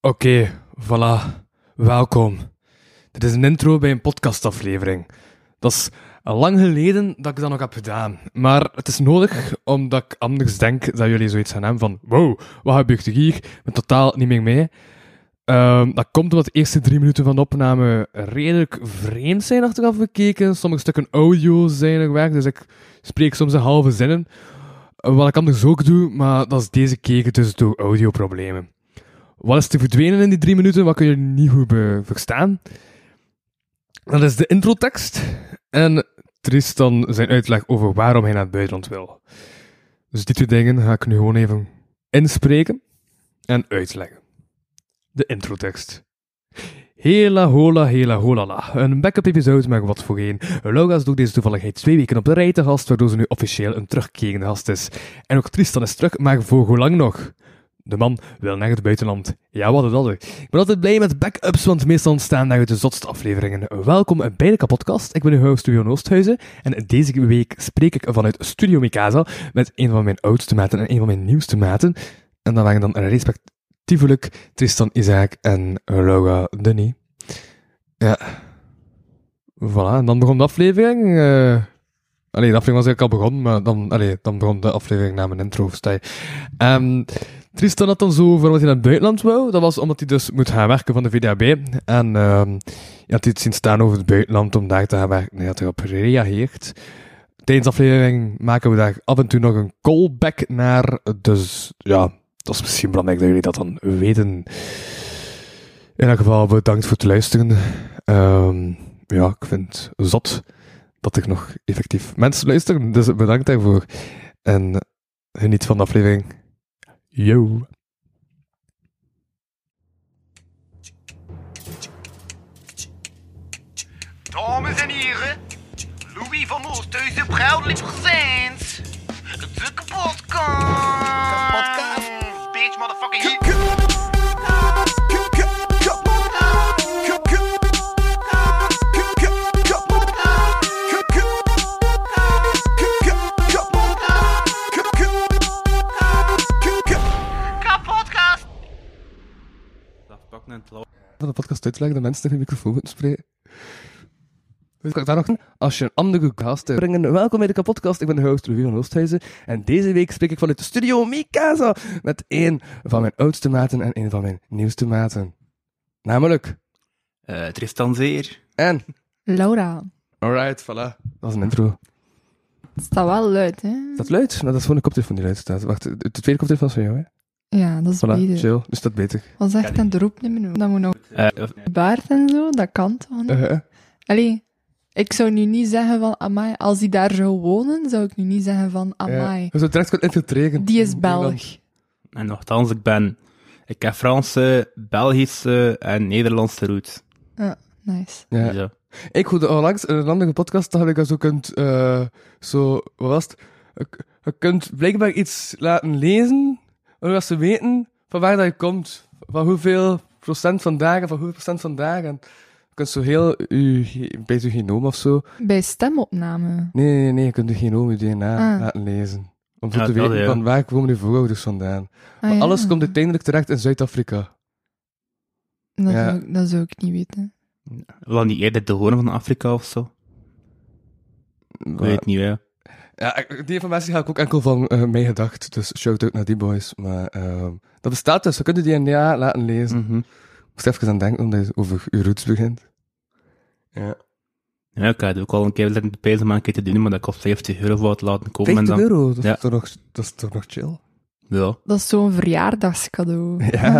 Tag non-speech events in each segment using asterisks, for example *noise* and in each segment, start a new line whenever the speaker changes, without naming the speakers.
Oké, voilà. Welkom. Dit is een intro bij een podcastaflevering. Dat is lang geleden dat ik dat nog heb gedaan. Maar het is nodig, omdat ik anders denk dat jullie zoiets gaan hebben van wow, wat gebeurt er hier? Ik ben totaal niet meer mee. Ehm, dat komt omdat de eerste drie minuten van de opname redelijk vreemd zijn achteraf gekeken. Sommige stukken audio zijn er weg, dus ik spreek soms in halve zinnen. Eh, Wat ik anders ook doe, maar dat is deze keer dus door audioproblemen. Wat is te verdwenen in die drie minuten? Wat kun je niet goed be- verstaan? Dat is de introtekst en Tristan zijn uitleg over waarom hij naar het buitenland wil. Dus die twee dingen ga ik nu gewoon even inspreken en uitleggen. De introtekst. Hela hola, hela holala. Een backup episode, maar wat voor een. Laura's doet deze toevalligheid twee weken op de rij te gast, waardoor ze nu officieel een terugkerende gast is. En ook Tristan is terug, maar voor hoe lang nog? De man wil naar het buitenland. Ja, wat een ladder. Ik ben altijd blij met backups, want meestal ontstaan daaruit de zotste afleveringen. Welkom bij de Kapodcast. Ik ben uw host Studio Oosthuizen. En deze week spreek ik vanuit Studio Mikasa met een van mijn oudste maten en een van mijn nieuwste maten. En dat waren dan respectievelijk Tristan Isaac en Laura Dunny. Ja. Voilà, en dan begon de aflevering. eh. Allee, de aflevering was eigenlijk al begonnen, maar dan, allee, dan begon de aflevering na mijn intro. versta je. Ehm Tristan had dan zo waarom hij naar het buitenland wou. Dat was omdat hij dus moet gaan werken van de VDAB. En ehm je had iets zien staan over het buitenland om daar te gaan werken. Hij had erop gereageerd. Tijdens de aflevering maken we daar af en toe nog een callback naar. Dus ja, dat is misschien belangrijk dat jullie dat dan weten. In elk geval, bedankt voor het luisteren. Ehm, ja, ik vind het zot dat er nog effectief mensen luisteren. Dus bedankt daarvoor. En geniet van de aflevering. Yo.
Dames en heren, Louis van Oosthuizen proudly presents de kapotkast. Podcast. Bitch, motherfucking heat. Kapotkast.
afpakken en het lauw.
van de podcast uitleggen dat mensen tegen de microfoon moeten spreken. Weet ik daar nog een? Als je een andere gast hebt, brengen, welkom bij de podcast. Ik ben de host Louis van Oosthuizen. En deze week spreek ik vanuit de studio Mikasa met een van mijn oudste maten en een van mijn nieuwste maten. Namelijk.
Eh, Tristan Zeer.
En.
Laura,
Alright, voilà. Dat is een intro.
het staat wel luid, hè?
Is dat luid? Nou, dat is gewoon een koptelefoon die luid staat. Wacht, de de tweede koptelefoon is van jou, hè?
Ja, dat is
Voilà,
beter.
chill. Dus dat beter.
Dat is echt aan de roepnummer. doen. Dat moet nog
Eh,
baard en zo, dat kan toch niet?
Eh, eh.
Allee, ik zou nu niet zeggen van, amai, als die daar zou wonen, zou ik nu niet zeggen van, amai,
Ja, we zouden direct kunnen infiltreren.
die is
Nederland.
Belg.
en nogthans, ik ben... Ik heb Franse, Belgische en Nederlandse roots. Dus, eh,
Nice.
Ja.
Zo.
Ik hoorde onlangs in een andere podcast dat je dat zo kunt, eh, zo, wat was het? Je- Je kunt blijkbaar iets laten lezen, zodat ze weten van waar dat je komt, van hoeveel procent van dagen, van hoeveel procent van dagen. Je kunt zo heel, je, ge- bij je genoom of zo.
Bij stemopname.
Nee, nee, nee, je kunt je genoom, je DNA
Ah.
laten lezen. Om zo
Ja,
te
dat,
weten
ja.
van waar komen die voorouders vandaan.
Ah,
Maar
ja.
alles komt uiteindelijk terecht in Zuid-Afrika.
Dat,
ja.
zou, ik- dat zou ik niet weten.
Wel niet eerder de hoorn van Afrika of zo? Ik weet het niet, hè.
Ja, ik- die informatie had ik ook enkel van eh, mij gedacht. Dus shout-out naar die boys. Maar ehm, dat bestaat dus. We kunnen die NDA laten lezen.
Mhm.
Ik moest even aan denken omdat je over je roots begint. Ja.
Ja, ik had ook al een keer zitten te pijzen om een keer te doen, maar dat kost 50 euro voor het laten komen. en
50
dan-
euro, dat,
Ja.
is toch nog, dat is toch nog *laughs* chill?
Ja.
Dat is zo'n verjaardagscadeau.
*laughs* Ja.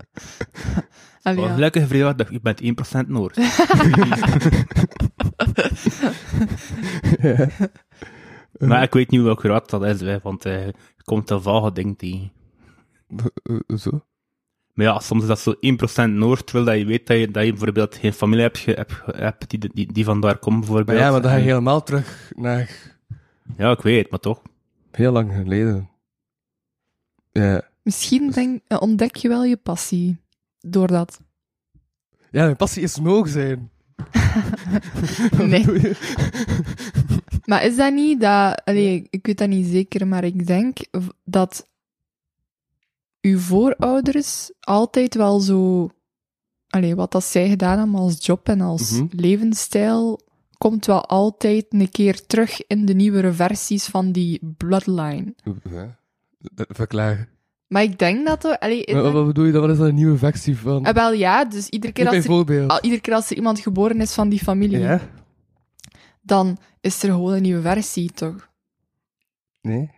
*laughs* Allee,
Wel,
ja.
Gelukkig vrijdag, je bent 1% Noord.
Ja.
maar ik weet niet welke raad dat is, hè, want eh, je komt daar vage dingen tegen.
Eh, Zo?
Maar ja, soms is dat zo 1% Noord, terwijl dat je weet dat je, dat je bijvoorbeeld geen familie hebt, ge- hebt, ge- hebt die, die, die vandaar komt,
Maar
bijvoorbeeld.
ja, maar dan ga je
En-
helemaal terug naar
Ja, ik weet, maar toch.
heel lang geleden. Ja.
*laughs* Misschien denk, eh, ontdek je wel je passie door dat. *laughs*
Ja, mijn passie is moog *laughs* zijn. *laughs*
Nee. Maar is dat niet dat... Allee, ik weet dat niet zeker, maar ik denk v- dat uw voorouders altijd wel zo... Allee, wat dat zij gedaan hebben als job en als
Mhm.
levensstijl, komt wel altijd een keer terug in de nieuwere versies van die bloodline.
Ja. Verklaar.
Maar ik denk dat we... Allee,
Wat, wat bedoel je? dat? Wat is dat een nieuwe versie van?
eh, wel ja, dus iedere keer, als Ah, er,
Bijvoorbeeld.
al- iedere keer als er iemand geboren is van die familie,
Ja?
dan is er gewoon een nieuwe versie, toch?
Nee?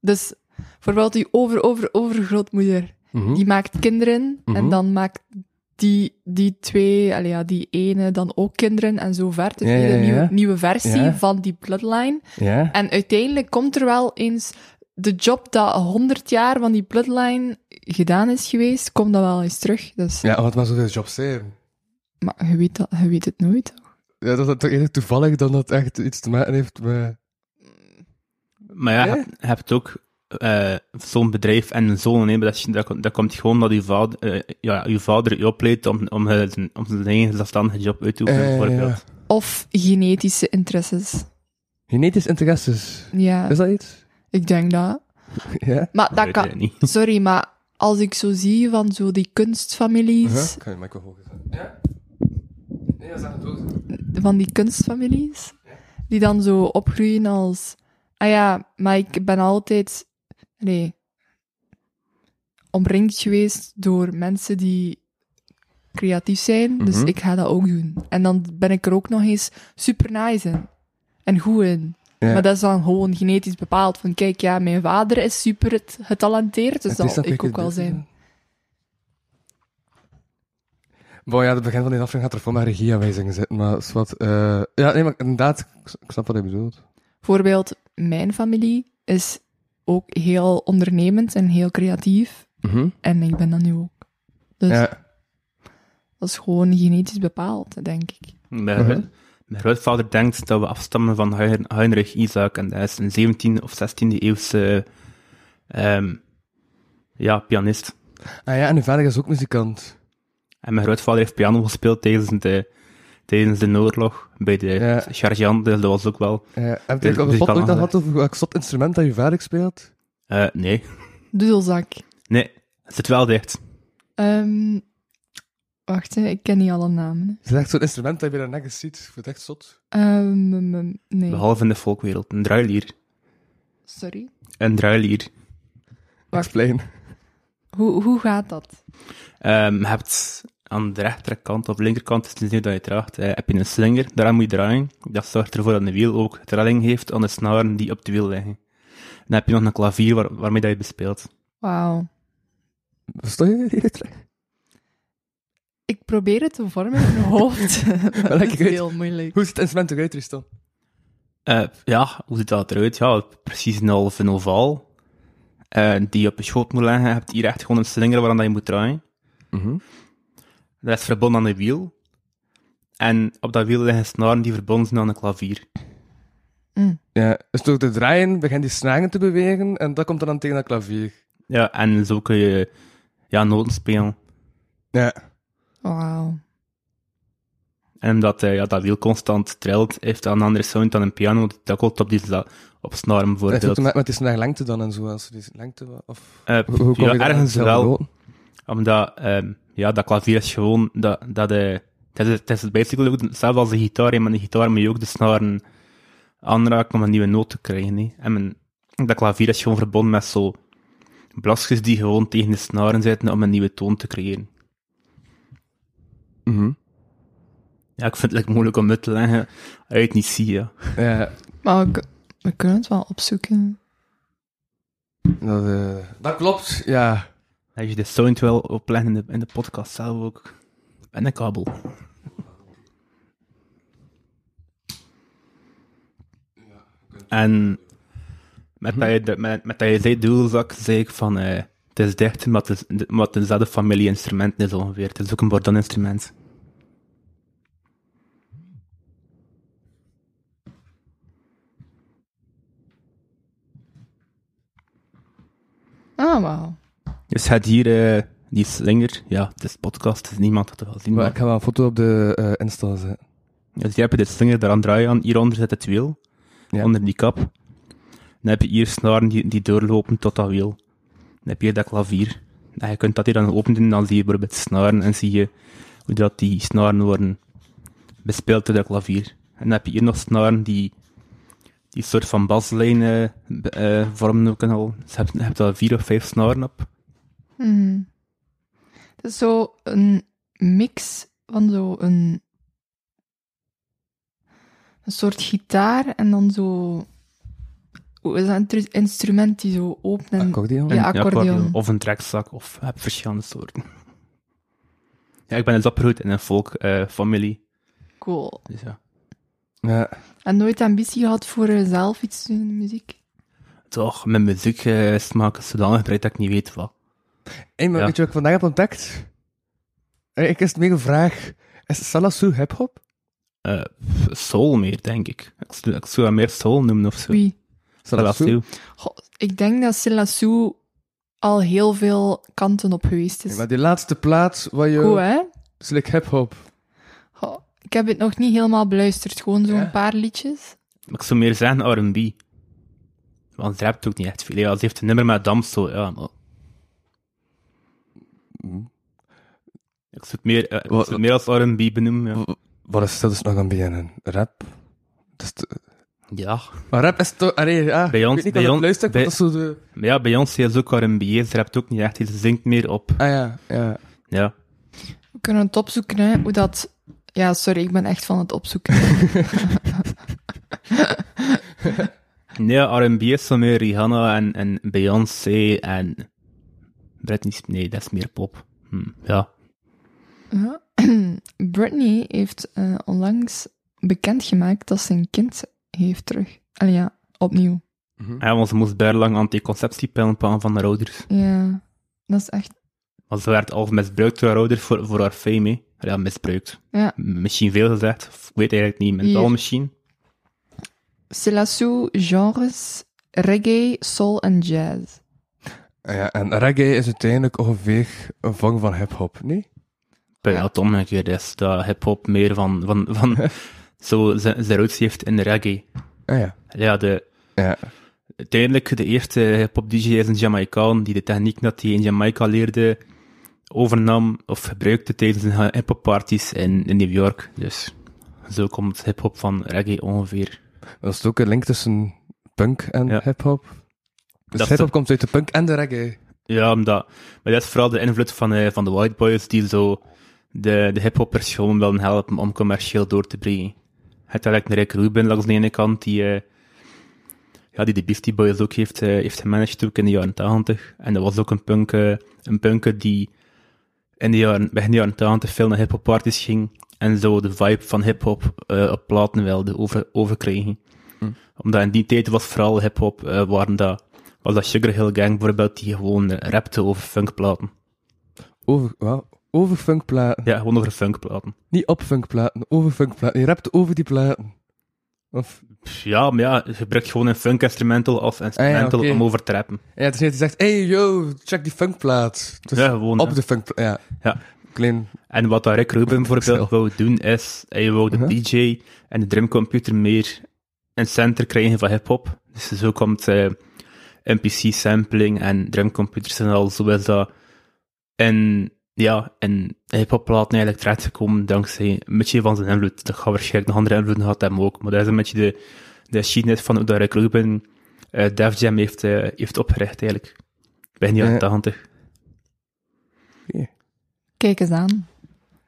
Dus bijvoorbeeld die over, over, overgrootmoeder,
Mhm.
die maakt kinderen
Mhm.
en dan maakt die, die twee, allee, ja, die ene dan ook kinderen en zo ver. Dus
Ja,
weer
ja,
een
ja.
nieuwe, nieuwe versie
Ja.
van die bloodline.
Ja?
En uiteindelijk komt er wel eens de job dat 100 jaar van die bloodline gedaan is geweest, komt dat wel eens terug. Dus,
Ja, oh, want maar zoveel jobs zijn.
Maar je weet, dat, je weet het nooit.
Ja, dat is toch eerder toevallig dan dat echt iets te maken heeft met...
Maar ja,
Ah, Ja.
je je hebt ook eh, zo'n bedrijf en een zoon. hè, maar Dat, is- dat, komt- dat komt gewoon dat je vader, eh, ja, je, vader je opleidt om, om, eh, zijn- om zijn eigen zelfstandige job uit te oefenen,
Eh,
bijvoorbeeld.
Of genetische interesses.
Genetisch interesses.
Ja,
Is dat iets?
ik denk dat.
Ja?
Maar dat
weet ik
kan...
niet.
Sorry, maar als ik zo zie van zo die kunstfamilies...
Kan je de microfoon zetten? Ja? Nee, dat is aan het
van die kunstfamilies, die dan zo opgroeien als... Ah ja, maar ik ben altijd... Nee. Omringd geweest door mensen die creatief zijn, dus
Mhm.
ik ga dat ook doen. En dan ben ik er ook nog eens super nice in. En goed in.
Ja.
Maar dat is dan gewoon genetisch bepaald. Van kijk, ja, mijn vader is super het- getalenteerd, dus dat zal ik ook wel zijn.
Bon, ja, het begin van deze aflevering gaat er voor mij regieaanwijzingen zitten, maar zwart. eh ja, nee, maar inderdaad, ik s- ik snap wat je bedoelt.
Bijvoorbeeld, mijn familie is ook heel ondernemend en heel creatief.
Mhm.
En ik ben dat nu ook. Dus
Ja.
dat is gewoon genetisch bepaald, denk ik.
Mijn,
Mhm.
mijn grootvader denkt dat we afstammen van Hein- Heinrich Isaac en dat is een 17e of 16e eeuwse ehm, ja, pianist.
Ah ja, en uw vader is ook muzikant.
En mijn grootvader heeft piano gespeeld tijdens de, tijdens de oorlog bij de
Ja.
Chargeant, dus dat was ook wel.
Eh heb
Dus-
je op
dus
de
ik
pot
kan
ooit al
nog-
gehad over welk zot instrument dat je vader speelt?
eh, nee,
Dudelzak.
nee, het zit wel dicht.
Ehm, wacht, hè, ik ken niet alle namen.
Het is echt zo'n instrument dat je bij de nek ziet. Ik vind het echt zot.
Ehm, mm, mm, nee,
Behalve in de folkwereld. Een druilier.
sorry.
Een druilier.
Wacht.
Explain.
Hoe, hoe gaat dat?
Ehm, je hebt aan de rechterkant of linkerkant, het is niet dat je draagt, eh, heb je een slinger, daaraan moet je draaien. Dat zorgt ervoor dat de wiel ook trilling heeft aan de snaren die op de wiel liggen. Dan heb je nog een klavier waar- waarmee dat je bespeelt.
Wauw.
Versta je *laughs* die uitleg?
Ik probeer het te vormen in mijn hoofd. maar dat
ik
is
weet-
heel moeilijk.
Hoe ziet het instrument eruit, Tristan?
Eh, ja, hoe ziet dat eruit? Ja, precies een halve ovaal. eh, die je op je schoot moet leggen. Je hebt hier echt gewoon een slinger waaraan dat je moet draaien. Mhm. Dat is verbonden aan een wiel. En op dat wiel liggen snaren die verbonden zijn aan een klavier.
Ja, dus door te draaien begint die snaren te bewegen en dat komt dan aan tegen dat klavier.
Ja, en zo kun je ja, noten spelen.
Ja.
Wauw.
En omdat eh, ja, dat wiel constant trilt, heeft dat een andere sound dan een piano. Die takkelt op, die sla- op snaren
Dat heeft ook
bijvoorbeeld.
te maken met die snaarlengte dan en zo. Als die lengte, wa- of...
Eh,
Hoe- hoe kom
ja,
je daar aan
ergens
hetzelfde
wel.
noten?
Omdat ehm, ja, dat klavier is gewoon... Dat, dat, eh, het, is, het is basically ook hetzelfde als een gitaar. hè, Maar een gitaar moet je ook de snaren aanraken om een nieuwe noot te krijgen. hè. En men- dat klavier is gewoon verbonden met zo blasjes die gewoon tegen de snaren zitten om een nieuwe toon te creëren. Ja, ik vind het like, moeilijk om uit te leggen als je het niet ziet, ja.
Ja,
Maar we, kun- we kunnen het wel opzoeken.
dat, eh, dat klopt, ja.
Als je de sound wil opleggen in de, in de podcast zelf ook. En een kabel. En met dat je, de- met, met dat je zei duelzak, zei ik van... eh, het is dicht, maar het is, maar het is dezelfde familie instrumenten is ongeveer. Het is ook een Bourdon-instrument.
Ah, wauw.
Dus je hebt hier eh, die slinger. Ja, het is podcast, het is niemand dat het wel zien.
Maar
Maar,
ik ga wel een foto op de eh, Insta zetten.
dus je hebt de slinger daaraan draaien. aan. Hieronder zit het wiel.
Ja.
onder die kap. Dan heb je hier snaren die, die doorlopen tot dat wiel. Dan heb je hier dat klavier. En je kunt dat hier dan open doen, dan zie je bijvoorbeeld snaren en zie je hoe dat die snaren worden bespeeld door dat klavier. En dan heb je hier nog snaren die die soort van baslijnen eh, eh, vormen ook en al. Dus je hebt, je hebt daar vier of vijf snaren op.
Mhm. Het is zo een mix van zo een, een soort gitaar en dan zo... Hoe is dat een tru- instrument die zo open en...
Accordeon?
Ja,
Een
accordeon.
Of een trekzak, of je hebt verschillende soorten. Ja, ik ben dus opgegroeid in een volkfamilie.
Cool.
dus ja.
Ja.
En nooit de ambitie gehad voor eh, zelf iets te doen in de muziek?
Toch, mijn muziek eh, smaak is zodanig breed dat ik niet weet wat.
Hey, maar
Ja.
weet je wat ik vandaag heb ontdekt? Hey, ik is het meer een vraag. Is Salasu hip-hop?
Eh, soul meer, denk ik. Ik zou, ik zou dat meer soul noemen of zo.
Wie?
Salasu?
Salasu.
Goh, ik denk dat Silassou al heel veel kanten op geweest
Ja,
is.
maar die laatste plaats waar je...
Goed, hè?
Slik hip-hop.
Goh, ik heb het nog niet helemaal beluisterd. Gewoon zo'n
Ja.
paar liedjes.
Maar ik zou meer zeggen R&B. Want ze rapt ook niet echt veel. Ja, ze heeft een nummer met Damso, ja, maar... Ik zou het meer, eh, ik zou
Mm. Wat-
het meer als R&B benoemen, ja.
Wat- Wat is dat dus nog aan BNN? Rap? Dus Dat is te-
ja.
Maar rap is toch... Allee, ja.
Bij ons-
Ik weet niet
bij
of dat
ons-
luistert,
bij-
dat is zo de...
Maar ja, Beyoncé is ook R&B, hè. ze rapt ook niet echt, ze zingt meer op.
Ah ja, ja.
Ja.
We kunnen het opzoeken, hè, hoe dat... Ja, sorry, ik ben echt van het
*laughs*
opzoeken.
Nee, R&B is zo meer Rihanna en, en Beyoncé en Britney Spears. Nee, dat is meer pop. Hm, ja.
Ja. *clears throat* Britney heeft eh, onlangs bekendgemaakt dat ze een kind heeft terug. Allee, ja, opnieuw.
ja, want ze moest bijlang anticonceptiepillen pakken van haar ouders.
Ja, dat is echt...
Want ze werd al misbruikt door haar ouders voor, voor haar fame, hè. Ja, misbruikt.
Ja.
M- Misschien veel gezegd, of ik weet eigenlijk niet, mentaal
Hier.
misschien.
Silassou, genres, reggae, soul en jazz.
Ah ja, en reggae is uiteindelijk ongeveer een vorm van hip-hop, nee?
Maar ja, het omgekeerde is dat hip-hop meer van, van, van
*laughs*
zo zijn zijn roots heeft in de reggae.
Ah ja.
Ja, de,
Ja.
uiteindelijk, de eerste hip-hop-dj is een Jamaicaan die de techniek dat hij in Jamaica leerde overnam of gebruikte tijdens zijn hip-hop-parties in, in New York. Dus zo komt hip-hop van reggae ongeveer.
Dat is ook een link tussen punk en
Ja.
hip-hop.
Dat
Dus
is
hip-hop
de-
komt uit de punk en de reggae.
Ja, omdat, maar dat is vooral de invloed van, eh, van de white boys die zo de, de hip-hoppers gewoon willen helpen om commercieel door te brengen. Het lijkt een Rick Rubin langs de ene kant, die, eh, ja, die de Beastie Boys ook heeft, eh, heeft gemanaged ook in de jaren 80. En dat was ook een punk, eh, een punker die in de jaren, begin de jaren 80 veel naar hip-hop parties ging en zo de vibe van hip-hop eh, op platen wilde over, overkrijgen. Omdat in die tijd was vooral hip-hop, eh, waren dat, was dat Sugar Hill Gang bijvoorbeeld, die gewoon eh, rapte over funkplaten.
Over, wauw, over funkplaten.
Ja, gewoon over funkplaten.
Niet op funkplaten, over funkplaten. Je rapt over die platen. Of,
Pff, Ja, maar ja, je gebruikt gewoon een funk-instrumental als instrumental
Ah oké.
om over te rappen.
ja, het is niet dat je zegt, hey yo, check die funkplaat. Het is
Ja, gewoon.
Dus op
hè.
de funkplaat, ja.
Ja.
Klein,
En wat dat Rick Rubin
Excel.
bijvoorbeeld wou doen is, hij wou de
Ja.
DJ en de drumcomputer meer een center krijgen van hip-hop. Dus zo komt eh MPC-sampling en drumcomputers en al, zo is dat in, ja, in hip-hop-platen eigenlijk terechtgekomen dankzij een beetje van zijn invloed. Dat gaat waarschijnlijk nog andere invloeden gehad hebben ook, maar dat is een beetje de, de geschiedenis van hoe dat Rick Rubin eh Def Jam heeft, eh, heeft opgericht eigenlijk. Begin jaren
Ja.
80.
Kijk eens aan. *laughs*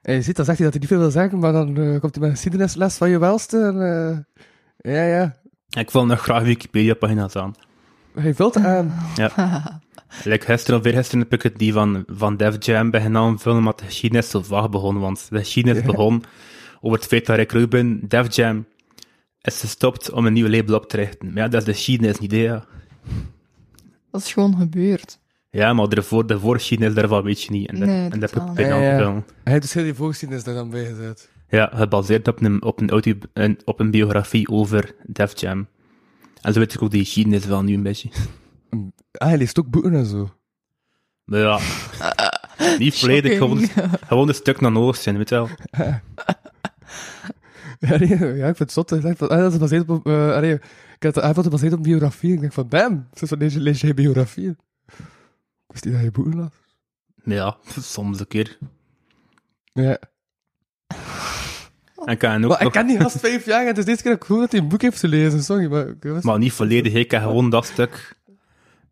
En je ziet, dan zegt hij dat hij niet veel wil zeggen, maar dan eh, komt hij met een geschiedenisles van je welste. En, eh, ja, ja.
Ik wil nog graag Wikipedia-pagina's aan.
Hij vult aan.
Like gisteren of weer gisteren heb ik het die van, van Def Jam bij gedaan film, maar de geschiedenis zo vaag begon. Want de geschiedenis begon over het feit dat Rick Rubin, Def Jam, is gestopt om een nieuw label op te richten. Maar ja, dat is de geschiedenis niet, hè, ja.
Dat is gewoon gebeurd.
Ja, maar ervoor, de voorgeschiedenis daarvan weet je niet. En dat,
Nee,
en dat heb
totaal
ik bijna
niet. Ja, ja.
gedaan.
Hij heeft dus heel die voorgeschiedenis daar dan bij gezet.
Ja, gebaseerd op een, op een, auto, een- op een biografie over Def Jam. En zo weet ik ook de geschiedenis wel nu een beetje. *laughs*
Ah, hij leest ook boeken en zo. *laughs*
Maar ja, niet volledig, gewoon, gewoon een stuk naar Oost zijn, weet je wel.
Ja, nee, ja, ik vind het zot. Ik dacht van, ah, dat is gebaseerd op... eh, allee, ik had, hij vond het gebaseerd op biografie. Ik dacht van, bam, sinds wanneer lees je biografie? Ik wist niet dat je boeken las.
Ja, soms een keer.
Ja.
En kan ook
Maar ik
nog-
ken die gast vijf jaar en het is deze keer ook goed dat hij een boek heeft gelezen. Sorry, maar... ik was-
Maar niet volledig, ik heb gewoon dat stuk.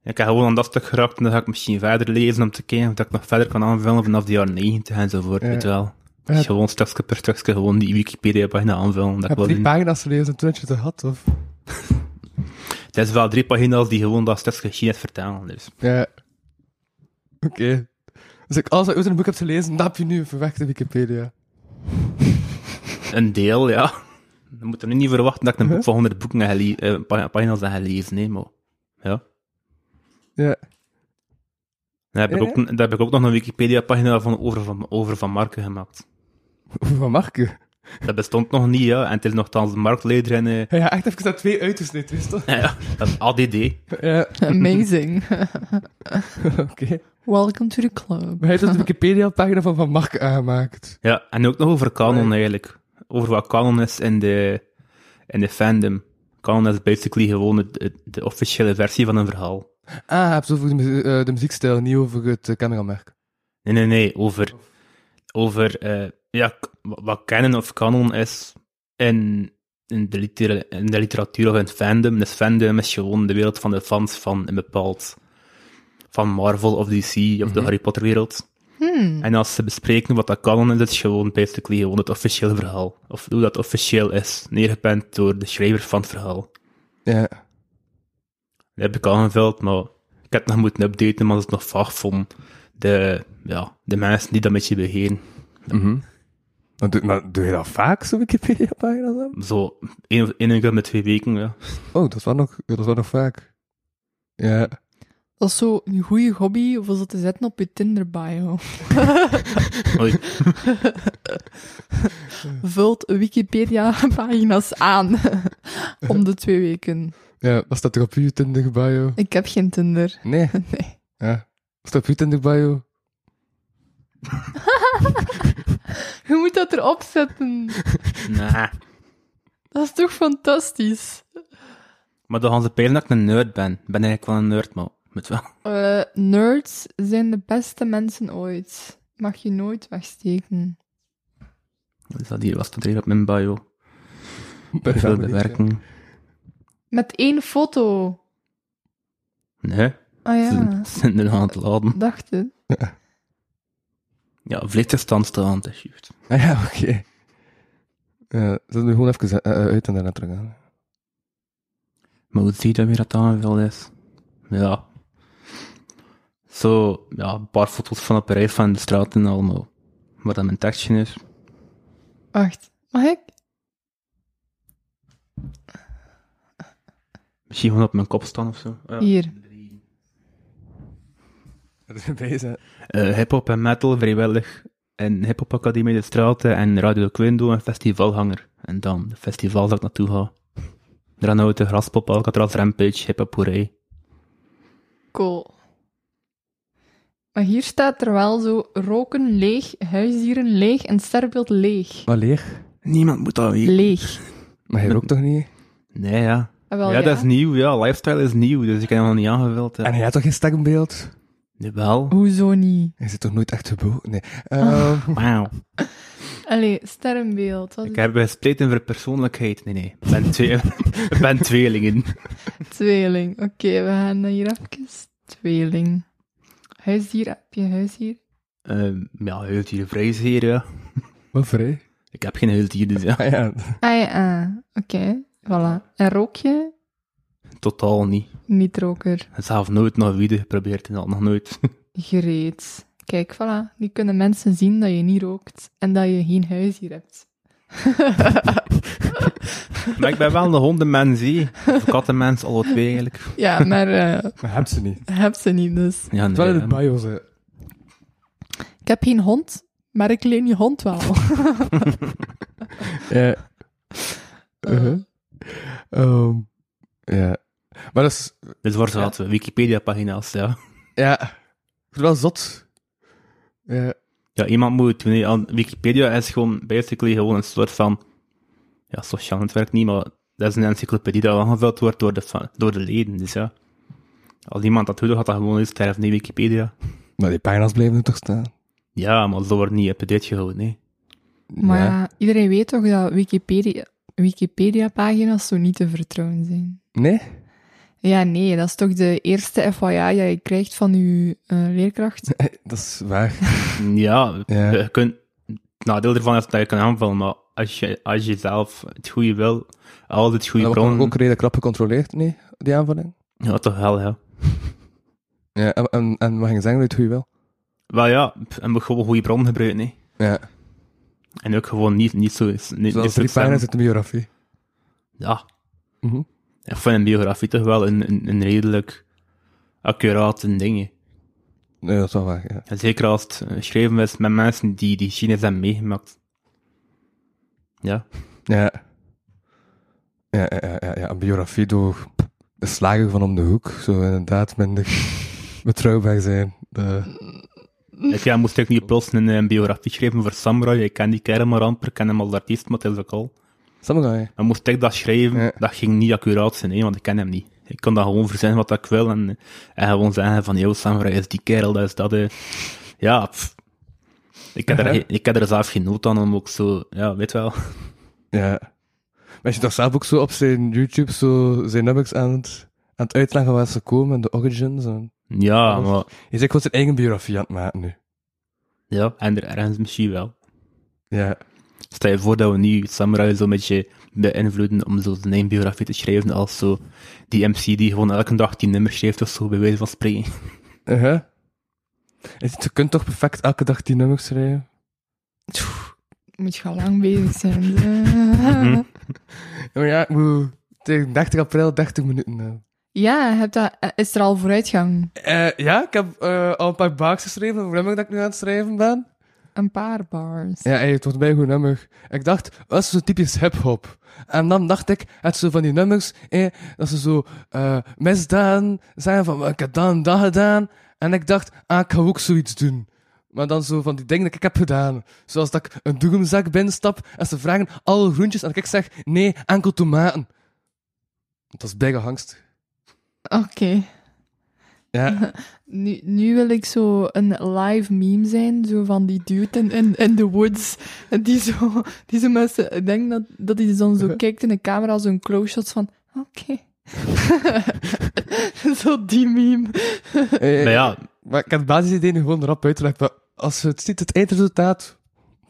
Ik heb gewoon aan dat stuk geraakt en dan ga ik misschien verder lezen om te kijken of dat ik nog verder kan aanvullen vanaf de jaren 90 enzovoort.
Ja.
Weet je wel.
Ja.
Dus gewoon stukje per stukje gewoon die Wikipedia-pagina aanvullen. Dat ik
heb
wel
drie
doen.
pagina's gelezen en toen had je het gehad, of?
Het is wel drie pagina's die gewoon dat stukje geschiedenis vertalen. Dus.
Ja. Oké. Dus ik alles wat ik ooit in een boek heb gelezen, dat heb je nu verwacht in Wikipedia.
Een deel, ja. Je moet er nu niet verwachten dat ik een boek
Huh?
van 100 boeken heb gele- eh, pa- pagina's heb gelezen, nee, maar... Ja.
Ja.
Dan heb, ik
Ja,
ook, dan heb ik ook nog een Wikipedia-pagina van over, van over Van Marken gemaakt.
Van Marke.
Dat bestond nog niet, ja. En het is nogthans de marktleider in... eh,
Ja, ja, echt even dat twee uitgesneden, is toch?
Ja, dat is ADD.
Ja,
*laughs*
*laughs*
Amazing. *laughs*
oké.
Welcome to the club.
Maar hij heeft *laughs* dus de Wikipedia-pagina van Van Marke aangemaakt.
Ja, en ook nog over kanon eigenlijk. Over wat kanon is in de, in de fandom. Kanon is basically gewoon het- het- de officiële versie van een verhaal.
Ah, hij heeft het over de, muzie- eh, de muziekstijl, niet over het eh, cameramerk.
Nee, nee, nee, over... Over, eh, ja, k- wa- wat canon of kanon is in, in, de litera- in de literatuur of in het fandom. Dus fandom is gewoon de wereld van de fans van een bepaald... Van Marvel of DC of de Harry Potter wereld.
Hmm.
Mm-hmm. En als ze bespreken wat dat kan, is het gewoon basically gewoon het officiële verhaal. Of hoe dat officieel is, neergepend door de schrijver van het verhaal.
Ja.
Dat heb ik aangevuld, maar ik heb het nog moeten updaten, maar dat is nog vaag van de, ja, de mensen die dat met je beheren.
Mhm. Maar doe, maar doe je dat vaak, zo'n Wikipedia-pagina dan?
Zo, één of één keer met twee weken, ja.
Oh, dat is wel nog, dat is wel nog vaak. Ja.
Dat is zo een goede hobby voor zo te zetten op je Tinder-bio.
*laughs* Oei.
*laughs* Vult Wikipedia-pagina's
*laughs*
aan om de twee weken.
Ja, was dat er op je Tinder-bio?
Ik heb geen Tinder. *laughs*
Nee.
Nee.
Ja. Was dat op je Tinder-bio?
Je moet dat erop zetten.
nah.
Dat is toch fantastisch?
Maar dan gaan ze peilen dat ik een nerd ben. Ik ben eigenlijk wel een nerd, maar moet wel.
Eh, nerds zijn de beste mensen ooit. Mag je nooit wegsteken.
Wat is dat hier? Was dat hier op mijn bio?
Bij
Veel
Family,
bewerking.
Met één foto.
Nee,
Ah
ze zijn-
ja,
ze zijn er aan het laden.
dacht het.
Ja, vliegtuigstand staan, dat is juist.
ja. Ah ja, oké. Ja, zet nu gewoon even eh, eh, uit en daarna terug aan.
Maar hoe zie je dat weer dat aanveld is? Ja. Zo, ja, een paar foto's van op een rij van de straat en allemaal. Wat dat mijn tekstje is.
Wacht, mag ik?
Misschien gewoon op mijn kop staan of zo. Ja.
Hier.
Dat is bezig.
Eh, hip-hop en metal, vrijwillig. En Hip-hop Academie de Straten en Radio Quindo en Festivalhanger. En dan de festival dat ik naartoe ga. Dranouten, Graspop, Alcatraz, Rampage, Hip-hop Hoerij.
Cool. Maar hier staat er wel zo: roken leeg, huisdieren leeg en sterrenbeeld leeg.
Maar leeg.
Niemand moet dat weten.
Leeg.
Maar hij rookt toch niet? *laughs*
Nee, ja.
Ah, wel,
ja, dat is nieuw, ja. Lifestyle is nieuw, dus ik heb hem nog niet aangevuld.
En
Ja.
hij had toch geen stekbeeld?
Jawel.
Hoezo niet?
Hij zit toch nooit echt geboren? Nee. Ehm, *laughs*
Wauw.
Allee, sterrenbeeld. Wat
Ik
is
heb gespleten voor persoonlijkheid. Nee, nee. Ik ben, twee, *laughs* ik ben tweelingen.
Tweeling. Oké, we gaan hier even. Tweeling. Huisdier, heb je huisdier?
Ehm ja, huildieren vrij zeer, ja.
Wat vrij.
Ik heb geen huildier, dus ja.
Ah ja.
Ah ja, ah, oké. Voilà. En rook je?
Totaal niet.
Niet-roker.
Zelf nooit nog wieden geprobeerd en dat nog nooit. *laughs*
Gereed. Kijk, voilà. Nu kunnen mensen zien dat je niet rookt en dat je geen huisdier hebt. *laughs*
maar ik ben wel een hondenmens, zie. Of kattenmens, alle twee eigenlijk.
ja, maar eh
Maar heb ze niet. Het
heb ze niet, dus.
Ja,
is
nee.
wel in het
ja.
bio, ze.
Ik heb geen hond, maar ik leen je hond *laughs* wel.
Ja. Uh-huh. Ehm, ja. Maar dat is...
Dus waar zaten we? Wikipedia-pagina's, ja.
Ja. Ik vind het wel zot. Ja.
Ja, iemand moet het doen. hè. Aan- Wikipedia is gewoon basically gewoon een soort van... Ja, sociaal netwerk niet, maar dat is een encyclopedie dat aangevuld wordt door de, fa- door de leden, dus ja. Als iemand dat doet, dan gaat dat gewoon eens sterven in Wikipedia.
Maar die pagina's blijven er toch staan?
Ja, maar dat wordt niet up-to-date gehouden, hè. *laughs*
Maar ja. iedereen weet toch dat Wikipedia, Wikipedia-pagina's zo niet te vertrouwen zijn.
Nee? *laughs*
Ja, nee, dat is toch de eerste FYI dat je krijgt van je eh, *laughs* leerkracht.
Dat is waar.
Ja,
Ja.
je kunt... Het nadeel ervan is dat je kan aanvallen, maar als je, als je zelf het goede wil, altijd goede
Dat wordt
bronnen...
toch ook redelijk krap gecontroleerd, nee, die aanvulling?
Ja, toch wel, ja.
Ja, en, en, en mag je zeggen dat je het wel?
Wel ja, p- en moet gewoon goede bronnen gebruiken, hè.
Ja,
En ook gewoon niet, niet zo... Niet, niet
zoals
zo
drie
snel.
pagina's uit de biografie.
Ja.
Mhm.
Ik vind een biografie toch wel een, een, een redelijk accurate ding, hè.
Nee, dat is wel waar, ja.
En Zeker als het eh, geschreven is met mensen die die Chine's hebben meegemaakt.
*laughs*
Ja.
Ja. Ja, ja, ja, ja, ja, een biografie door de slager van om de hoek zou inderdaad minder *laughs* betrouwbaar zijn. De,
Ik ja, moest ik niet plots een, eh, biografie schrijven voor Samurai. Ik ken die kerel maar amper, ik ken hem als artiest, maar het is ook al.
samurai.
En moest ik dat schrijven,
Ja.
dat ging niet accuraat zijn, hè, want ik ken hem niet. Ik kon dat gewoon verzinnen wat ik wil en, eh, en gewoon zeggen van, yo, Samurai is die kerel, dat is dat. eh. Ja, pff. Ik heb, er,
Ja.
geen- ik heb er zelf geen nood aan om ook zo, ja, weet wel.
Ja. Maar je toch zelf ook zo op zijn YouTube zo zijn nummers aan het, aan het uitleggen waar ze komen en de origins. En...
Ja, maar,
Je zegt gewoon zijn eigen biografie aan het maken nu.
ja, en er ergens misschien wel.
Ja.
Stel je voor dat we nu Samurai zo'n beetje beïnvloeden om zo zijn eigen biografie te schrijven als zo die MC die gewoon elke dag die nummer schrijft of zo, bij wijze van spreken.
Uh-huh. En Je kunt toch perfect elke dag die nummers schrijven?
Moet je al lang bezig zijn. Eh.
Maar ja, ik moet tegen 30 april 30 minuten hebben.
ja, heb dat, eh, is er al vooruitgang?
Eh, ja, ik heb eh, al een paar baaks geschreven, een nummer dat ik nu aan het schrijven ben.
Een paar bars.
Ja, hey, het wordt bij een goed nummer. Ik dacht, oh, dat is zo typisch hip-hop. En dan dacht ik, het zo van die nummers, eh, dat ze zo eh, misdaden zijn van, "Oh, ik heb dat en dat gedaan. En ik dacht, ah, ik ga ook zoiets doen. Maar dan zo van die dingen die ik heb gedaan. Zoals dat ik een doegemzak binnenstap en ze vragen alle groentjes. En ik zeg, nee, enkel tomaten. Dat is bijna hangst. *laughs*
Oké.
Ja,
Nu, nu wil ik zo een live meme zijn, zo van die dude in, in, in the woods, die zo, die zo mensen, ik denk dat, dat hij dan
*laughs*
zo kijkt in de camera, zo'n close shots van, oké. *laughs* zo die meme.
Eh,
Maar ja,
Maar ik heb het basisidee nu gewoon erop uitgelegd. Maar als je het ziet, het eindresultaat,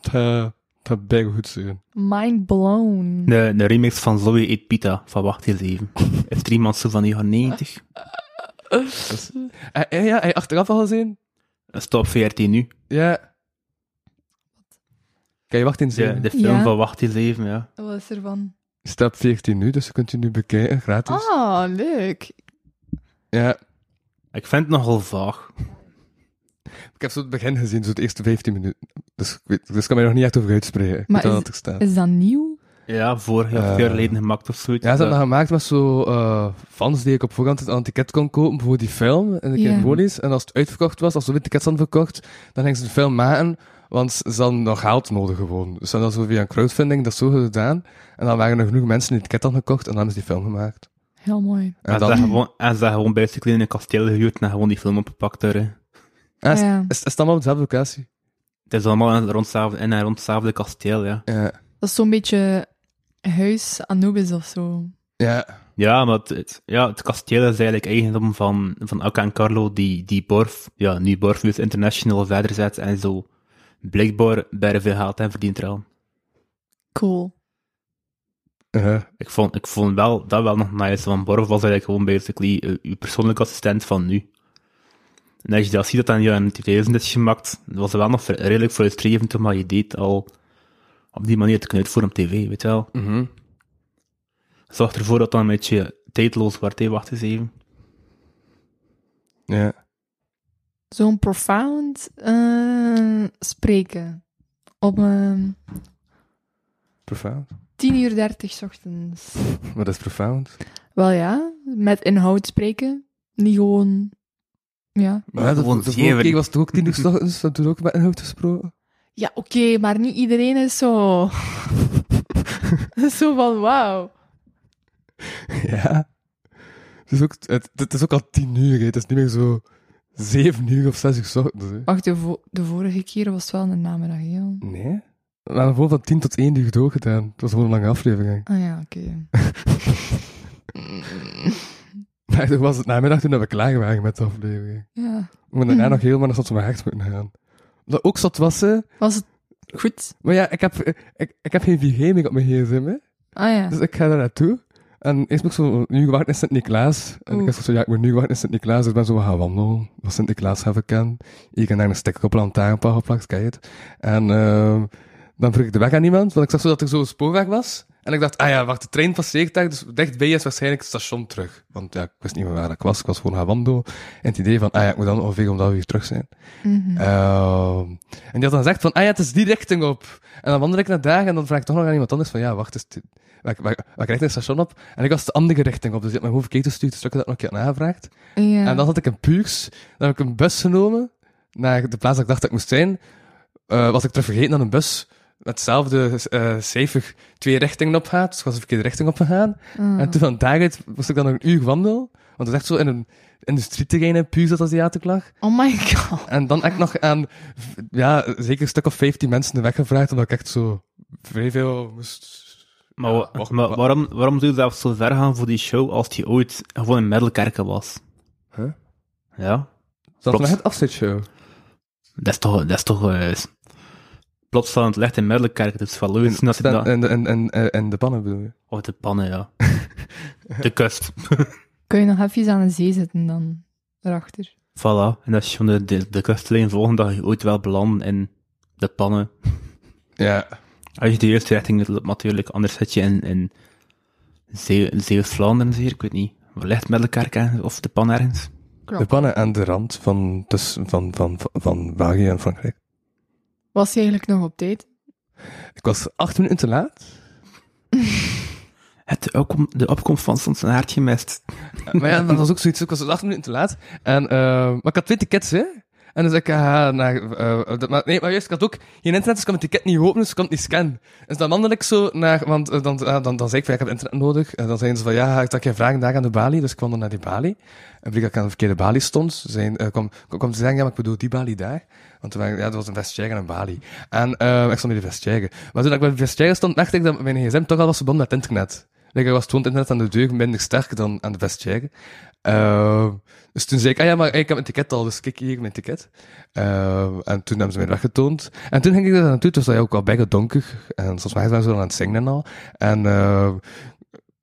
dat, dat bijna goed zijn.
Mind blown.
de, de remix van Zoe Eet Pita van Wacht Eens Even. Heeft er iemand zo van de jaren 90?
Eh, eh, ja, heb je achteraf al gezien?
Dat Stop VRT nu.
Ja. Kan je wacht in
De,
zien?
de film
Ja.
van Wacht Eens Even, ja.
Wat is er van?
Stap 14 nu, dus je kunt je nu bekijken, gratis.
Ah, leuk.
Ja.
Ik vind het nogal vaag.
Ik heb zo het begin gezien, zo de eerste 15 minuten. Dus ik weet, dus ik kan mij nog niet echt over uitspreken. Ik
Maar
weet wel
is-
wat er staat.
Is dat nieuw?
Ja, vorig jaar,
Eh.
jaar geleden gemaakt of zoiets.
Ja, ze hebben
Ja.
dat gemaakt met zo eh, fans die ik op voorhand een ticket kon kopen voor die film. En ik
Ja.
in Wonies. En als het uitverkocht was, als ze weer tickets hadden verkocht, dan gingen ze de film maken. Want ze hadden nog geld nodig gewoon. Dus ze hadden dat zo via een crowdfunding dat zo gedaan. En dan waren er genoeg mensen die het ticket hadden gekocht en dan hebben ze die film gemaakt.
Heel mooi.
En
En ze
dan,
hebben gewoon, en ze hebben gewoon basically in een kasteel gehuurd en gewoon die film opgepakt daar, hè.
Ah, is,
Ja.
is, is het allemaal op dezelfde locatie?
Het is allemaal rond hetzelfde- in en rond hetzelfde kasteel, ja.
Ja.
Dat is zo'n beetje huis Anubis of zo.
Ja.
Ja, maar het, het- ja, het kasteel is eigenlijk eigendom van, van Akka en Carlo, die, die Borf, ja, nu Borfus International verder zet en zo. Blijkbaar bij de veel geld en verdient er aan.
Cool.
Eh,
Ik vond, ik vond wel, dat wel nog nice, want Borf was eigenlijk gewoon basically eh, uw persoonlijke assistent van nu. En als je dat ziet dat dat in de jaren 2000 is gemaakt, was het wel nog ver- redelijk frustrerend om wat je deed al op die manier te kunnen uitvoeren op tv, weet je wel.
mhm.
Zorg ervoor dat dat een beetje tijdloos wordt, hé, wacht eens even.
Ja.
zo'n profound eh, spreken. Op ehm,
Profound.
10 uur 30 's ochtends.
Wat is profound?
Wel ja, met inhoud spreken. Niet gewoon. Ja,
Maar ja, dat,
Gewoon
de vorige
zeven.
keer was het ook tien uur 's ochtends, dat toen ook met een hoofd *laughs* gesproken.
ja oké, maar niet iedereen is zo. *laughs* zo van wauw.
Ja. Het is ook, het, het is ook al tien uur, hè. het is niet meer zo Zeven uur of zes uur s ochtends. Hè.
Wacht, de, vo- de vorige keer was het wel in de namiddag, hè, Jan?
Nee. We hebben gewoon van tien tot één uur doorgedaan. Het was gewoon een lange aflevering. *laughs*
Ah ja, oké.
Maar toen was het namiddag toen dat we klaar waren met de aflevering.
ja.
We moeten daarna nog helemaal naar Zot mijn hart moeten gaan. Dat ook zat was ze.
Was het goed?
Maar ja, ik heb, ik, ik heb geen 4G meer op mijn gsm, hè.
Ah ja.
Dus ik ga daar naartoe. En eerst moet ik zo nu gewacht in Sint-Niklaas. En ik
Oeh.
was zo, ja, ik moet nu gewacht in Sint-Niklaas. Dus ik ben zo gaan wandelen. Wat Sint-Niklaas heb ik ken. Ik heb daar een sticker op een lantaarnpaal geplakt, kijk het. En ehm, dan vroeg ik de weg aan iemand, want ik zag zo dat er zo'n spoorweg was. En ik dacht, ah ja, wacht, de trein passeert daar, dus dichtbij is waarschijnlijk het station terug. Want ja, ik wist niet meer waar ik was, ik was gewoon gaan wandelen. En het idee van, ah ja, ik moet dan ongeveer om dat uur terug zijn. Ehm, en die had dan gezegd van, ah ja, het is die richting op. En dan wandel ik naar daar en dan vraag ik toch nog aan iemand anders van, ja, wacht, is het, welke, welke, welke richting is het station op? En ik was de andere richting op, dus ik had mijn hoofd keer gestuurd, dus ik had dat nog een keer nagevraagd.
ja.
En dan had ik een puurs, dan heb ik een bus genomen naar de plaats dat ik dacht dat ik moest zijn. Eh, was ik terug vergeten dat een bus met hetzelfde eh, cijfer twee richtingen op gaat, dus ik was de verkeerde richting op gegaan.
Ah.
En toen van daaruit moest ik dan nog een uur wandelen, want het is echt zo in een industrieterrein in puurs dat Aziatic lag.
Oh my god.
En dan echt nog aan, v- ja, zeker een stuk of 15 mensen de weg gevraagd, omdat ik echt zo vrij veel moest...
Maar,
Ja,
wa-
wacht,
maar
wa-
waarom, waarom zou je zelf zo ver gaan voor die show als die ooit gewoon in Middelkerken was?
Huh?
Ja,
Zal het
Klopt.
nog het afzetshow?
dat is toch... Dat is toch eh, s- plots staat het licht in Middelkerken, dus wel leuk. zien dat ze dat-
En, en, en, en, en de pannen bedoel je?
Of Oh, de pannen, ja. *laughs* de kust.
Kun je nog even aan de zee zitten dan? Daarachter.
Voilà. En dat is gewoon de, de, de kustlijn volgen dat je ooit wel belandt in de pannen.
Ja.
Als je de juiste richting loopt, natuurlijk. Anders zit je in, in Zee- Zeeuws-Vlaanderen, zeker. Ik weet niet. Waar ligt Middelkerken of de pan ergens?
De pannen aan de rand van, tussen, van, van, van, van België en Frankrijk.
Was je eigenlijk nog op tijd?
Ik was acht minuten te laat.
Het, opkom- de opkomst van Sans en Haartje gemist.
Maar *laughs* ja, dat was ook zoiets. Ik was dus acht minuten te laat. En, eh, maar ik had twee tickets, hè. En dus ik ga naar... eh, dat- maar, nee, maar juist, ik had ook geen internet, dus ik kon mijn ticket niet openen, dus ik kon het niet scannen. Dus dan wandel ik zo naar... Want eh, dan, eh, dan, dan zei ik van, ja, ik heb internet nodig. En dan zeiden ze van, ja, ik had geen vragen daar aan de balie. Dus ik kwam dan naar die balie. En bleek dat ik aan de verkeerde balie stond. Ze zeiden, eh, kwam, kwam- kwam ze zeggen, ja, maar ik bedoel die balie daar. Want toen waren- ja, dat was een vestiaire en een balie. En eh, ik stond bij de vestiaire. Maar toen ik bij de vestiaire stond, merkte ik dat mijn gsm toch al was verbonden met internet. Like, er was toen het internet aan de deur minder sterk dan aan de vestiaire. Ehm, dus toen zei ik, ah ja, maar ik heb mijn ticket al, dus kijk hier mijn ticket. Ehm, en toen hebben ze mij weggetoond. En toen ging ik er naartoe, toen was dat ook al bijna donker. En soms waren ze dan aan het zingen en al. En ehm,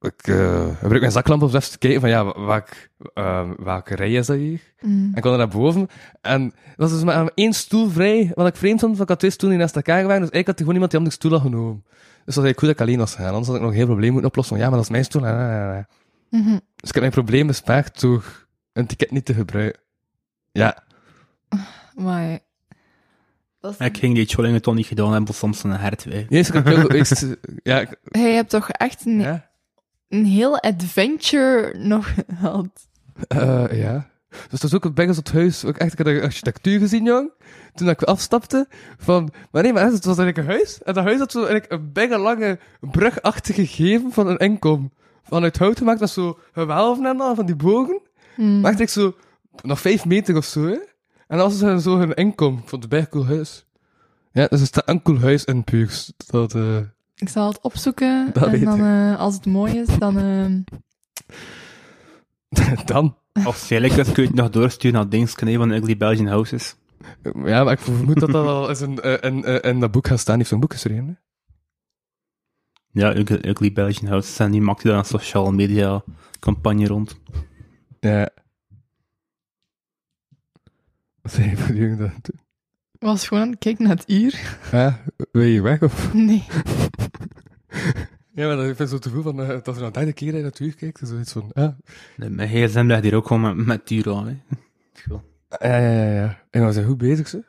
ik eh, gebruik mijn zaklamp om zelfs te kijken van, ja, wa- waar ik, ehm, welke rij is dat hier?
Mm.
En ik kwam er naar boven. En er was dus maar één stoel vrij. Wat ik vreemd vond, want ik had twee stoelen die naast elkaar waren. Dus eigenlijk had er gewoon iemand die andere stoel had genomen. Dus dat was eigenlijk goed dat ik alleen was gegaan. Anders had ik nog een heel probleem moeten oplossen. Van, ja, maar dat is mijn stoel. Ah, ah, ah.
Mhm.
Dus ik heb mijn probleem bespaard door een ticket niet te gebruiken. Ja,
Maar... ja. Dat is-
Ik ging die Cholingen toch niet gedaan hebben, soms een hert. hè.
eerst heb dus ik heel eerst- ja, ik-
Hij hebt toch echt een,
ja,
een heel adventure nog gehad.
Eh, ja. Dus dat is ook het Bengels op het huis. Ook echt, ik had de architectuur gezien, jong. Toen dat ik afstapte, van... Maar nee, maar echt, het was eigenlijk een huis. En dat huis had zo eigenlijk een bijna lange brugachtige gegeven van een inkom. Vanuit hout gemaakt met zo gewelven en al, van die bogen.
Mm.
Maakte ik zo nog vijf meter of zo, hè. En dat was dus zo hun inkom. Ik vond het bij een cool huis. Ja, dus het is een cool huis in Puurs. Dat, eh, *laughs*
Ik zal het opzoeken.
Dat
en
weet
dan,
ik.
eh, als het mooi is, dan... ehm,
Dan.
Als jij lekker is, kun je het nog doorsturen naar Dingsken, hè, van Ugly Belgian Houses.
Ja, maar ik vermoed dat dat al eens in, eh, in, eh, in dat boek gaat staan. Die heeft zo'n boek geschreven. hè?
Ja, Ugly, Ugly Belgian Houses. En die maakt daar een sociale media campagne rond.
Ja. Wat zei je voor die jongen dat?
was gewoon aan het kijken naar het uur. *laughs*
Ja, wil je weg of?
Nee.
Ja, maar dat- ik vind zo te veel van, eh, dat er een derde keer in dat uur kijkt, is zoiets van, ja.
De- Mijn gsm ligt hier ook gewoon met, met duur aan. hè.
Ja, ja, ja, ja. En we zijn goed bezig, ze.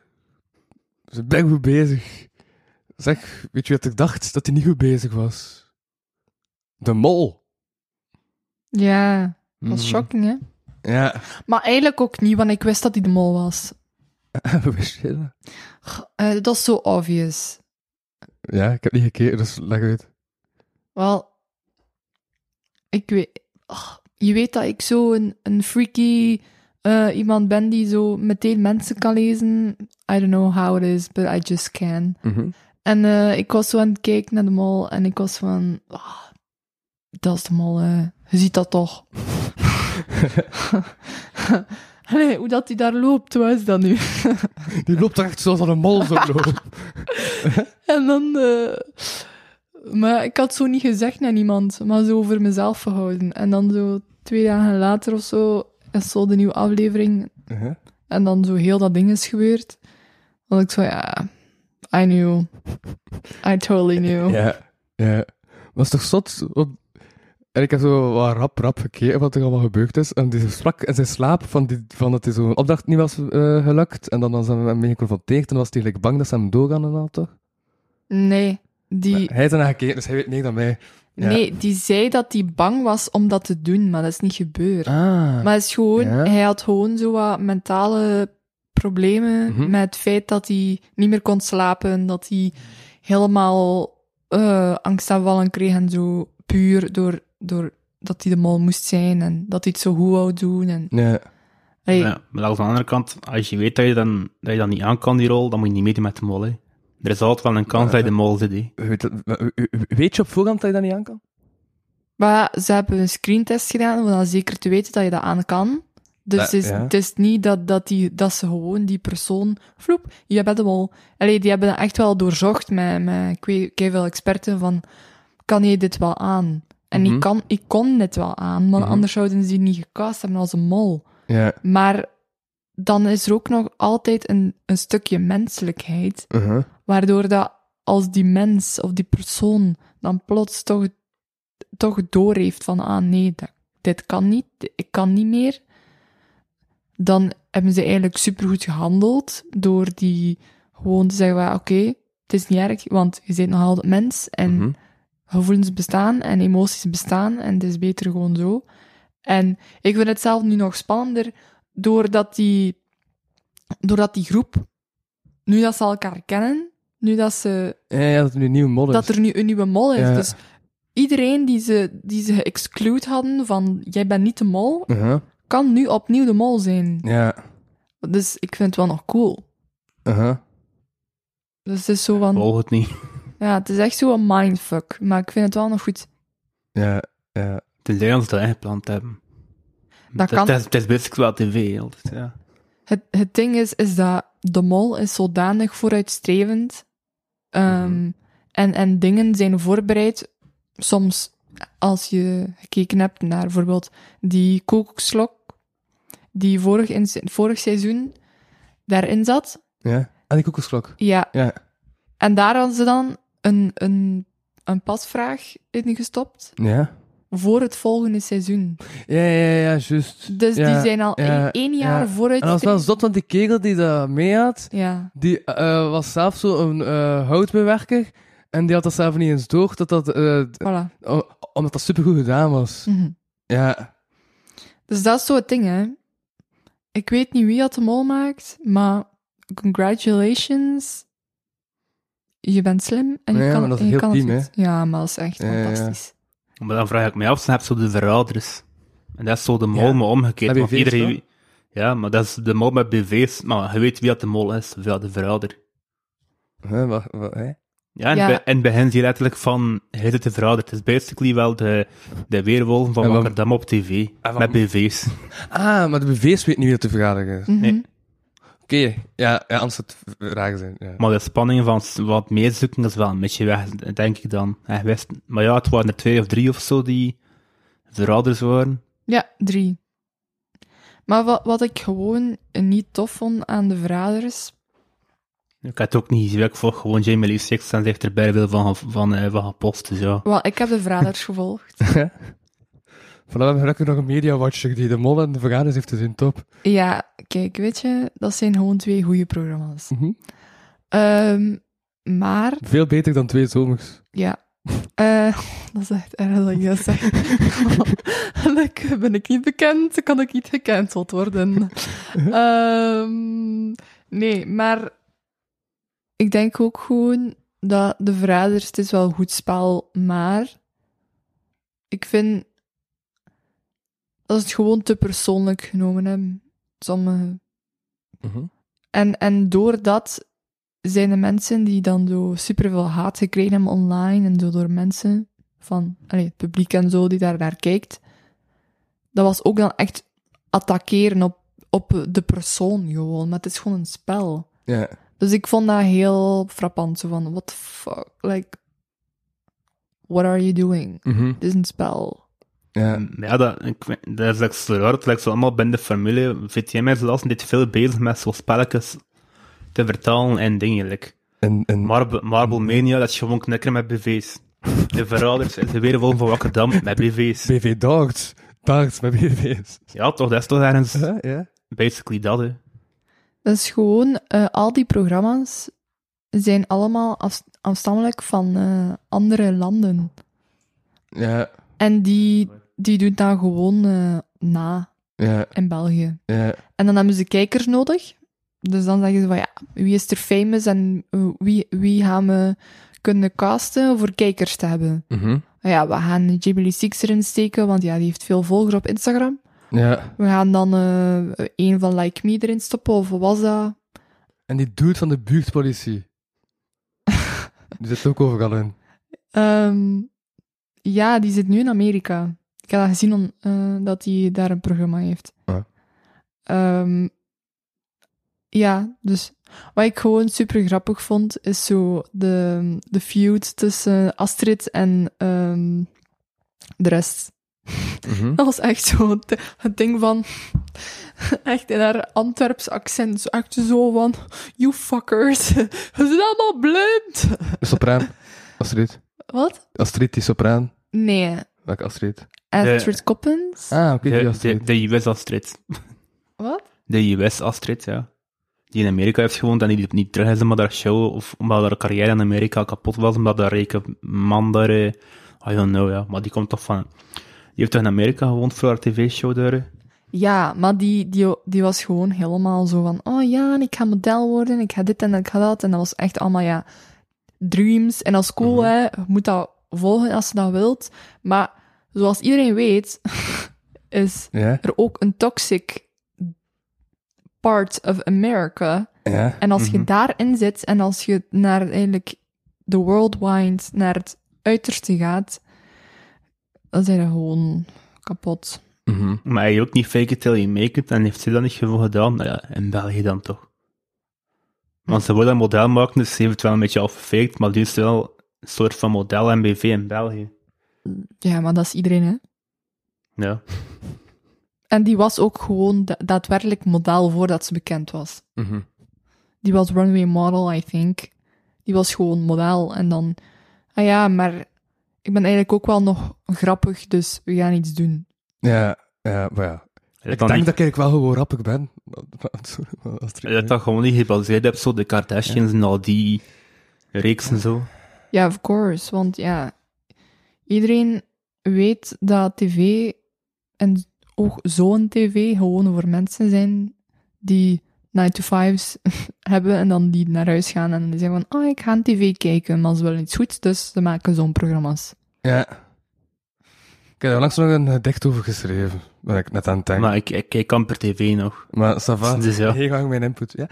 We zijn best goed bezig. Zeg, weet je wat ik dacht? Dat hij niet goed bezig was. De mol.
Ja, dat was
Mhm.
shocking, hè?
Ja.
Maar eigenlijk ook niet, want ik wist dat hij de mol was.
Wist je *laughs* dat?
Eh, dat is zo obvious.
Ja, ik heb niet gekeken, dus leg uit.
Wel, ik weet... ah, je weet dat ik zo een, een freaky eh, iemand ben die zo meteen mensen kan lezen. I don't know how it is, but I just can.
Mhm.
En eh, ik was zo aan het kijken naar de mall en ik was van... ah, dat is de mall, eh. je ziet dat toch. *laughs* Allee, hoe dat hij daar loopt, wat is dat nu?
Die loopt echt zoals aan een mol zo loopt. *laughs*
En dan... eh, Maar ik had zo niet gezegd naar niemand, maar zo over mezelf gehouden. En dan zo twee dagen later of zo is zo de nieuwe aflevering.
Mhm.
En dan zo heel dat ding is gebeurd. Dat ik zo, ja... I knew. I totally knew.
Ja. ja. Was toch zot? want- En ik heb zo wat rap, rap gekeken wat er allemaal gebeurd is. En die sprak in zijn slaap van, die, van dat hij zo'n opdracht niet was eh, gelukt. En dan was hij mee geconfronteerd en was hij like, bang dat ze hem doorgaan en al, toch?
Nee, die...
Maar hij is ernaar gekeken, dus hij weet meer dan mij. Ja.
Nee, die zei dat hij bang was om dat te doen, maar dat is niet gebeurd.
Ah.
Maar het is gewoon,
Ja.
hij had gewoon zo wat mentale problemen
Mhm.
met het feit dat hij niet meer kon slapen, dat hij helemaal eh angstaanvallen kreeg en zo puur door, door dat hij de mal moest zijn en dat hij het zo goed wou doen. En,
Ja.
Allee,
Ja, maar aan de andere kant, als je weet dat je, dan, dat je dat niet aan kan, die rol, dan moet je niet meedoen met de mol. Hè. Er is altijd wel een kans dat je de mol zit. Hè.
Weet, dat- weet je op voorhand dat je dat niet aan kan?
Maar ze hebben een screentest gedaan om dan zeker te weten dat je dat aan kan. Dus
Ja,
het, is,
ja.
het is niet dat, dat, die, dat ze gewoon die persoon... Vloep, je bent hem al. Allee, die hebben dat echt wel doorzocht met, met ik weet kei veel experten van... Kan je dit wel aan? En
Mhm.
ik, kan, ik kon dit wel aan, maar
Mhm.
anders zouden ze die niet gecast hebben als een mol.
Ja.
Maar dan is er ook nog altijd een, een stukje menselijkheid
Uh-huh.
Waardoor dat als die mens of die persoon dan plots toch, toch door heeft van, ah nee, dat- dit kan niet, ik kan niet meer. Dan hebben ze eigenlijk supergoed gehandeld door die gewoon te zeggen, van, ah, oké, het is niet erg, want je bent nog altijd mens en
Mhm.
gevoelens bestaan en emoties bestaan en het is beter gewoon zo. En ik vind het zelf nu nog spannender doordat die, doordat die groep, nu dat ze elkaar kennen, nu dat, ze,
Ja, ja, dat er nu nieuwe modder
dat er nu een nieuwe mol is.
Ja.
Dus iedereen die ze, die ze geëxclude hadden van jij bent niet de mol,
Uh-huh.
kan nu opnieuw de mol zijn.
Ja.
Dus ik vind het wel nog cool.
Uh-huh.
Dus het is zo van,
Volg het niet.
ja, het is echt zo een mindfuck, maar ik vind het wel nog goed.
Ja. Ja.
Tenzij ons dat ingepland hebben.
Dat kan.
Het is, het is best wel tv, hè, altijd, ja.
Het, het ding is, is dat de mol is zodanig vooruitstrevend. ehm,
Mhm.
en, en dingen zijn voorbereid. Soms, als je gekeken hebt naar bijvoorbeeld die kookslok, die vorig, in, vorig seizoen daarin zat.
ja. En die koekjesklok.
Ja.
Ja.
En daar hadden ze dan een, een, een pasvraag in gestopt
Ja.
voor het volgende seizoen.
Ja, ja, ja, juist.
Dus
Ja.
die zijn al
ja,
één, één jaar
ja.
vooruit.
En dat was wel zot, want die kerel die dat mee had,
Ja.
die eh, was zelf zo'n eh houtbewerker. En die had dat zelf niet eens door, dat dat, eh, d-
Voilà.
o- omdat dat supergoed gedaan was.
Mhm.
Ja.
Dus dat is zo het ding, hè. Ik weet niet wie dat de mol maakt, maar congratulations. Je bent slim en je
Ja,
kan,
maar dat is
en je
heel
kan het
team,
goed. Ja, maar dat is echt
Ja, ja, ja.
fantastisch.
Maar dan vraag ik mij af, snap zo de verraders. En dat is zo de mol,
Ja.
maar omgekeerd.
Met
Want
BV's,
iedereen... Ja, maar dat is de mol met BV's. Maar je weet wie dat de mol is, of ja, de verrader.
Hè, wat, wat, hè?
Ja, en,
Ja.
Bij, en bij hen zie je letterlijk van, hij zit te verraderd. Het is basically wel de, de weerwolven
En
van
wat-
Rotterdam op tv.
wat-
Met BV's.
Ah, maar de BV's weet niet wie dat te vergaderen is.
Mhm.
Nee.
Oké, ja, ja, anders zou het v- raar zijn. Ja.
Maar de spanning van s- wat meer zoeken is wel een beetje weg, denk ik dan. Hij wist, maar ja, het waren er twee of drie of zo die verraders waren.
Ja, drie. Maar wat, wat ik gewoon niet tof vond aan de verraders...
Ik had het ook niet gezien. Ik volg gewoon Jamie Lee Six en zegt er bij veel van, ge- van, eh, van gepost. Dus ja.
Wel, ik heb de
*laughs*
verraders gevolgd.
Voilà, we hebben gelukkig nog een media-watcher die de mol en de vergaders heeft gezien, top.
Ja, kijk, weet je, dat zijn gewoon twee goede programma's.
Mhm.
Ehm, maar
Veel beter dan twee zomers.
Ja. Eh, dat is echt erg dat ik dat *laughs* zeg. Gelukkig ben ik niet bekend, kan ik niet gecanceld worden. Ehm, nee, maar ik denk ook gewoon dat de verraders, het is wel goed spel, maar ik vind dat ze het gewoon te persoonlijk genomen hebben. sommige.
Mhm.
En, en door dat zijn de mensen die dan zo superveel haat gekregen hebben online en zo door mensen van allee, het publiek en zo die daar naar kijkt, dat was ook dan echt attackeren op, op de persoon gewoon. Maar het is gewoon een spel.
Ja.
Dus ik vond dat heel frappant. Zo van, what the fuck? Like, what are you doing?
Mhm.
Dit is een spel.
Ja.
Ehm, Ja, dat, ik, weet- dat is like zo raar. Het lijkt zo allemaal binnen de familie. VTM is laatst dit veel bezig met zo'n spelletjes te vertalen en dingen. like.
En, en,
Marble, Marble Mania, dat is gewoon knikker met BV's. De verraders is de weerwolf van Wakkerdam met BV's.
BV Daagt. Daagt met BV's.
Ja, toch, dat is toch ergens
ja, ja.
basically dat, hè.
Dat is gewoon, eh, al die programma's zijn allemaal af- afstammelijk van eh, andere landen.
Ja,
En die, die doen dat gewoon eh, na
ja,
in België.
ja.
En dan hebben ze kijkers nodig. Dus dan zeggen ze van ja, wie is er famous en eh, wie, wie gaan we kunnen casten voor kijkers te hebben.
Mhm.
Ja, we gaan Ghibli Six erin steken, want ja, die heeft veel volgers op Instagram.
Ja.
We gaan dan eh een van Like Me erin stoppen, of wat was dat?
En die dude van de *laughs* buurtpolitie.
Die zit ook overal in.
Ehm, ja, die zit nu in Amerika. Ik heb dat gezien om, eh, dat hij daar een programma heeft.
Ja.
Ehm, ja, dus wat ik gewoon super grappig vond, is zo de, de feud tussen Astrid en ehm, de rest.
Mhm.
Dat was echt zo het, het ding van... *laughs* Echt in haar Antwerps accent. Zo echt zo van... You fuckers. *laughs* Je zijn allemaal blind.
De sopraan. Astrid.
Wat?
Astrid, die sopraan.
Nee.
Welke Astrid?
Astrid Coppens?
Ah, oké, die
De, de,
Astrid.
de US-Astrid.
Wat?
De US-Astrid, ja. Die in Amerika heeft gewoond en die liep niet terug is omdat haar show of omdat haar carrière in Amerika kapot was, omdat haar rijke man daar... eh, I don't know, ja. Maar die komt toch van... Die heeft toch in Amerika gewoond voor haar tv-show daar? hè?
Ja, maar die, die, die was gewoon helemaal zo van... Oh ja, en ik ga model worden, ik ga dit en ik ga dat. En dat was echt allemaal, ja... Dreams. En dat is cool, hè. Je moet dat volgen als je dat wilt. Maar zoals iedereen weet... *laughs* is
Ja,
er ook een toxic part of America...
ja.
En als je daarin zit en als je naar eigenlijk de world wind, naar het uiterste gaat, dan zijn we gewoon kapot.
Mhm.
Maar hij ook niet fake it till you make it en heeft ze dat niet gewoon gedaan? Nou ja, in België dan toch. Want ze wilden een model maken, dus ze heeft het wel een beetje al gefaked, maar die is wel een soort van model MBV in België.
Ja, maar dat is iedereen, hè?
Ja.
En die was ook gewoon da- daadwerkelijk model voordat ze bekend was.
Mhm.
Die was runway model, I think. Die was gewoon model. En dan, ah ja, maar ik ben eigenlijk ook wel nog grappig, dus we gaan iets doen.
Ja, ja, maar ja.
Ik
Ik denk dat ik eigenlijk wel gewoon rappig ben. *laughs* Sorry, maar Astrid.
dat dat gewoon niet gebaseerd hebt, zo de Kardashians en al die reeks en zo.
Ja, of course. Want ja, iedereen weet dat tv en ook zo'n tv gewoon voor mensen zijn die 9 to 5's *laughs* hebben en dan die naar huis gaan en die zeggen van, oh, ik ga een tv kijken, maar ze willen iets goeds, dus ze maken zo'n programma's.
Ja.
Ik heb daar langs nog een gedicht over geschreven.
Ben ik net aan het denken.
Maar ik, ik kijk amper tv nog.
Maar, ça va.
Dus ja.
Heel gang mijn input, ja.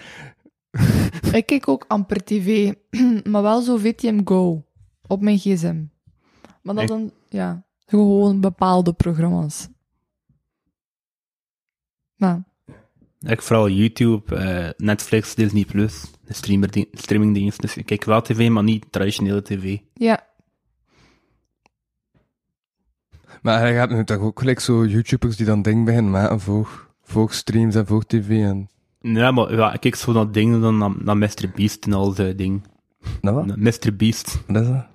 Ik kijk ook amper tv, *clears throat* maar wel zo VTM Go op mijn gsm. Maar dat
Ik-
dan, ja, gewoon bepaalde programma's. Nou,
Ik vooral YouTube, eh, Netflix, Disney+, Plus, de streamer- streamingdienst. Dus ik kijk wel tv, maar niet traditionele tv.
ja.
Maar hij gaat nu toch ook gelijk zo YouTubers die dan dingen beginnen maken voor, voor streams en voor tv en...
Ja, maar ja, ik kijk zo naar dingen dan naar, naar Mr. Beast en al dat ding.
Nou, wat?
Na- Mr. Beast,
Wat is dat?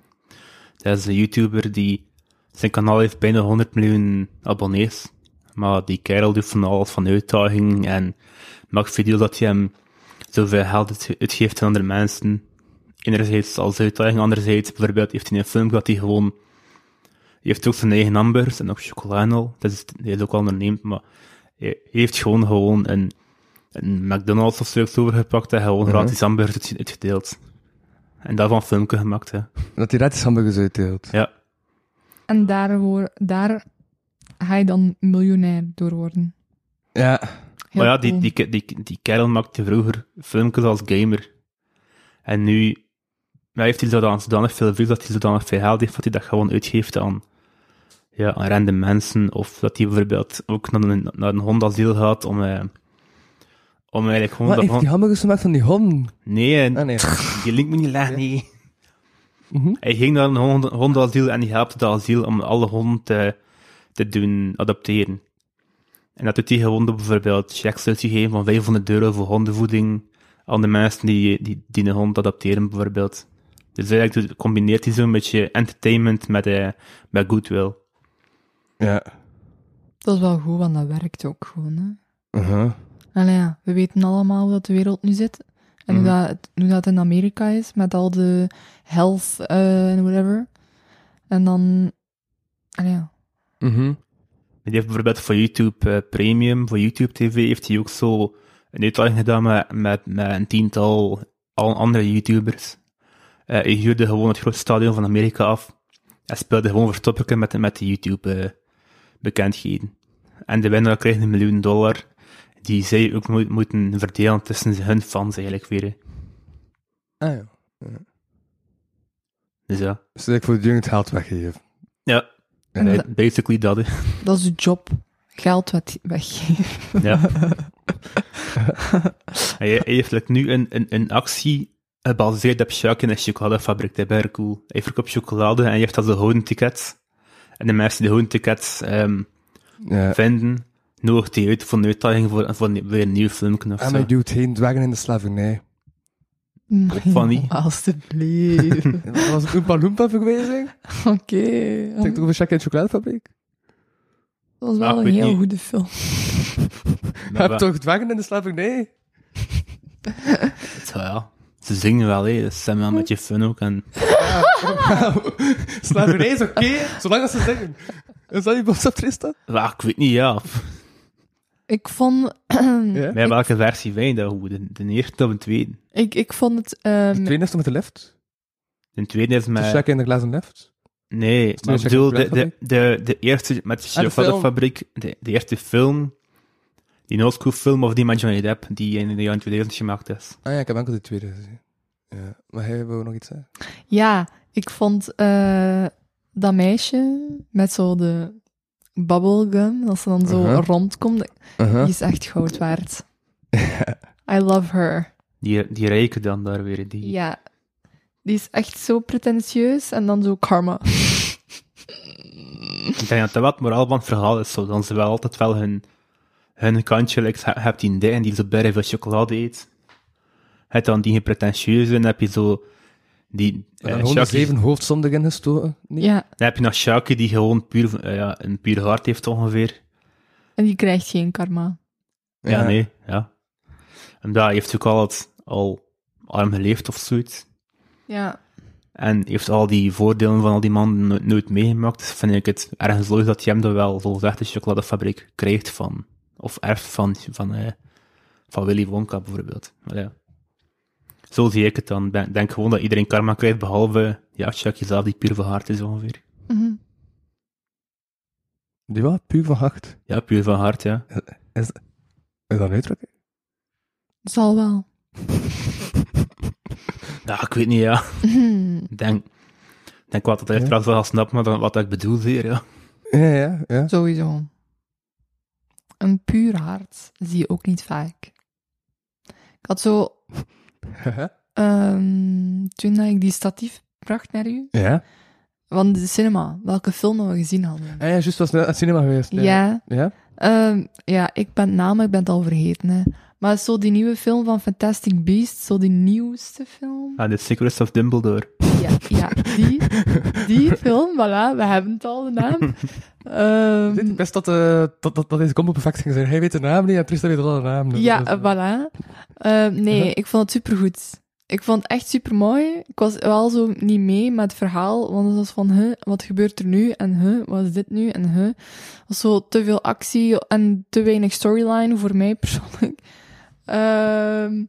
dat is een YouTuber die zijn kanaal heeft bijna 100 miljoen abonnees. Maar die kerel doet van alles van uitdaging en maakt video's dat hij hem zoveel geld uit- uitgeeft aan andere mensen. Enerzijds als uitdaging, anderzijds bijvoorbeeld heeft hij een film dat hij gewoon. Hij heeft ook zijn eigen hamburgers en ook chocola en al. Dat is, hij is ook al onderneemd, maar hij hij heeft gewoon, gewoon een, een McDonald's of zoiets overgepakt en gewoon gratis hamburgers uit- uitgedeeld. En daarvan een filmpje gemaakt, hè.
Dat hij gratis hamburgers uitdeelt.
Ja.
En daar, daar ga je dan miljonair door worden.
Ja.
Heel
maar ja, die,
cool.
die, die, die kerel maakte vroeger filmpjes als gamer. En nu ja, heeft hij zodanig, zodanig veel views dat hij zodanig veel geld heeft dat hij dat gewoon uitgeeft aan, ja, aan random mensen. Of dat hij bijvoorbeeld ook naar een, naar een Honda ziel gaat om, eh, om eigenlijk gewoon...
Wat heeft
dat
die
gewoon-
hamburgers gemaakt van die honden?
nee,
Ah, nee. Mhm.
die link moet niet leggen, nee. Hij ging naar een hond- hondenasiel en die helpt het asiel om alle honden te, te doen adopteren. En dat doet hij gewoon door bijvoorbeeld checks uit te geven van 500 euro voor hondenvoeding aan de mensen die, die, die een hond adopteren, bijvoorbeeld. Dus eigenlijk doet- combineert hij zo'n beetje entertainment met, eh, met goodwill.
Ja.
Dat is wel goed, want dat werkt ook gewoon. Hè?
Uh-huh.
Allee, ja, we weten allemaal hoe dat de wereld nu zit. En
Mhm.
hoe, dat, het- hoe dat in Amerika is, met al de health eh, en whatever. En dan... Allee, ja.
Mhm.
Die heeft bijvoorbeeld voor YouTube eh, Premium, voor YouTube TV, heeft hij ook zo een uitdaging gedaan met, met, met een tiental al andere YouTubers. Eh, hij huurde gewoon het grootste stadion van Amerika af en speelde gewoon verstopperken met, de- met de YouTube-bekendheden. en de winnaar kreeg een miljoen dollar, die zij ook moet- moeten verdelen tussen hun fans eigenlijk weer. hè.
Ah ja.
Dus ja,
Dus dat ik voor de jeugd geld weggegeven.
ja
En dat,
basically dat. hè.
dat is de job. Geld wat weggeven.
*laughs*
Ja. hij hij heeft like, nu een, een, een actie gebaseerd op Sjaak in een chocoladefabriek. Dat is bijna cool. Hij verkoopt chocolade en hij heeft dat de houden tickets. En de mensen die de houden tickets ehm,
Ja.
vinden, nodigt hij uit voor een uitdaging voor, voor een- weer een nieuw filmpje of
En
zo.
hij duwt geen dwergen in de *laughs* slavernij. *laughs*
Fanny.
*laughs* Alsjeblieft. Oké.
Dat was een Oompa Loompa verwijzing. Ik denk toch over Shaq in de chocoladefabriek?
Dat
Ah,
was wel
ik
een
weet
heel
niet.
goede film.
Maar
Heb
wel-
toch dwergen in de slavernij?
zo, ja. Ze zingen wel, hè. Dus ze hebben wel een beetje fun ook. En,
Ah. *laughs* Slavernij is oké, zolang als ze zeggen. Is dat je boodschap, Trista?
ja, ik weet niet, ja.
Ik vond... *clears throat*
Met welke versie vind je dat goed? De, de eerste of de tweede?
ik, ik vond het... ehm,
De tweede is toch met de left?
De tweede is
De
met...
Shaq in de glazen left?
Nee, maar ik
een
bedoel, de, de,
chocoladefabriek?
de, de eerste met de
Ah, film.
chocoladefabriek, de, de eerste film, die old school film of die met Johnny Depp, die in de jaren 2000 gemaakt is.
Ah ja, ik heb enkel de tweede gezien. Ja. Maar hij wil nog iets zeggen.
Ja, ik vond eh, dat meisje met zo de bubblegum, dat ze dan zo
Uh-huh.
rondkomt, die
Uh-huh.
is echt
*laughs*
goud waard. I love her.
Die, die rijke dan daar weer, die...
Ja. Die is echt zo pretentieus en dan zo karma.
Ik denk dat dat wat moraal van het verhaal is, zo, dan ze wel altijd wel hun, hun kantje, like, je hebt die ding die zo bijna veel chocolade eet. Het dan die pretentieuze, en heb je zo die...
En
eh,
dan
Shaggy-
107 hoofdzondig ingestoten. Nee.
Ja,
dan heb je nog Shaki die gewoon puur, eh, ja, een puur hart heeft ongeveer.
en die krijgt geen karma.
Ja, nee, ja. En daar heeft ook al, het, al arm geleefd of zoiets.
Ja.
En heeft al die voordelen van al die mannen nooit, nooit meegemaakt. Dus vind ik het ergens logisch dat je hem er wel zoals echt een chocoladefabriek krijgt van, of erft van, van, eh, van Willy Wonka bijvoorbeeld. Maar ja. Zo zie ik het dan. Ik denk- denk gewoon dat iedereen karma krijgt, behalve, ja, Chucky zelf die puur van hart is ongeveer.
Mhm.
Die was puur van hart.
Ja, puur van hart, ja.
Is dat een *laughs* uitdrukking?
Zal wel.
Ja, Nou, ik weet niet, ja.
Mhm.
Ik denk, ik denk wat dat hij
Ja.
trouwens wel gaat snappen, maar dan, wat ik bedoel hier, ja.
Ja, ja, ja.
*laughs* Sowieso. Een puur hart zie je ook niet vaak. Ik had zo Ehm, toen dat ik die statief bracht naar u,
ja.
van de cinema, welke filmen we gezien hadden.
Ah ja, juist, was net aan het cinema geweest.
Ja, *laughs*
Ja?
ehm, ja ik ben namelijk, ik ben het al vergeten. Hè. Maar zo die nieuwe film van Fantastic Beast, zo die nieuwste film.
Ah, The Secrets of Dumbledore.
Ah.
Ja, ja die, die film, voilà, we hebben het al, de
*laughs*
naam. Ehm,
Dit is best dat, eh, dat, dat, dat deze combo perfect ging zijn. Hij weet de naam niet en Tristan weet wel de naam. Dus
Ja,
dat is- Uh-huh.
eh, voilà. Eh, nee, ik vond het supergoed. Ik vond het echt super mooi. Ik was wel zo niet mee met het verhaal, want het was van, huh, wat gebeurt er nu? En huh, wat is dit nu? En huh. Het was zo te veel actie en te weinig storyline voor mij persoonlijk. *laughs* Ehm,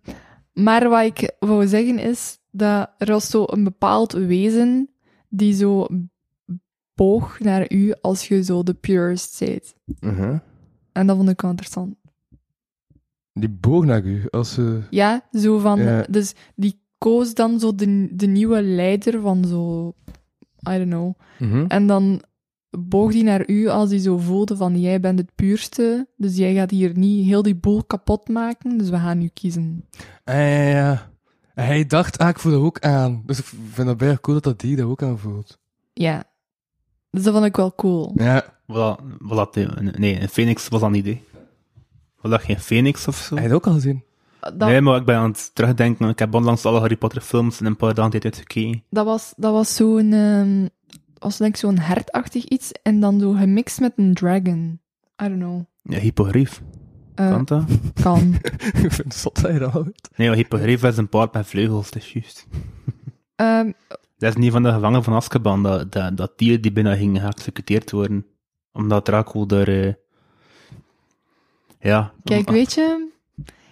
maar wat ik wou zeggen is dat er was zo een bepaald wezen die zo boog naar u als je zo de purist bent.
Mhm.
En dat vond ik wel interessant.
Die boog naar u, als eh, ze...
Ja, zo van...
Ja.
Dus die koos dan zo de, de nieuwe leider van zo... I don't know.
Mhm.
En dan boog die naar u als hij zo voelde van jij bent het puurste, dus jij gaat hier niet heel die boel kapot maken, dus we gaan u kiezen.
Ah, ja, ja, ja. En Hij dacht, ah, ik voel dat ook aan. Dus ik vind dat bijna cool dat dat die dat ook aan voelt.
Ja. Dus dat vond ik wel cool.
Ja.
Wat, wat dat, eh, nee, een phoenix was dat niet, hè. Was dat geen phoenix of zo?
Hij had ook al gezien.
Dat,
Nee, maar ik ben aan het terugdenken. Ik heb onlangs alle Harry Potter films in een paar dagen tijd uitgekeken.
dat was, dat was zo'n... ehm, was denk ik zo'n hertachtig iets en dan zo gemixt met een dragon. I don't know.
Ja, hypogrief.
Eh,
Kan dat?
kan.
*laughs* ik vind het zot dat hij dat al weet.
Nee, maar hypogrief is een paard met vleugels, dat is juist.
Ehm,
Dat is niet van de gevangen van Azkaban, dat, dat, dat dier die binnen ging geëxecuteerd worden. Omdat Draco daar... eh, Ja.
kijk,
om-
weet je...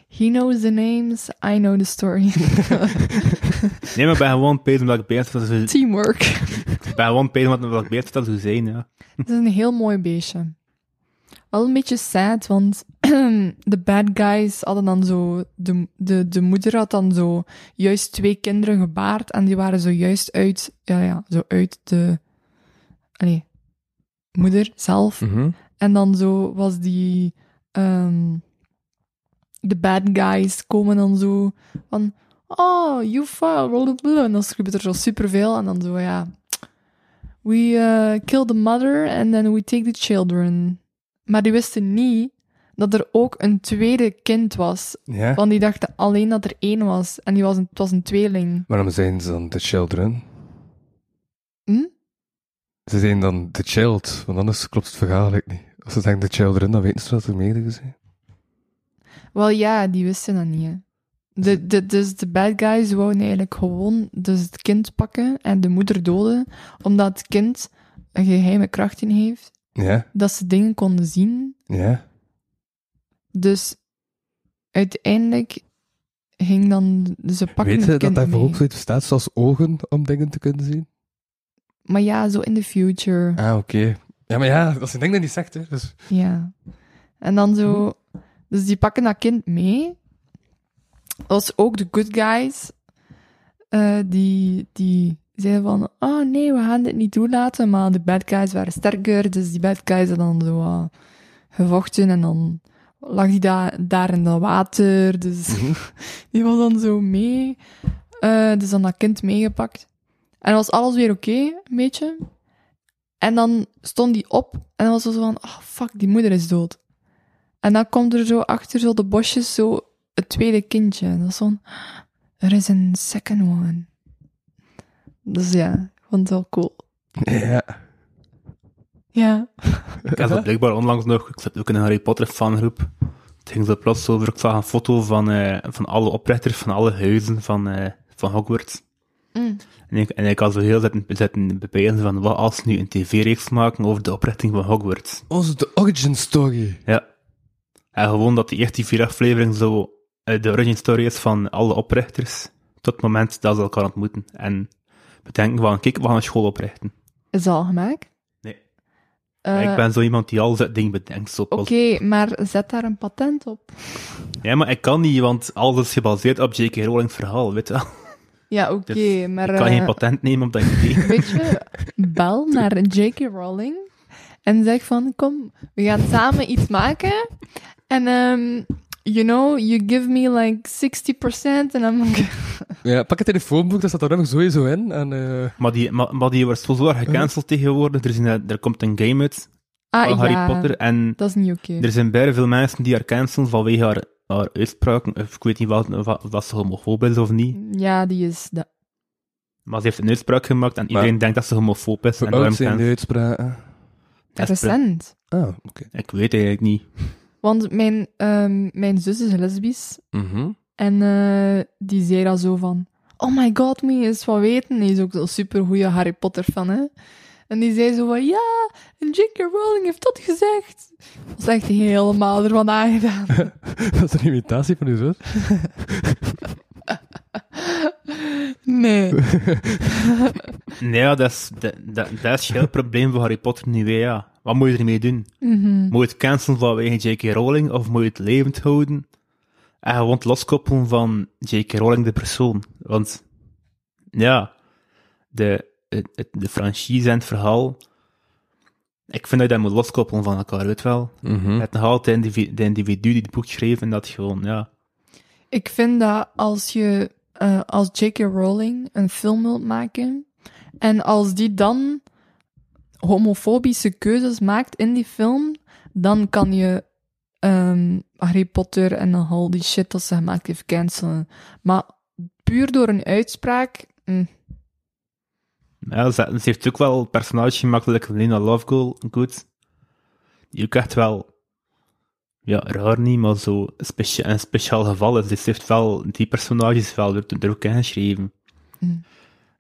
He knows the names, I know the story.
*laughs*
Nee, maar ik ben gewoon bezig omdat ik bezig was. *laughs* Ik
Teamwork.
ben gewoon bezig omdat ik bezig was te zijn, ja.
Het is een heel mooi beestje. Wel een beetje sad, want *clears throat* de bad guys hadden dan zo... De, de, de moeder had dan zo juist twee kinderen gebaard en die waren zojuist uit... Ja, ja, zo uit de... Allee, moeder zelf.
Mhm.
En dan zo was die... ehm, de bad guys komen dan zo van... Oh, you fell, blablabla. En dan gebeurt er zo superveel en dan zo, ja... We eh, kill the mother and then we take the children. Maar die wisten niet dat er ook een tweede kind was.
Ja.
Want die dachten alleen dat er één was. En die was een, het was een tweeling.
Waarom zijn ze dan de children?
Hm?
Ze zijn dan de child, want anders klopt het verhaal eigenlijk niet. Als ze denken de children, dan weten ze dat er meerdere zijn.
Wel ja, die wisten dat niet. hè. De, de, dus de bad guys wouden eigenlijk gewoon dus het kind pakken en de moeder doden. Omdat het kind een geheime kracht in heeft.
Ja,
Dat ze dingen konden zien.
ja.
Dus uiteindelijk ging dan... Ze pakken
Weet
het
je
kind
dat daarvoor
mee.
ook zoiets bestaat zoals ogen om dingen te kunnen zien?
Maar ja, zo in the future.
Ah, oké. Ja, maar ja, dat is een ding dat niet zegt, hè. Dus...
Ja. En dan zo... Dus die pakken dat kind mee. Als ook de good guys. eh, die, die zeiden van... Oh nee, we gaan dit niet toelaten. Maar de bad guys waren sterker. Dus die bad guys hadden dan zo eh, gevochten. En dan lag die da daar in dat water. Dus *laughs* die was dan zo mee. Eh, dus dan dat kind meegepakt. En was alles weer oké, een beetje. En dan stond die op en dan was ze zo van, oh fuck, die moeder is dood. En dan komt er zo achter zo de bosjes zo het tweede kindje. En dat is zo'n, er is een second one. Dus ja, ik vond het wel cool.
Ja.
Ja.
Ik heb dat blijkbaar onlangs nog, ik zat ook in een Harry Potter fangroep. Het ging zo plots over, ik zag een foto van, eh, van alle oprichters van alle huizen van, eh, van Hogwarts.
Mm.
En ik, en ik had zo heel zitten, zitten bepijzen van, wat als ze nu een tv-reeks maken over de oprichting van Hogwarts?
Onze de origin story.
Ja. En gewoon dat die eerste vier afleveringen zo eh, de origin story is van alle oprichters, tot het moment dat ze elkaar ontmoeten. En bedenken van, kijk, we gaan een school oprichten.
Is dat al gemaakt?
Nee.
Eh,
ik ben zo iemand die al dat ding bedenkt, zo
Oké,
plots.
maar zet daar een patent op.
Ja, maar ik kan niet, want alles is gebaseerd op J.K. Rowling's verhaal, weet je wel.
Ja, oké,
Dus
maar...
ik kan
eh,
geen patent nemen op dat idee.
Weet je, bel naar J.K. Rowling en zeg van, kom, we gaan samen iets maken. En, ehm, you know, you give me like 60% and I'm g-
Ja, pak het telefoonboek, dat staat daar nog sowieso in. En, eh,
maar, die, maar, maar die wordt zo zwaar gecanceld tegenwoordig. Er, is een, er komt een game uit
Ah,
van
ja,
Oh, Harry Potter en
dat is niet oké.
er zijn bijna veel mensen die haar cancelen vanwege haar, haar uitspraken. Of Ik weet niet wat, wat, of dat ze homofoob is of niet.
Ja, die is... Da
Maar ze heeft een uitspraak gemaakt en iedereen denkt dat ze homofoob is.
hoe
En
oud
daarom
zijn
kan
die uitspraken?
dat is pre-
recent.
Ah, oké.
Ik weet eigenlijk niet.
Want mijn, ehm, mijn zus is lesbisch en eh, die zei dan zo van... Oh my god, me is van weten. Die is ook een supergoeie Harry Potter fan, hè. En die zei zo van, ja, en J.K. Rowling heeft dat gezegd. Dat was echt helemaal ervan aangedaan.
*laughs* dat is een imitatie van u zus.
Nee.
Nee, ja, dat is, dat, dat, dat is heel het probleem van Harry Potter nu weer, ja.
Mhm.
Wat moet je ermee doen? Moet je het cancelen vanwege J.K. Rowling of moet je het levend houden? En gewoon het loskoppelen van J.K. Rowling de persoon. Want, ja, de, het- het- de franchise en het verhaal, ik vind dat je dat moet loskoppelen van elkaar, weet wel.
Mhm.
Het nog altijd indivi- de individu die het boek schreef en dat gewoon, ja.
Ik vind dat als je eh, als J.K. Rowling een film wilt maken en als die dan homofobische keuzes maakt in die film, dan kan je ehm, Harry Potter en dan al die shit dat ze gemaakt heeft cancelen. Maar puur door een uitspraak. mm.
ja ze, ze heeft ook wel een personage gemaakt, like Lena Lovegood. Die ook echt wel, ja, raar niet, maar zo specia een speciaal geval is. Dus ze heeft wel die personages wel er, er ook in geschreven.
Mm.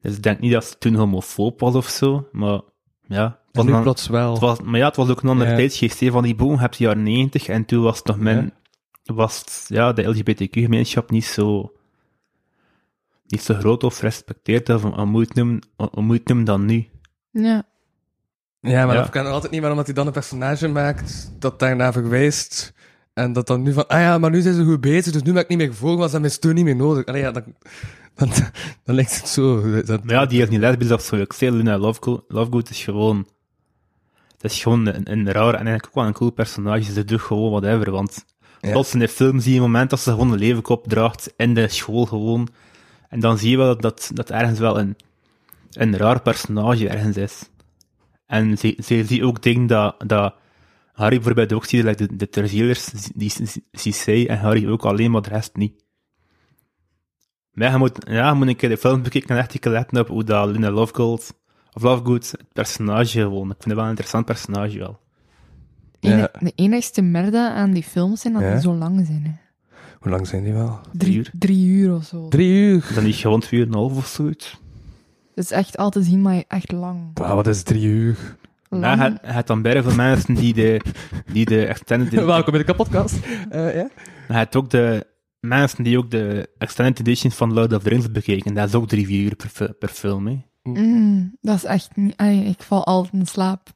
Dus ik denk niet dat ze toen homofoob was of zo, maar ja. Het was
En nu
een-
plots wel.
het was, maar ja, het was ook een ander
Ja.
tijdsgeest. hè. Van die boom heb je jaren 90 en toen was het nog men, was het, ja, de LGBTQ-gemeenschap niet zo, niet zo groot of gerespecteerd of om moet je het noemen, om- om moet je het noemen dan nu.
Ja.
Ja, maar
Ja.
dat kan altijd niet waarom dat hij dan een personage maakt dat daarna verwijst. En dat dan nu van, ah ja, maar nu zijn ze goed bezig, dus nu maak ik niet meer gevolgen, want ze hebben mijn steun niet meer nodig. Allee, ja, dan, dan, *laughs* dan lijkt het zo. Dat,
Maar ja, die is niet lesbisch of zo. Ik zei Luna Lovegood, Lovegood is gewoon, het is gewoon een, een raar en eigenlijk ook wel een cool personage. Ze doet gewoon whatever, want
Ja.
plots in de film zie je een moment dat ze gewoon een levenkop draagt in de school gewoon. En dan zie je wel dat, dat ergens wel een, een raar personage ergens is. En ze, ze zie ook dingen dat, dat Harry bijvoorbeeld ook ziet, like de, de Terzielers, die die- die zij en Harry ook alleen, maar de rest niet. Maar ja, je moet, ja, je moet een keer de film bekijken en echt een keer letten op hoe dat Luna Lovegood, of Lovegood, het personage gewoon, ik vind het wel een interessant personage wel.
Ene-
Ja.
De enigste merde aan die films zijn dat
Ja.
die zo lang zijn. Hè.
Hoe lang zijn die wel?
Drie,
uur.
drie uur of zo.
Drie uur.
Is dat niet gewoon 2,5 of zoiets?
Dat is echt altijd zien, maar echt lang.
Wauw, wat is drie uur?
lang.
Ja, het, het dan bij veel mensen die de, die de extended edition...
*laughs* Welkom bij de podcast. Eh, ja?
Het ook de mensen die ook de extended editions van Lord of the Rings bekeken. Dat is ook drie, vier uur per, fi- per film, hè.
Mm, dat is echt niet... ai, ik val altijd in slaap.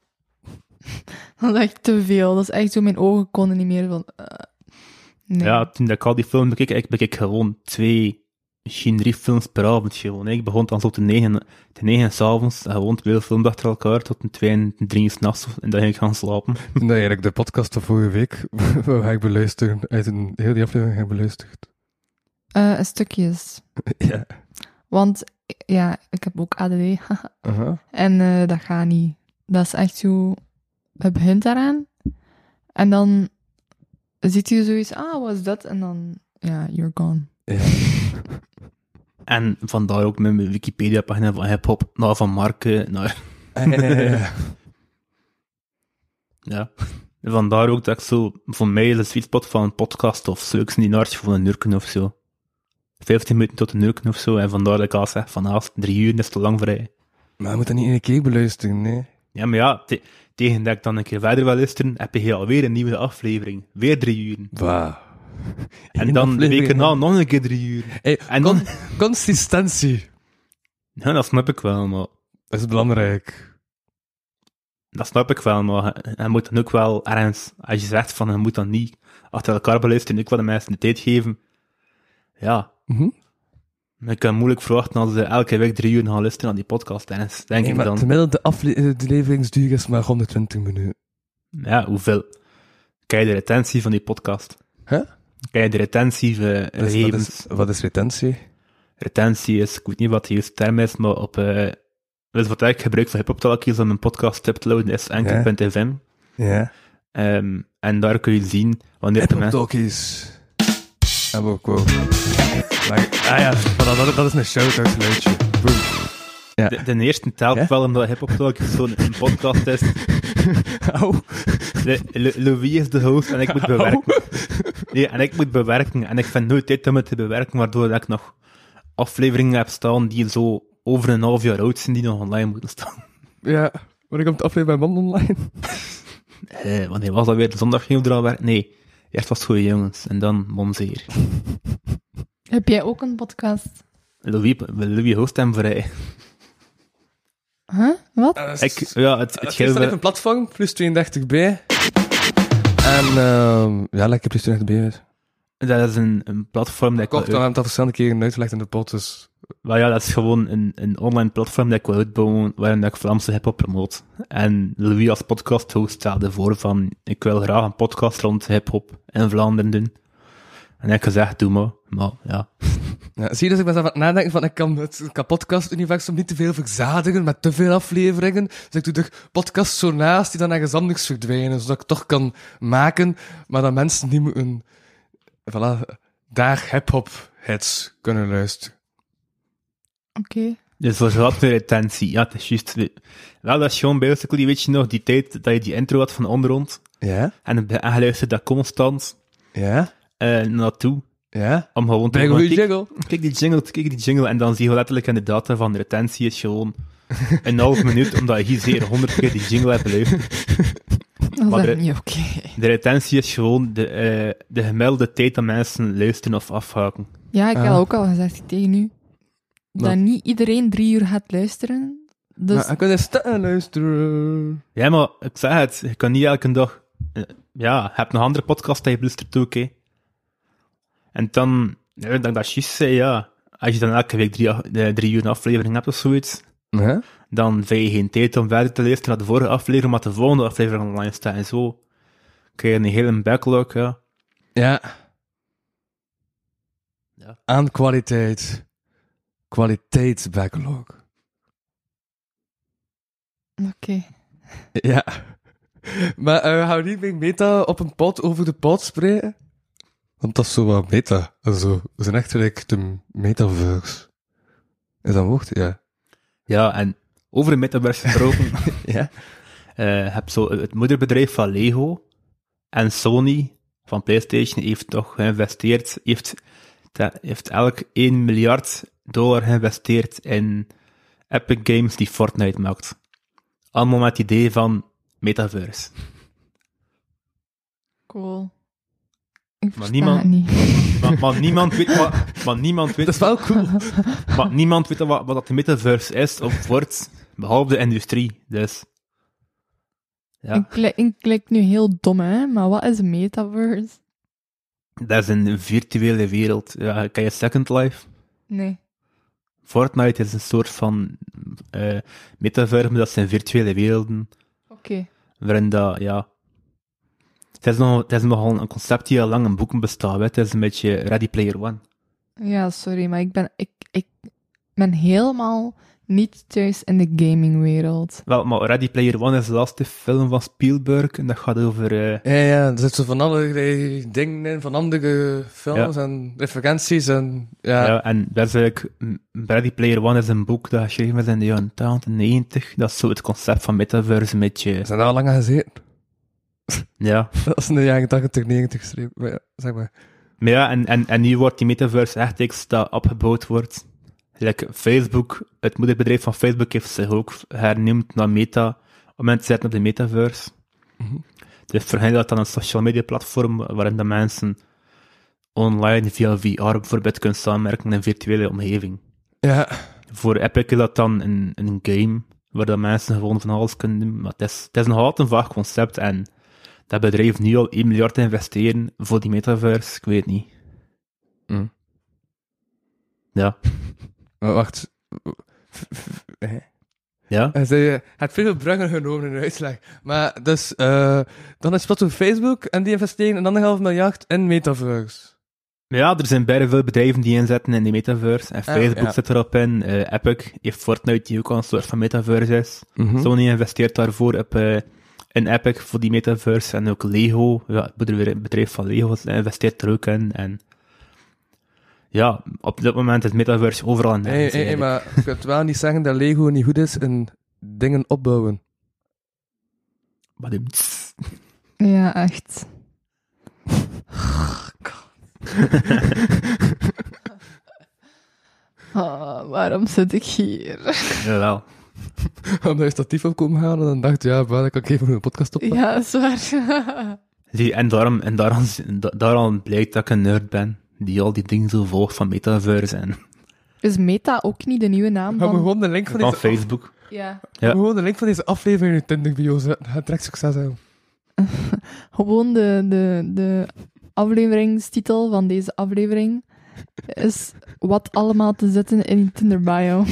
*laughs* dat is echt te veel. Dat is echt zo... Mijn ogen konden niet meer van... eh, nee.
Ja, toen ik al die film bekeek, ik bekeek gewoon twee, misschien drie films per avond gewoon. hè. Ik begon dan zo te negen, te negen s'avonds, eh, gewoon twee films achter elkaar, tot een twee en drie uur s'nachts, en dan ging ik gaan slapen.
Nee, eigenlijk de podcast van vorige week *laughs* waar ik beluisteren, uit een heel die aflevering heb ik
*laughs*
beluisterd.
Eh, een stukjes.
Ja.
Want ja, ik heb ook ADD.
Aha.
en eh, dat gaat niet. Dat is echt zo... Het begint daaraan. En dan ziet je zoiets... Ah, wat is dat? En dan... Ja, you're gone.
*laughs*
En vandaar ook met mijn Wikipedia-pagina van hip-hop, nou van Marken, naar
Eh.
Ja. En Vandaar ook dat ik zo, voor mij is de sweet spot van een podcast of zo, ik zie die naartje van een nurken of zo. 15 minuten tot een nurken of zo, en vandaar dat ik al zeg, vanavond, drie uur, dat is te lang vrij.
Maar je moet dat niet in een keer beluisteren, nee.
Ja, maar ja, te- tegen dat ik dan een keer verder wil luisteren, heb je hier alweer een nieuwe aflevering. Weer drie uur.
Wauw.
En dan de week erna nog een keer drie uur.
Hey,
En dan,
Consistentie.
ja, dat snap ik wel, maar,
Dat is belangrijk.
dat snap ik wel, maar je- je moet dan ook wel ergens, als je zegt van, je moet dan niet achter elkaar beluisteren, ook wel de mensen de tijd geven. Ja,
Mhm.
Ik kan moeilijk verwachten als ze elke week drie uur gaan luisteren aan die podcast, Dennis. Denk
Nee,
ik
maar
dan.
Terwijl de afleveringsduur is maar 120 minuten.
Ja, hoeveel? Kijk de retentie van die podcast.
Hè?
Kijk de retentie van
Dus wat,
gegevens.
is, wat is retentie?
Retentie is, ik weet niet wat de juiste term is, maar op... eh dus wat ik gebruik voor hip-hop kies om mijn podcast te uploaden is enkel.fm.
Ja.
Ehm, en daar kun je zien wanneer de
Apple
mensen...
Talkies. En we ook wel. Maar- Ah ja, maar dat, dat is een shout-out geluidje. Boom.
De, de eerste telt
Hè?
wel omdat hip-hop talkies zo'n een podcast is.
*laughs* Au.
Le- Le- Louis is de host en
*laughs*
ik
Oh.
moet bewerken. Nee, en ik moet bewerken. En ik vind nooit tijd om het te bewerken, waardoor ik nog afleveringen heb staan die zo over een half jaar oud zijn, die nog online moeten staan. *laughs*
Ja, wanneer komt de aflevering bij Man online?
Eh, wanneer was dat weer? De zondag ging we er al werken? Nee. Eerst was het Goeie Jongens en dan Momzeer.
Heb jij ook een podcast?
Louis, Louis host hem vrij.
Huh? Wat?
Ah,
Ik, ja, het, het
Het geeft
gilde-
even een platform, plus 32b. En ehm ja, lekker plus 32b uit.
Dat is een, een platform dat ik
Kort, we
wil
hebben het al verschillende keren uitgelegd in de pot, dus...
Maar ja, dat is gewoon een, een online platform dat ik wil uitbouwen waarin dat ik Vlaamse hip-hop promoot. En Louis als podcast-host stelde voor van, ik wil graag een podcast rond hip-hop in Vlaanderen doen. En ik heb gezegd, doe maar. Maar ja,
Ja, zie je, dus ik ben zelf aan het nadenken van, ik kan het podcast-universum niet te veel verzadigen met te veel afleveringen. Dus ik doe de podcast zo naast die dan ergens anders verdwijnen, zodat ik het toch kan maken, maar dat mensen niet moeten... Voilà, daar hip-hop hits kunnen luisteren.
Oké.
dus voor wat de retentie. Ja, het is juist... de- Wel, dat is gewoon basically, weet je nog, die tijd dat je die intro had van onderrond.
Ja?
En ik ben aangeluisterd dat constant
Ja?
eh, naartoe.
Ja?
Om gewoon te
Bij een
gewoon-
goede
kijk,
jiggle.
kijk die jingle, kijk die jingle. En dan zie je letterlijk in de data van de retentie is gewoon een half minuut, omdat je hier zeer honderd keer die jingle hebt beluisterd.
Dat
Maar
is echt
er-
niet oké.
De retentie is gewoon de, eh, de gemiddelde tijd dat mensen luisteren of afhaken.
Ja, ik heb
Ah.
al ook al gezegd tegen u dat
Wat?
niet iedereen drie uur gaat luisteren. Dus
Maar ik kan eens staan luisteren.
Ja, maar ik zeg het, je kan niet elke dag... eh, ja, je hebt nog andere podcasts dat je luistert ook, hè. En dan, ja, dan dat juist zei, ja, als je dan elke week drie, eh, drie uur een aflevering hebt of zoiets,
Ja?
dan vind je geen tijd om verder te luisteren naar de vorige aflevering, maar de volgende aflevering online staat en zo. Krijg je een hele backlog, ja.
Ja.
Ja.
Aan kwaliteit. Kwaliteitsbacklog.
oké.
*laughs* Ja. Maar eh hou niet met meta op een pot over de pot spreken. Want dat is zo wat meta. Zo. We zijn echt gelijk de metaverse. Is dat een woord? Ja.
Ja, en over de
*laughs*
metaverse gesproken... *laughs*
Ja?
eh heb zo het moederbedrijf van Lego en Sony van PlayStation heeft toch geïnvesteerd, heeft, te- heeft elk 1 miljard dollar geïnvesteerd in Epic Games die Fortnite maakt. Allemaal met het idee van metaverse.
Cool. Ik versta
niemand-
het niet.
*laughs* Maar, maar niemand weet wat, maar niemand weet,
*laughs* Dat is wel cool.
maar niemand weet wat, wat dat de metaverse is of wordt, behalve de industrie. Dus Ja.
Ik, klik, ik klik nu heel dom, hè? Maar wat is een metaverse?
dat is een virtuele wereld. Ja, ken je Second Life?
Nee.
Fortnite is een soort van eh metaverse, maar dat zijn virtuele werelden,
Oké.
waarin dat, ja... Het is, nog, het is nogal een concept die al lang in boeken bestaat, hè. het is een beetje Ready Player One.
Ja, sorry, maar ik ben, ik, ik ben helemaal niet thuis in de gamingwereld.
Wel, maar Ready Player One is de laatste film van Spielberg, en dat gaat over... eh,
Ja, ja. Er zitten zo van allerlei dingen in, van andere films en referenties en... Ja.
ja.
Ja.
en dat is eigenlijk... mm, Ready Player One is een boek dat geschreven is in de jaren 80, 90. Dat is zo het concept van metaverse, een beetje...
Zijn daar al lang aan gezeten? *laughs*
Ja.
Dat is in de jaren 80, 90 geschreven. Maar ja, zeg maar.
Maar ja, en, en, en nu wordt die metaverse echt iets dat opgebouwd wordt. Like Facebook, het moederbedrijf van Facebook heeft zich ook hernoemd naar Meta, om in te zetten op de metaverse.
Mhm.
Dus voor hen is dat dan een social media platform waarin de mensen online via VR bijvoorbeeld kunnen samenwerken in een virtuele omgeving.
Ja.
Voor Epic is dat dan een, een game waar de mensen gewoon van alles kunnen doen. Maar het is, het is nog altijd een vaag concept en dat bedrijf nu al 1 miljard investeren voor die metaverse, ik weet niet.
Mm.
Ja.
Maar wacht. F- f- hè?
Ja?
Hij zei, eh, het veel bruggen genomen in de uitslag. Maar dus, eh, dan is wat op Facebook en die investeren een anderhalf miljard in metaverse.
Maar ja, er zijn bijna veel bedrijven die inzetten in die metaverse. En Facebook
ja.
zit erop in. eh, Epic heeft Fortnite, die ook al een soort van metaverse is.
Hm?
Sony investeert daarvoor op, eh, in Epic voor die metaverse. En ook Lego, ja, het bedrijf- bedrijf van Lego investeert er ook in. En ja, op dit moment is metaverse overal in de
Nee, nee, nee, maar je kunt wel niet zeggen dat Lego niet goed is in dingen opbouwen. *laughs*
Ja,
*laughs*
echt. Oh, *laughs* Ah, waarom zit ik hier?
*laughs* Jawel.
Omdat je statief op komen gaan en dan dacht ja, maar dan kan ik even een podcast op.
Ja, dat is waar.
Zie, en daarom, en daarom, da- daarom blijkt dat ik een nerd ben. Die al die dingen zo volgt van metaverse en
*laughs* Is Meta ook niet de nieuwe naam
Gaan we
van...
gewoon de link van
van
deze, gaan
Facebook.
*laughs* Ja,
we
Ja.
gewoon de link van deze aflevering in de Tinder bio zetten. Het trekt succes aan.
gewoon de, de, de afleveringstitel van deze aflevering is Wat allemaal te zetten in Tinder *laughs* bio.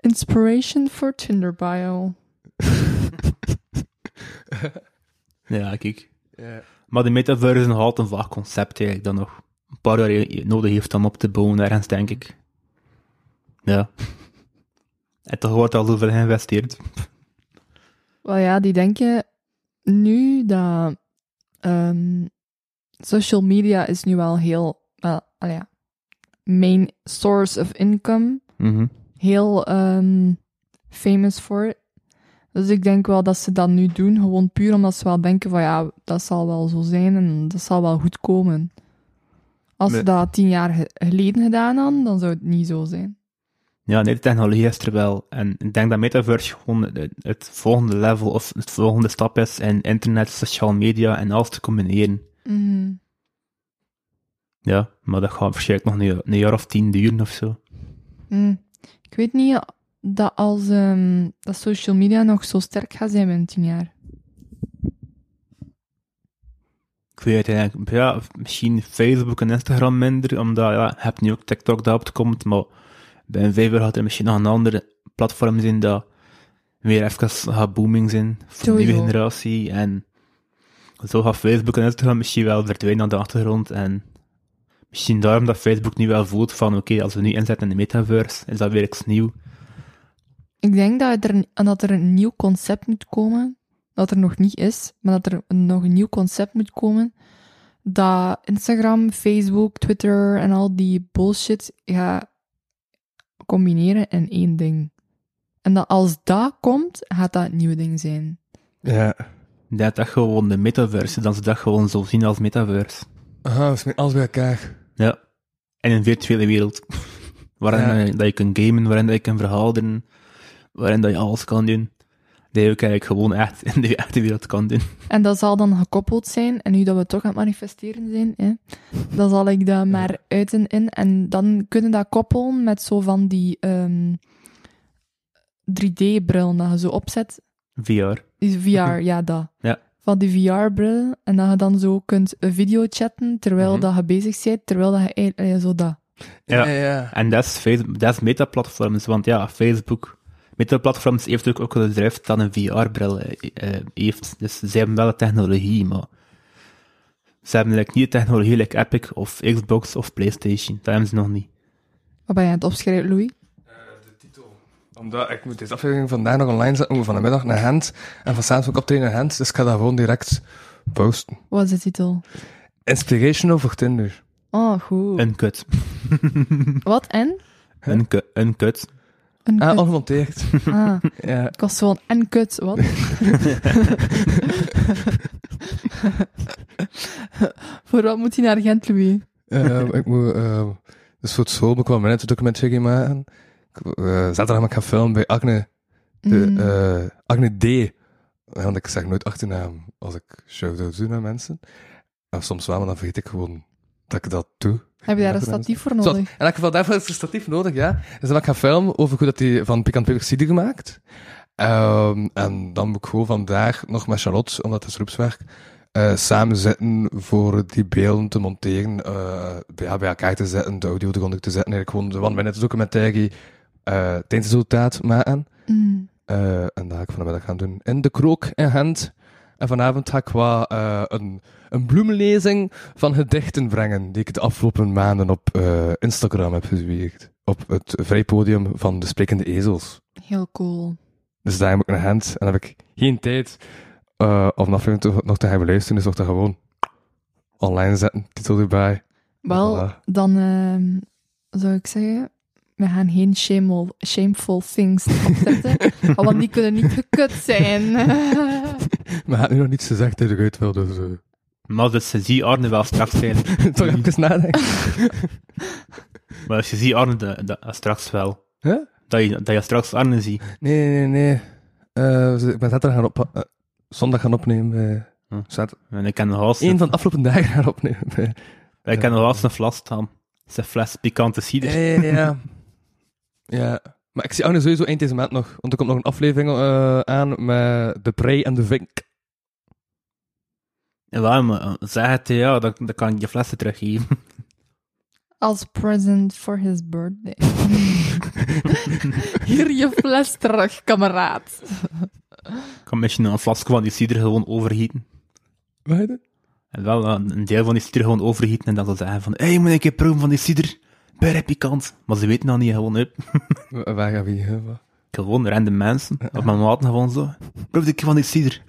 Inspiration for Tinder bio.
*laughs* Ja, kijk.
*laughs* Ja.
Maar de metaverse is nog altijd een vaag concept eigenlijk, dat nog een paar jaar je- nodig heeft om op te bouwen ergens, denk ik. Ja. *laughs* En toch wordt al zoveel geïnvesteerd.
Wel ja, die denken nu dat ehm, social media is nu wel heel, wel, allee ja, main source of income.
Mhm.
heel ehm, famous voor. Dus ik denk wel dat ze dat nu doen, gewoon puur omdat ze wel denken van ja, dat zal wel zo zijn en dat zal wel goed komen. Als ze
Nee.
dat tien jaar ge- geleden gedaan hadden, dan zou het niet zo zijn.
Ja, nee, de technologie is er wel. En ik denk dat metaverse gewoon het, het volgende level of het volgende stap is in internet, sociale media en alles te combineren. Ja, maar dat gaat waarschijnlijk nog een, een jaar of tien duren of zo.
Mm. Ik weet niet dat als ehm, dat social media nog zo sterk gaat zijn binnen tien jaar.
Ik weet het eigenlijk, ja, misschien Facebook en Instagram minder, omdat ja, je hebt nu ook TikTok dat opkomt, maar bij een vijf jaar gaat er misschien nog een andere platform zijn dat weer even gaat booming zijn voor de nieuwe
Sowieso.
generatie. En zo gaat Facebook en Instagram misschien wel verdwijnen aan de achtergrond. En misschien daarom dat Facebook nu wel voelt van oké, als we nu inzetten in de metaverse, is dat weer iets nieuw.
Ik denk dat er, een- dat er een nieuw concept moet komen, dat er nog niet is, maar dat er een- nog een nieuw concept moet komen, dat Instagram, Facebook, Twitter en al die bullshit gaat combineren in één ding. En dat als dat komt, gaat dat het nieuwe ding zijn.
Ja.
Dat dat gewoon de metaverse, dan ze dat gewoon zo zien als metaverse.
Aha, we smeren alles bij elkaar.
Ja. En een virtuele wereld. *laughs* waarin
Ja.
eh, dat je kunt gamen, waarin dat je kunt verhouden, waarin dat je alles kan doen. Dat je ook eigenlijk gewoon echt *laughs* in de echte wereld kan doen.
En dat zal dan gekoppeld zijn, en nu dat we toch aan het manifesteren zijn, hè, dan zal ik dat maar uiten in. En dan kunnen dat koppelen met zo van die ehm 3D-bril dat je zo opzet
VR.
Die VR, ja, dat.
Ja.
Van die VR-bril. En dat je dan zo kunt een video chatten terwijl
Mhm.
dat je bezig bent, terwijl dat je eigenlijk ja, zo dat.
ja.
Ja.
ja.
En dat is, face- dat is meta-platforms, want ja, Facebook. Meta-platforms heeft ook, ook een bedrijf dat een VR-bril heeft. Dus ze hebben wel de technologie, maar ze hebben like, niet de technologie like Epic of Xbox of PlayStation. Dat hebben ze nog niet.
Wat ben je aan het opschrijven, Louis?
Omdat ik moet deze aflevering vandaag nog online zetten, moet van de middag naar Gent. En vanavond ook optreden naar Gent, dus ik ga dat gewoon direct posten.
Wat is de titel?
Inspirational voor Tinder.
Oh, goed.
Een kut.
Wat en?
Een, ku- een kut.
Een
Ah,
kut.
ongemonteerd.
Ah,
ja.
ik was zo van en kut, wat? Voor wat moet hij naar Gent, Louis?
Ehm, ik moet, ehm, dus voor het school kwam ik net een documentje maken. Ik, eh, zaterdag mag ik gaan filmen bij Agne, de,
Mm.
eh, Agne D. Ja, Want ik zeg nooit achternaam als ik shout-outs doe naar mensen. En soms wel, maar dan vergeet ik gewoon dat ik dat doe.
Heb je daar een
Dag,
statief voor
Zoals-
nodig?
in elk geval, daarvoor is er statief nodig, ja. Dus dan ga ik gaan filmen over hoe dat die van pikant pepersilie gemaakt. Ehm, en dan moet ik gewoon vandaag nog met Charlotte, omdat het is groepswerk, eh, samen zitten voor die beelden te monteren, eh, ja, bij elkaar te zetten, de audio eronder te zetten. Eigenlijk gewoon de one-minute documentaire eh eindresultaat maken.
Mm.
Eh, en dat ga ik vanmiddag gaan doen in de krook in Gent. En vanavond ga ik wat, eh, een, een bloemenlezing van gedichten brengen, die ik de afgelopen maanden op eh, Instagram heb gezwierd. Op het vrijpodium van de Sprekende Ezels.
Heel cool.
Dus daar moet ik naar Gent en dan heb ik geen tijd eh, om de aflevering te- nog te gaan beluisteren. Dus ik dat gewoon online zetten, titel erbij.
Wel,
Voilà.
dan ehm, zou ik zeggen, we gaan geen shameful, shameful things *laughs* opzetten, want die kunnen niet gekut zijn. *laughs*
*laughs* Maar hij had nu nog niets gezegd tegen uit wel, dus... eh, *laughs*
Maar dus ze zien Arne wel straks zijn.
toch even nadenken.
Maar als je ziet Arne de, de- straks wel.
Huh?
Dat, je, dat je straks Arne ziet.
Nee, nee, nee. Eh, we- ik ben zaterdag gaan op, eh, zondag gaan opnemen. bij-
Hm.
zater-
En ik ken nog haast
Eén van de afgelopen dagen gaan opnemen. eh. bij-
ik ken nog haast een fles staan. Zijn fles pikante cider.
*laughs* Ja, ja, ja. ja. Maar ik zie Arne sowieso eind deze maand nog. Want er komt nog een aflevering eh, aan met De Prey en De Vink.
Ja, maar eh, zeg het, ja, dan, dan kan ik je flessen teruggeven.
Als present for his birthday. *laughs* Hier je fles terug, kameraad.
Ik kan misschien een flasje van die cider gewoon overgieten.
Wat heet het?
En wel eh, een deel van die cider gewoon overgieten en dan zo zeggen van, hé, hey, moet ik een keer proeven van die cider? Bij pikant. Maar ze weten dat niet, gewoon, hup.
Wa- Waar gaan we hier? Wat?
Gewoon random mensen, op mijn maten gewoon zo. Proef een keer van die cider.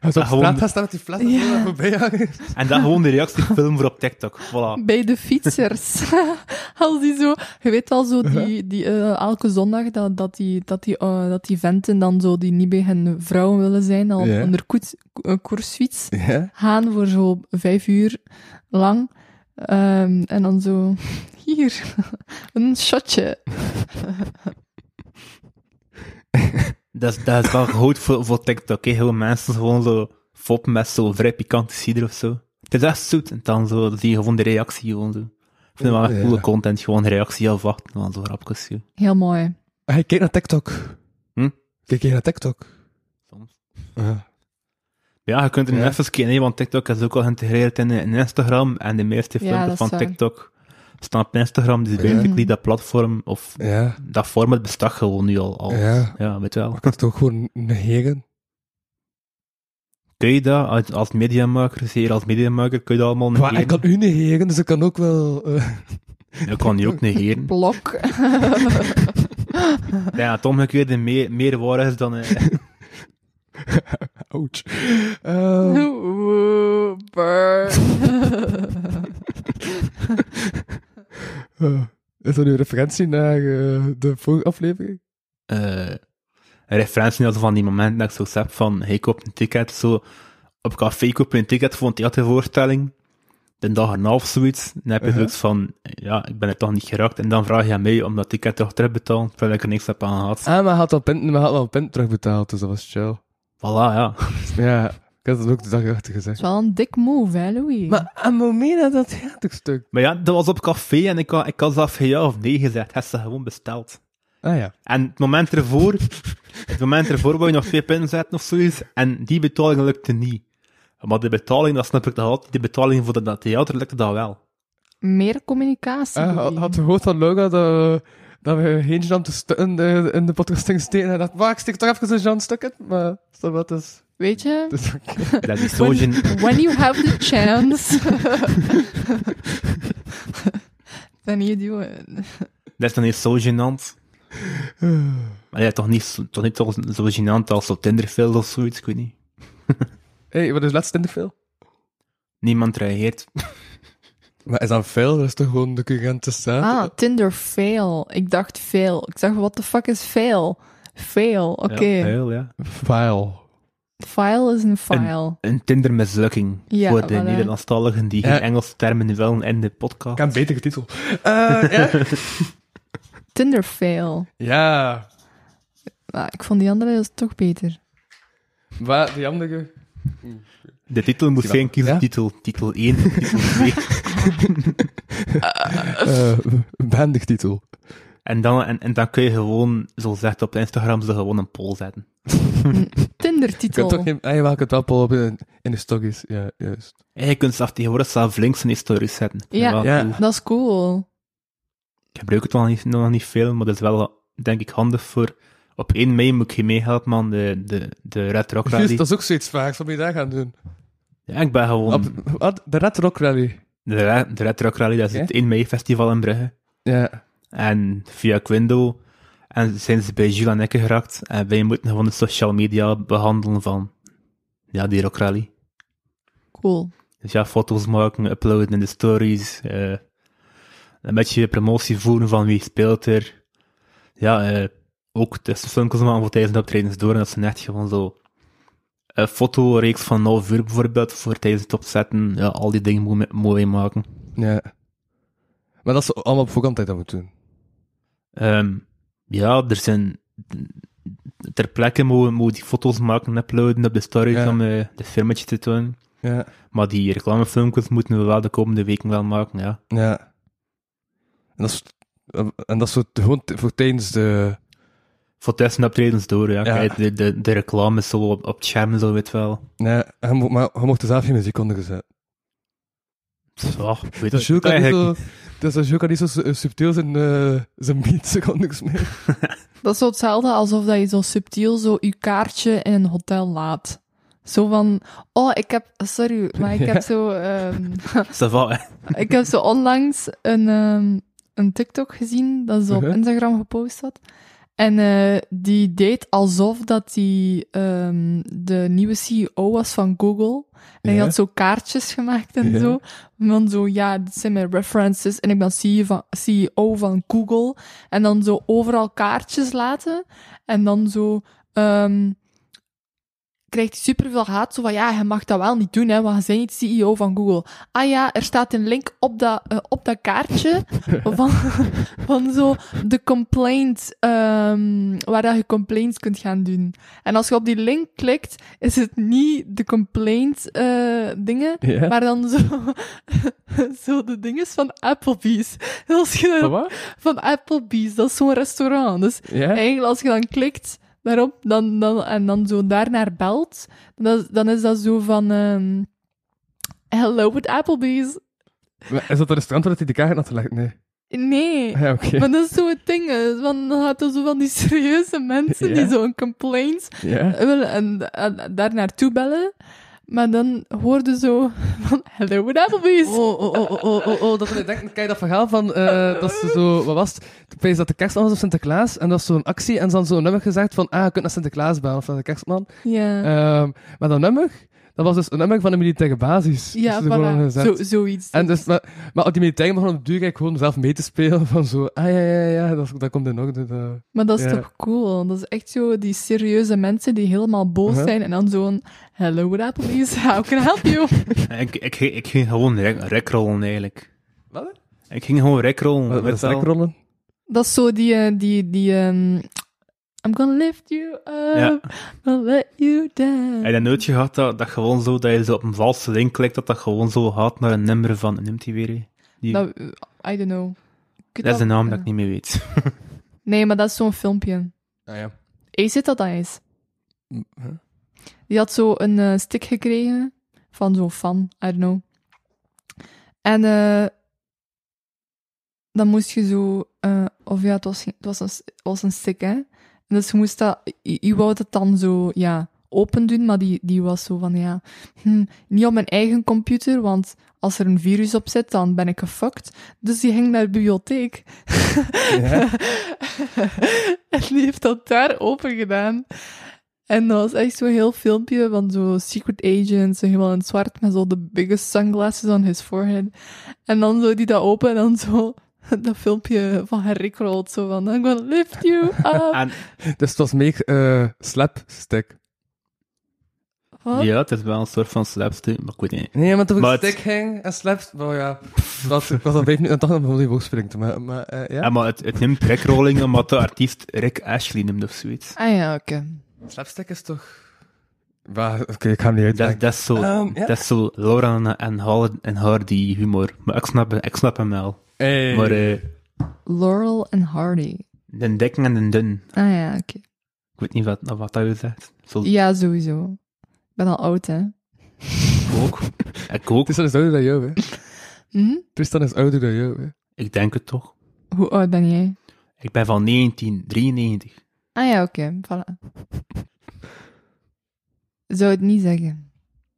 Hij
op straat gaan
staan met die flat
Ja.
Ah, ja. voorbij hangen.
En dan gewoon de reactie filmen voor op TikTok. Voilà.
Bij de fietsers. *laughs* Als die zo, je weet wel zo,
Uh-huh.
die, die, eh, elke zondag dat, dat, die, dat, die, eh, dat die venten dan zo, die niet bij hun vrouwen willen zijn, al
Ja.
onder koets, ko- eh, koersfiets
*laughs* Ja?
gaan voor zo vijf uur lang. Ehm, en dan zo, *laughs* hier, een shotje.
Dat is, dat is wel goed voor, voor TikTok, hè. Heel mensen gewoon zo foppen met zo'n vrij pikante cider of zo. Het is echt zoet. En dan zo, dan zie je gewoon de reactie gewoon zo. Ik vind het wel echt
Ja.
coole content, gewoon reactie afwachten van zo'n grapjes. joh.
Heel mooi.
Ah, Hij kijkt naar TikTok.
Hm?
Kijk je naar TikTok?
Soms.
Ja.
Ja, je kunt er nu
Ja.
even kijken, hè, want TikTok is ook al geïntegreerd in, in Instagram. En de meeste
Ja,
filmpjes
dat is
van
waar.
TikTok staan op Instagram.
Ja.
Dus basically dat platform, of
Ja.
dat format bestaat gewoon nu al. al.
Ja.
weet je wel.
Maar kan het ook gewoon negeren?
Kun je dat als, als mediamaker, zeer als mediamaker, kun je dat allemaal
Maar
negeren?
hij kan u negeren, dus ik kan ook wel... eh,
Je kan die ook
*laughs*
negeren.
Blok.
Ja, het omgekeerde meer, meer waar is dan... eh, *laughs*
*laughs* Ouch. Ehm,
Oeh, burn.
*laughs* eh, is dat nu een referentie naar eh, de vorige aflevering?
eh referentie naar zo van die momenten dat ik zoiets heb van, hey, koop een ticket, zo, op café koop je een ticket voor een theatervoorstelling, de dag erna of zoiets, dan
Uh-huh.
heb je zoiets van, ja, ik ben er toch niet geraakt, en dan vraag je aan mij om dat ticket toch terug te betalen, terwijl ik er niks heb aan gehad.
Ah, maar hij had al pint, maar hij had al pint terugbetaald, dus dat was chill.
Voilà, ja.
Ja, ik had dat ook de dag achter gezegd.
Het is wel een dik move, hè, Louis?
Maar Amomina, dat theaterstuk.
Maar ja, dat was op café, en ik had, ik had zelf geen ja of nee gezegd, heb ze gewoon besteld.
Ah ja.
En het moment ervoor, het moment ervoor wou je nog twee punten zetten of zoiets, en die betaling lukte niet. Maar de betaling, dat snap ik nog altijd, de betaling voor dat- dat theater lukte dat wel.
Meer communicatie.
Ah, had,
Louis.
had gehoord van Laura dat, we- dat we heen Jan te stu- in de, in de podcast gingen steken. En dacht, maar ik steek toch even een Jan stuk in. Maar stel wat is.
Weet je?
Dus, oké.
Dat is
*laughs*
zo gen-
When you have the
*laughs*
chance. *laughs* Then you do it.
Dat is dan niet zo gênant.
Ah.
Maar ja, toch niet, zo- toch niet toch zo gênant als zo Tinderfeld of zoiets, ik weet niet.
hey, wat is laatst in de film?
Niemand reageert.
Maar is dat veel? Dat is toch gewoon de currente staat?
Ah, Tinder fail. Ik dacht fail. Ik dacht, what the fuck is fail? Fail, oké.
Ja, heel, ja.
File.
File is een file.
Een Tinder-mislukking
Ja,
voor de
voilà.
Nederlandstaligen die
Ja.
geen Engelse termen willen in de
Ik
podcast.
heb een betere titel. Eh, ja.
Tinder fail.
ja.
Nou, ik vond die andere is toch beter.
Maar die andere...
De titel moet
Zie je
zijn
wel. Ja?
kiezen titel 1 en titel 2.
eh behendig titel.
en, dan, en, en dan kun je gewoon, zoals zegt op Instagram, ze gewoon een poll zetten.
Tinder
Je kunt
titel.
toch geen... Ah, jawel, je kunt wel pollen op in, in de stories. Ja, juist.
En je kunt zelf tegenwoordig zelf links in die stories zetten.
Ja.
Wel
Ja.
cool.
Dat is cool.
Ik gebruik het wel niet, nog niet veel, maar dat is wel, denk ik, handig voor... Op 1 mei moet ik je meehelpen aan de, de, de Red Rock
Juist,
Rally.
dat is ook zoiets vaak. Wat moet je daar gaan doen?
Ja, ik ben gewoon...
Op- wat? de Red Rock Rally.
De, Re- de Red Rock Rally, dat is
Ja?
het 1 mei festival in Brugge.
Ja.
En via Quindo en zijn ze bij Jules en Ikke geraakt. En wij moeten gewoon de social media behandelen van ja, die Rock Rally.
Cool.
Dus ja, foto's maken, uploaden in de stories. eh, een beetje promotie voeren van wie speelt er. Ja, eh, ook tussenfilmpjes maken voor tijdens de optredens door. En dat zijn echt gewoon zo... Een fotoreeks van een half uur bijvoorbeeld, voor tijdens het opzetten. Ja, al die dingen mooi- mooi maken.
Ja. Maar dat ze allemaal op vakantie dat moeten doen.
Ehm, ja, er zijn... Ter plekke moet moet die foto's maken en uploaden op de stories
Ja.
om eh het filmpje te tonen.
Ja.
Maar die reclamefilmpjes moeten we wel de komende weken wel maken, ja.
Ja. eh, En dat is, en dat is voor, gewoon t- voor tijdens de
Voor tussenoptredens door, ja.
Ja.
Kijk, de, de, de reclame is zo op, op het scherm, zo weet wel.
Nee, hij mo- maar hij mocht er zelf geen muziek onder gezet.
Zo, oh, ik weet
Dus Jules
het niet
kan niet
eigenlijk.
zo, dus Jules kan niet zo su- subtiel zijn, eh zijn beats onder smeren.
Dat is zo hetzelfde alsof dat je zo subtiel zo je kaartje in een hotel laat. Zo van, oh, ik heb, sorry, maar ik heb zo, ehm,
*laughs* Ça va, hè.
*laughs* ik heb zo onlangs een, ehm, een TikTok gezien dat ze op
Mhm.
Instagram gepost had. En eh, die deed alsof dat die ehm, de nieuwe CEO was van Google. En die
Ja.
had zo kaartjes gemaakt en
Ja.
zo. En dan zo, ja, dit zijn mijn references. En ik ben CEO van, CEO van Google. En dan zo overal kaartjes laten. En dan zo... ehm, krijgt hij superveel haat. Zo van, ja, je mag dat wel niet doen, hè, want je bent niet CEO van Google. Ah ja, er staat een link op dat, eh, op dat kaartje van, van zo de complaint, ehm, waar dat je complaints kunt gaan doen. En als je op die link klikt, is het niet de complaint eh, dingen,
Ja.
*laughs* maar dan zo, zo de dinges van Applebee's. En als je daarop- van Applebee's, dat is zo'n restaurant. Dus
Ja?
Eigenlijk, als je dan klikt daarop dan, dan, en dan zo daarnaar belt, dan, is- dan is dat zo van... ehm, Hello with Applebee's.
Maar Is dat een restaurant waar hij de kaart had gelegd? Nee. *laughs* Ah,
Nee.
Ja, oké.
Maar dat is zo'n ding. hè, Want dan gaat er zo van die serieuze mensen die
Ja.
zo'n complaints
Ja.
willen en, en daar naartoe bellen. Maar dan hoorde zo *laughs* van Hello with Applebee's.
Oh, oh, oh, oh, oh, oh, oh. Dat, ik denk, kijk, dat verhaal van, eh, dat ze zo, wat was het? Ik weet dat de kerstman was of Sinterklaas, en dat was zo'n actie, en ze hadden zo'n nummer gezegd van, ah, je kunt naar Sinterklaas bellen, of naar de kerstman.
Ja,
Ehm, maar dat nummer, dat was dus een nummer van de militaire basis.
ja
Dus ze gewoon
voilà.
gezet.
Zo, zoiets.
En dus, maar, maar op die militairen begonnen op de duur eigenlijk gewoon zelf mee te spelen, van zo, ah, ja, ja, ja, dat, dat komt in orde. dat-
Maar dat is
Ja.
toch cool? Dat is echt zo die serieuze mensen die helemaal boos
Mhm.
zijn en dan zo'n Hello, what up, please? *laughs* How can I help you?
Ik, ik, ik ging gewoon rek- rekrollen, eigenlijk.
Wat?
Ik ging gewoon rekrollen.
Wat
weet
is
wel.
rekrollen?
dat is zo die, eh, die, die ehm, I'm gonna lift you
Ja.
up, I'll let you down.
Heb je dat nooit gehad dat, dat gewoon zo, dat je zo op een valse link klikt, dat dat gewoon zo gaat naar een nummer van, neemt die weer? hè? Die,
Dat- eh, I don't know. Ik weet
dat is een naam dat
eh,
ik niet meer weet.
Nee, maar dat is zo'n filmpje.
Ah, ja.
Ace zit dat dat is.
Huh?
Die had zo een eh, stick gekregen van zo'n fan, I don't know. En eh, dan moest je zo, eh, of ja, het was, geen- het was, een, s- het was een stick, hè. Dus je moest dat, je, je wou het dan zo, ja, open doen, maar die, die was zo van, ja, hm, niet op mijn eigen computer, want als er een virus op zit, dan ben ik gefucked. Dus die ging naar de bibliotheek. *laughs* en die heeft dat daar open gedaan. En dat was echt zo'n heel filmpje van zo'n secret agent, zo helemaal in het zwart, met zo de biggest sunglasses on his forehead. En dan zo die dat open en dan zo *laughs* dat filmpje van Henrik rolt, zo van, I'm gonna lift you
*laughs*
up.
En,
*laughs* Dus het was meer eh slapstick. oh.
Wat?
ja, het is wel een soort van slapstick, maar ik weet niet.
Nee, maar toen
Maar
ik
het-
stick hing en slaps, oh ja, dat, ik was al vijf minuten en toch nog op die boog springt. Maar, maar eh, ja.
Ja, maar het, het neemt rekrolling omdat de artiest Rick Ashley neemt of zoiets.
Ah ja, oké.
Slapstick is toch... Bah, Oké, ik ga hem niet uitleggen.
Dat, dat, is zo,
Ehm, ja.
dat is zo Laura en- en, Hall- en Hardy humor. Maar ik snap, ik snap hem wel.
Hey.
Maar eh,
Laurel en Hardy.
de dikke en de dun.
Ah ja, oké.
Ik weet niet wat, wat dat je zegt. Zo,
Ja, sowieso. Ik ben al oud, hè.
Ik ook.
*laughs*
Ik ook.
Tristan is ouder dan jou, hè.
Hm?
Tristan is ouder dan jou, hè. *laughs*
Ik denk het toch.
Hoe oud ben jij?
Ik ben van 1993.
Ah ja, oké. Voilà. Zou het niet zeggen.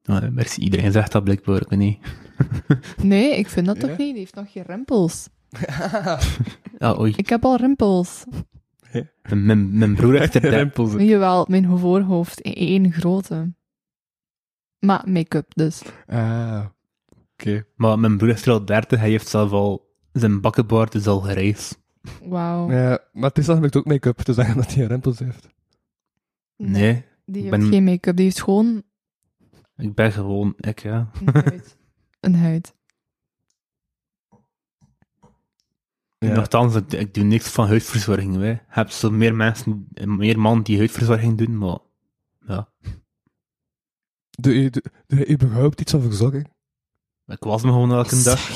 Ah, merci. Iedereen zegt dat blijkbaar. Ik weet niet.
Nee, ik vind dat
Ja?
toch niet. Die heeft nog geen rimpels.
Ah, oei.
Ik heb al rimpels.
Mijn, mijn broer
*laughs*
heeft er dertig.
Rimpels.
Jawel, mijn voorhoofd. e- één grote. Maar make-up dus.
Ah, oké.
Maar mijn broer is er al 30. Hij heeft zelf al... Zijn bakkenbaard is al gereisd.
Wauw.
Ja, maar Tristan heeft ook make-up, dus zeggen dat hij rimpels heeft.
Nee.
Die
ik
heeft
ben-
geen make-up. Die heeft gewoon
Ik ben gewoon... Ik, ja.
*laughs*
*laughs*
een huid. een huid.
Ja.
Nochtans, ik, ik doe niks van huidverzorging. Hè. Je hebt zo meer mensen... Meer mannen die huidverzorging doen, maar... Ja.
Doe je, doe, doe je überhaupt iets van verzorging?
*laughs*
Ik was me gewoon elke dag.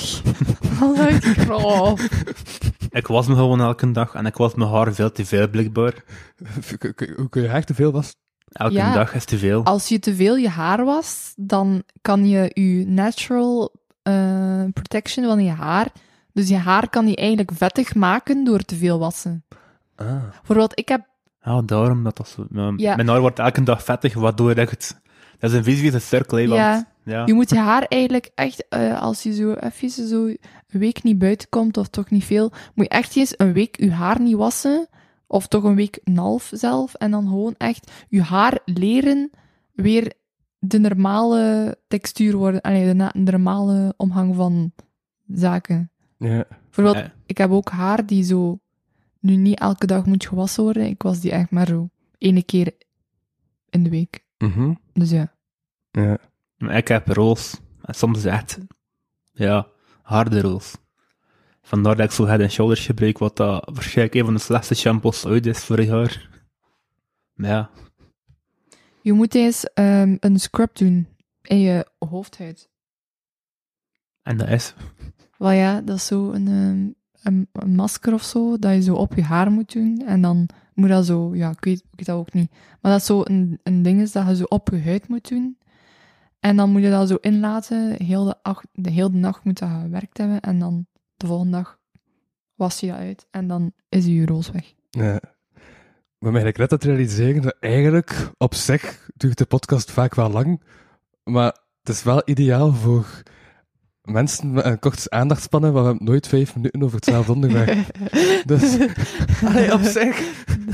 Oh.
Oh. Wat een kraaf.
Ik was me gewoon elke dag en ik was mijn haar veel te veel blikbaar.
Hoe *laughs* kun je echt te veel was?
Elke
Ja.
dag is te veel.
Als je te veel je haar wast, dan kan je je natural eh, protection van je haar. Dus je haar kan je eigenlijk vettig maken door te veel wassen.
Ah.
Bijvoorbeeld, ik heb
Ah, daarom dat dat zo- Mijn,
Ja.
mijn haar wordt elke dag vettig, waardoor ik het... Dat is een visuele cirkel, hè, want...
Ja.
Ja.
Je moet je haar eigenlijk echt, eh, als je zo even zo een week niet buiten komt, of toch niet veel, moet je echt eens een week je haar niet wassen, of toch een week en een half zelf, en dan gewoon echt je haar leren weer de normale textuur worden, allee, de, na- de normale omgang van zaken.
Ja.
Bijvoorbeeld,
Ja.
ik heb ook haar die zo nu niet elke dag moet gewassen worden, ik was die echt maar zo ene keer in de week.
Mhm.
Dus ja.
Ja.
Maar ik heb roos. En soms echt... Ja, harde roos. Vandaar dat ik zo head and shoulders gebruik, wat dat waarschijnlijk een van de slechtste shampoos ooit is voor je haar. Maar ja.
Je moet eens ehm, een scrub doen in je hoofdhuid.
En dat is...
Wel ja, dat is zo een, ehm, een, een masker of zo, dat je zo op je haar moet doen. En dan moet dat zo, ja, ik weet, ik weet dat ook niet. Maar dat is zo een, een ding is dat je zo op je huid moet doen. En dan moet je dat zo inlaten. Heel de, ach- de, heel de nacht moet dat gewerkt hebben. En dan de volgende dag was je dat uit. En dan is je roos weg.
Ja. Maar mij lijkt net dat te realiseren dat eigenlijk op zich duurt de podcast vaak wel lang, maar het is wel ideaal voor mensen met een korte aandachtspannen waar we nooit vijf minuten over hetzelfde *laughs* onderwerp.
*laughs*
Dus allee, op zich,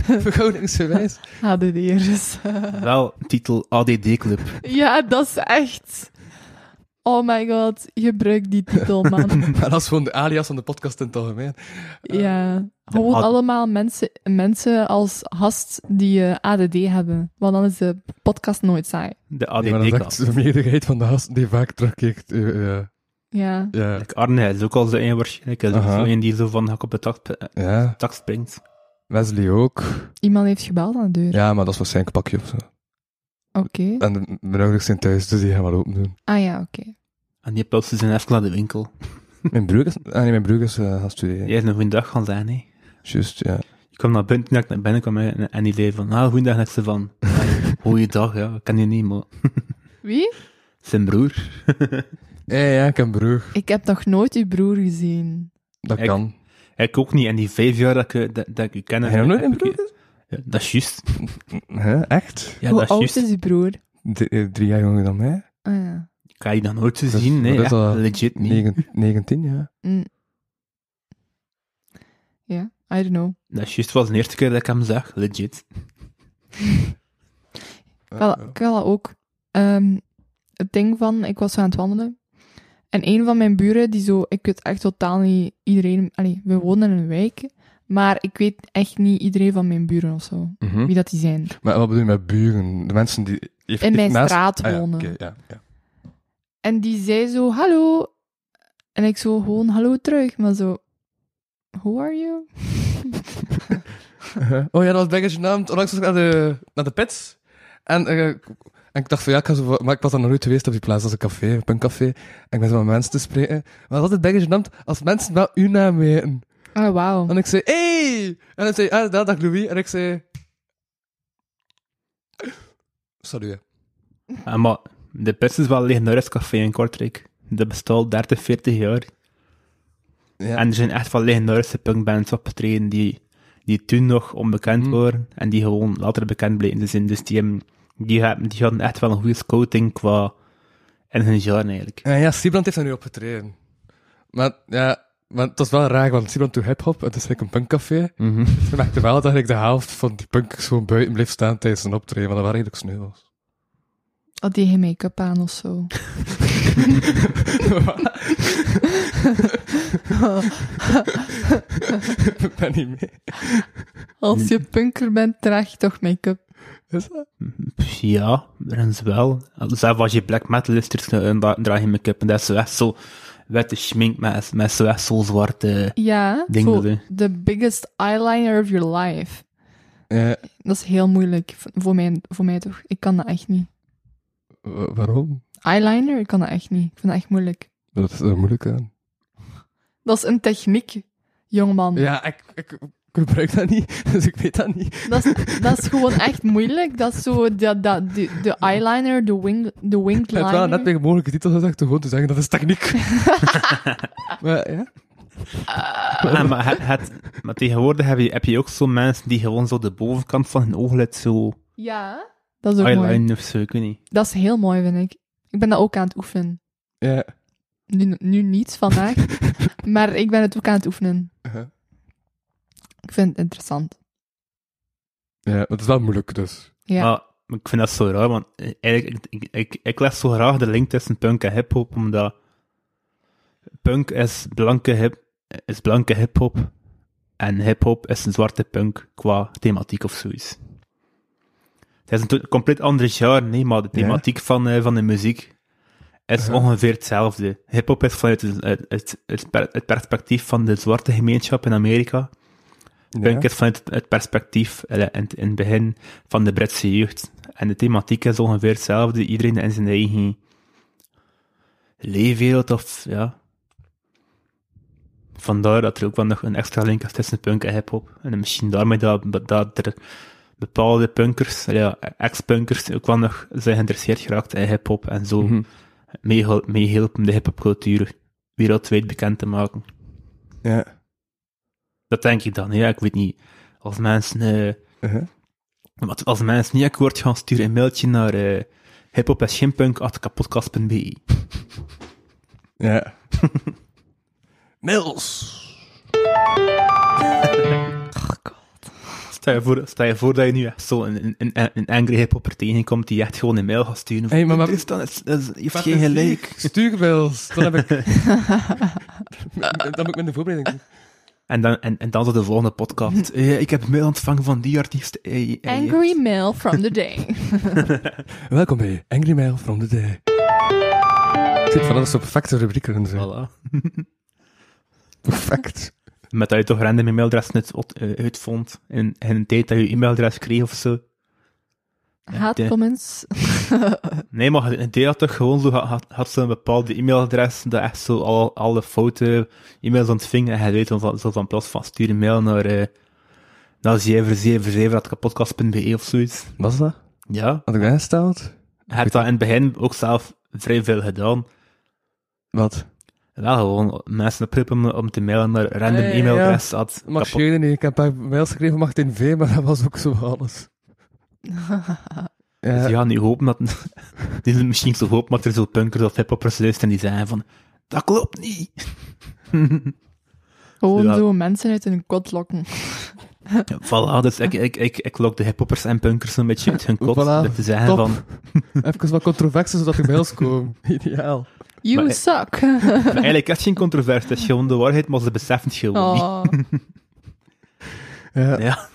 verhoudingsgewijs.
HDD'ers.
*laughs*
Wel, titel ADD Club.
Ja, dat is echt. Oh my god, gebruik die titel,
*laughs*
man.
Maar dat is gewoon de alias van de podcast in het algemeen.
ja. Gewoon
ad-
allemaal mensen, mensen als gast die eh, ADD hebben. Want dan is de podcast nooit saai.
De
Ah, Nee, maar dat is
ADD-kast.
echt de meerderheid van de gasten die vaak terugkeert. eh, eh,
Ja.
ja,
Like Arne is ook al zo een waarschijnlijk. Hij is ook
Aha.
zo een die zo van hak op de tak, eh,
ja,
tak springt.
Wesley ook.
Iemand heeft gebeld aan de deur.
Ja, maar dat is waarschijnlijk een pakje of zo.
Oké.
En de- mijn ouders zijn thuis, dus die gaan wel open doen.
Ah ja, oké.
En die pulst zijn even naar de winkel.
Mijn broer is... Ah nee, mijn broer is eh, gaan studeren.
Jij is een goede dag gaan zijn, hè.
Juist, ja.
Ik kwam naar binnen, toen ik naar binnen kwam en, en die zei van, ah, goeiedag, en ik zei van,
*laughs*
goeiedag, ja, ik ken je niet, maar
Wie?
zijn broer. *laughs*
Ja, ja, ik heb een broer.
Ik heb nog nooit uw broer gezien.
Dat
Ik-
kan.
Ik ook niet, en die vijf jaar dat ik, eh, dat, dat ik u ken...
Heb je nog nooit een
heb ik-
broer?
Ja, dat is juist.
Hè, echt?
Ja,
Hoe
dat is
oud
juist.
is uw broer?
D- eh, drie jaar jonger dan mij.
Ah ja.
Ik ga je dan nooit te
Dat is-
zien, nee,
dat is
echt,
al
legit niet.
Negen, 19, ja.
Mm. Ja, I don't know.
Dat is juist, het was de eerste keer dat ik hem zag, legit.
Ik had,
Eh,
ik had dat ook. Ehm, het ding van, ik was zo aan het wandelen. En een van mijn buren, die zo, ik weet echt totaal niet iedereen. Allee, we wonen in een wijk. Maar ik weet echt niet iedereen van mijn buren of zo.
Mhm.
Wie dat die zijn.
Maar wat bedoel je met buren? De mensen die... effectief
In mijn
naast-
straat
Ah, ja,
wonen.
oké, ja, ja.
En die zei zo, hallo. En ik zo gewoon, hallo terug. Maar zo, who are you?
Oh ja, dat was blijkbaar genaamd. Onlangs was ik naar de, naar de pits. En, eh, en ik dacht van ja, ik ga zo, maar ik was dan nog nooit geweest op die plaats. Dat is een café, een punkcafé. En ik ben zo met mensen te spreken. Maar dat was het blijkbaar genaamd als mensen wel uw naam weten.
Ah, wauw.
En ik zei, hey! En hij zei, ah, dat dag Louis. En ik zei... Salut.
Ah, maar de pers is wel een legendarisch café in Kortrijk. Dat bestaat al 30, 40 jaar.
Ja.
En er zijn echt wel legendarische punkbands opgetreden die, die toen nog onbekend waren en die gewoon later bekend bleken te zijn. Dus die, hebben- die, hebben, die hadden echt wel een goede scouting qua in hun genre eigenlijk.
Ja, ja, Siebrand heeft daar nu opgetreden. Maar ja, maar het was wel raar, want Siebrand doet hip-hop en het is eigenlijk een punkcafé.
*laughs*
Dus we merkten wel dat eigenlijk de helft van die punkers gewoon buiten bleef staan tijdens een optreden, want dat waren redelijk sneuvels.
Had Oh, die geen make-up aan of zo?
Ik ben niet mee.
Als
Hmm.
je punker bent, draag je toch make-up.
Is dat?
Pff, Ja, ergens wel. Zelfs als je black metal is, draag je make-up en dat is zo echt zo witte schmink met, met zo echt zo zwarte...
Ja,
Ding
zo,
dat, hè.
the biggest eyeliner of your life.
Ja,
Dat is heel moeilijk. v- Voor mij, voor mij toch. Ik kan dat echt niet.
wa- waarom?
Eyeliner, ik kan dat echt niet. Ik vind dat echt moeilijk.
Dat is er moeilijk aan.
Dat is een techniek. Jongman.
Ja, ik, ik gebruik dat niet, *laughs* dus ik weet dat niet.
Dat, is, dat is gewoon echt moeilijk. Dat is zo dat, dat, de, de eyeliner, de, wing, de winged
Ik heb wel net
liner.
tegen mogelijke titel gezegd, om gewoon te zeggen dat is techniek. maar ja,
Ah, maar, het, het- maar tegenwoordig heb je, heb je ook zo mensen die gewoon zo de bovenkant van hun ooglid zo
Ja, dat is ook mooi.
eyeliner of zo, ik weet niet.
Dat is heel mooi, vind ik. Ik ben dat ook aan het oefenen.
ja.
Nu, nu niet vandaag, maar ik ben het ook aan het oefenen.
Uh-huh.
Ik vind het interessant.
ja, maar het is wel moeilijk dus.
Ja.
Maar, maar ik vind dat zo raar, want eh, eigenlijk, ik, ik, ik, ik leg zo graag de link tussen punk en hip-hop, omdat punk is blanke, hip, is blanke hip-hop en hip-hop is een zwarte punk qua thematiek of zoiets. Het is een to- compleet ander genre, nee, maar de thematiek van, eh, van de muziek is ongeveer hetzelfde. Hip-hop is vanuit het, het, het, het per- het perspectief van de zwarte gemeenschap in Amerika. Punk is vanuit het perspectief eh, in, in het begin van de Britse jeugd. En de thematiek is ongeveer hetzelfde. Iedereen in zijn eigen leefwereld of ja. Vandaar dat er ook wel nog een extra link is tussen punk en hip-hop. En misschien daarmee dat, dat er bepaalde punkers, eh, ja, ex-punkers, ook wel nog zijn geïnteresseerd geraakt in hip-hop en zo
Mhm.
meehel- meehielpen de hip-hop cultuur wereldwijd bekend te maken.
Ja.
Dat denk ik dan, ja. Ik weet niet. Als mensen, eh,
Uh-huh.
wat, als mensen niet akkoord gaan, stuur een mailtje naar eh hiphop
Ja. Nils!
Stel je, voor, stel je voor dat je nu echt zo een, een, een, een angry hiphopper tegenkomt die echt gewoon een mail gaat sturen.
Hey, maar- maar-
Dus dan is, is, je hebt
Wat
geen
een
gelijk.
ziek. Stuurmails, dan heb *laughs* ik... dan moet ik met de voorbereiding doen.
En dan, en, en dan zo de volgende
*laughs*
podcast. Eh, ik heb een mail ontvangen van die artiest. Eh, eh, *laughs*
Angry mail from the day.
Welkom bij Angry Mail from the Day. Zit van alles op perfecte rubrieken en zo.
Voilà.
Perfect.
Met dat je toch random e-mailadres net ot- eh, uitvond. In, in een tijd dat je e-mailadres kreeg of zo.
Haatcomments.
Nee, maar het idee had toch gewoon zo, had- had, had ze een bepaalde e-mailadres, dat echt zo al, alle fouten e-mails ontving, en hij weet dan van, zo van plots van stuur een mail naar, eh naar 777.kapotkast.be of zoiets.
Was dat?
Ja.
Had ik dat gesteld?
Hij heeft dat in het begin ook zelf vrij veel gedaan.
Wat?
Wel gewoon mensen prippen om te mailen naar
Eh,
random
Ja, ja, ja.
e-mailadres. had
Mag
kapot-
schelen niet. Ik heb een paar mails gekregen van Martin V, maar dat was ook zo alles.
Dus
Ja,
ja, Dus nu hopen dat, *laughs* die zullen misschien zo hopen dat er zo punkers of hiphoppers luisteren die zeggen van, dat klopt niet.
Gewoon
Ja.
zo mensen uit hun kot lokken.
Voilà, dus ik, ik, ik, ik lok de hiphoppers en punkers een beetje uit hun kot.
Voilà,
door te zeggen
top.
van,
*laughs* even wat controverse, zodat de mails komen. *laughs* Ideaal.
You
Maar- eh,
suck.
maar eigenlijk is het geen controverse, het is gewoon de waarheid, maar ze beseffen het gewoon
*laughs* Oh.
Ja,
niet. Ja,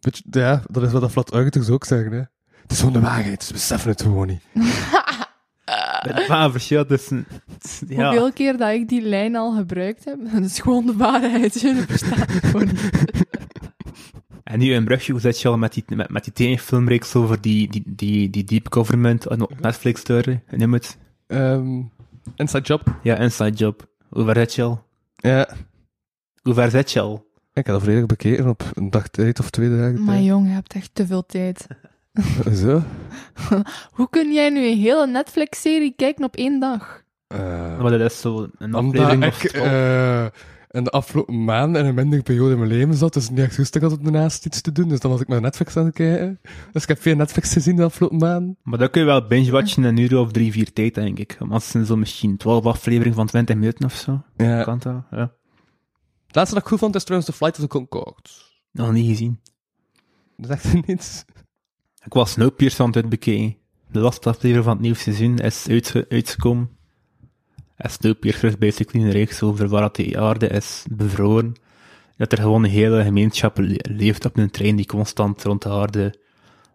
beetje- ja, dat is wat de flat ook zeggen, hè. Het is gewoon de waarheid, ze beseffen het gewoon niet.
er is wel een verschil tussen... *laughs* Ja,
Hoeveel keer dat ik die lijn al gebruikt heb, *laughs* dat is gewoon de
*laughs*
waarheid. Je verstaat het gewoon niet.
en nu in Brugge, hoe zit je al met die, met, met die tegenfilmreeks over die, die, die, die deep government en op Netflix door, noem het.
Ehm inside job.
Ja, Inside Job. Hoe ver zit je al?
Ja.
Hoe ver zit je al?
Ik had dat volledig bekeken op een dag tijd of twee dagen.
Maar
tijd.
jong, je hebt echt te veel tijd.
Zo.
Hoe kun jij nu een hele Netflix-serie kijken op één dag?
Eh,
Maar dat is zo een
Omdat
aflevering of
ik
twaalf.
eh, in de afgelopen maanden in een mindere periode in mijn leven zat, dus niet echt rustig had om daarnaast iets te doen, dus dan was ik naar Netflix aan het kijken. Dus ik heb veel Netflix gezien de afgelopen maanden.
Maar dat kun je wel binge-watchen in een uur of drie, vier tijd, denk ik. Maar het zijn zo misschien twaalf afleveringen van 20 minuten of zo.
Ja.
Kan dat, ja.
Het laatste dat ik goed vond is trouwens The Flight of the Concorde.
Nog niet gezien.
Dat is echt *laughs* niets.
Ik was Snowpiercer aan het uitbekeken. De laatste aflevering van het nieuwe seizoen is uitge- uitgekomen. En Snowpiercer is basically een reeks over waar dat de aarde is bevroren. Dat er gewoon een hele gemeenschap le- leeft op een trein die constant rond de aarde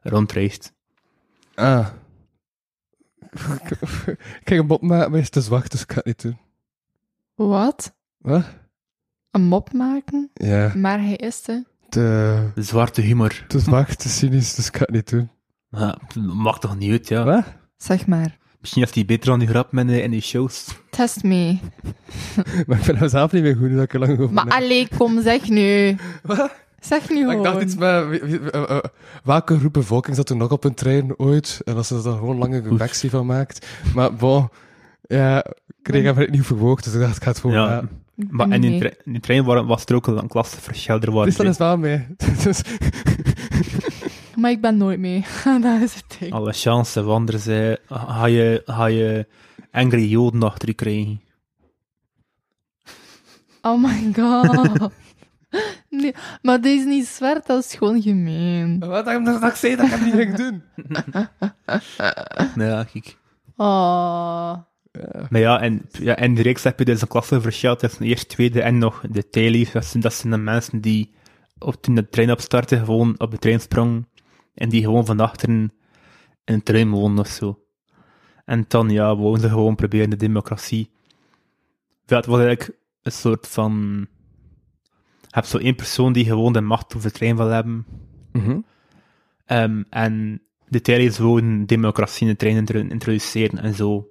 rondreist.
Ah. *laughs* ik ging een mop maken, maar hij is te zwak, dus ik ga het niet doen.
Wat?
Wat?
Een mop maken?
Ja.
Maar hij is te...
Te,
Zwarte humor.
te zwak, te cynisch, dus ik ga het niet doen. *laughs*
Ja, maakt toch niet uit, ja.
Wat?
Zeg maar.
Misschien heeft hij beter aan die grap met, eh, in die shows.
Test me.
Maar ik vind hem zelf niet meer goed, dat ik er lang over
Maar
na-
allee, kom,
*laughs*
zeg nu. Zeg nu
Maar
gewoon.
ik dacht iets met... wie- wie- eh, eh, welke groep bevolking zat er nog op een trein ooit? En als ze daar gewoon lange convectie van maakt. Maar bon... Ja, ik kreeg hem niet verwoogd, dus ik dacht, ik ga het gewoon...
Ja.
na-
Maar in die,
Nee.
tre- in die trein wa- was er ook al een klasseverschil. Er waren
Dus dat
drie-
is wel mee. *laughs* Dus,
Maar ik ben nooit mee. *laughs* dat is het ding.
alle chance, want anders eh, ga je, ga je enkele joden achter je krijgen.
Oh my *laughs* god. Nee, maar deze is niet zwart, dat is gewoon gemeen.
wat ik dat ik zei, dat ik hem niet *laughs* ging doen.
Ja, kijk.
Oh. *laughs*
Maar ja, en ja, in de reeks heb je dus een klasseverschil tussen eerst, tweede en nog de tailies. Dat zijn, dat zijn de mensen die op, toen de trein opstarten, gewoon op de trein sprongen. En die gewoon van achteren in een trein wonen of zo. En dan, ja, wonen ze gewoon proberen de democratie. Ja, het was eigenlijk een soort van... Je hebt zo één persoon die gewoon de macht over de trein wil hebben.
Mhm.
Ehm, en de Terriers wouden democratie in de trein intro- introduceren en zo.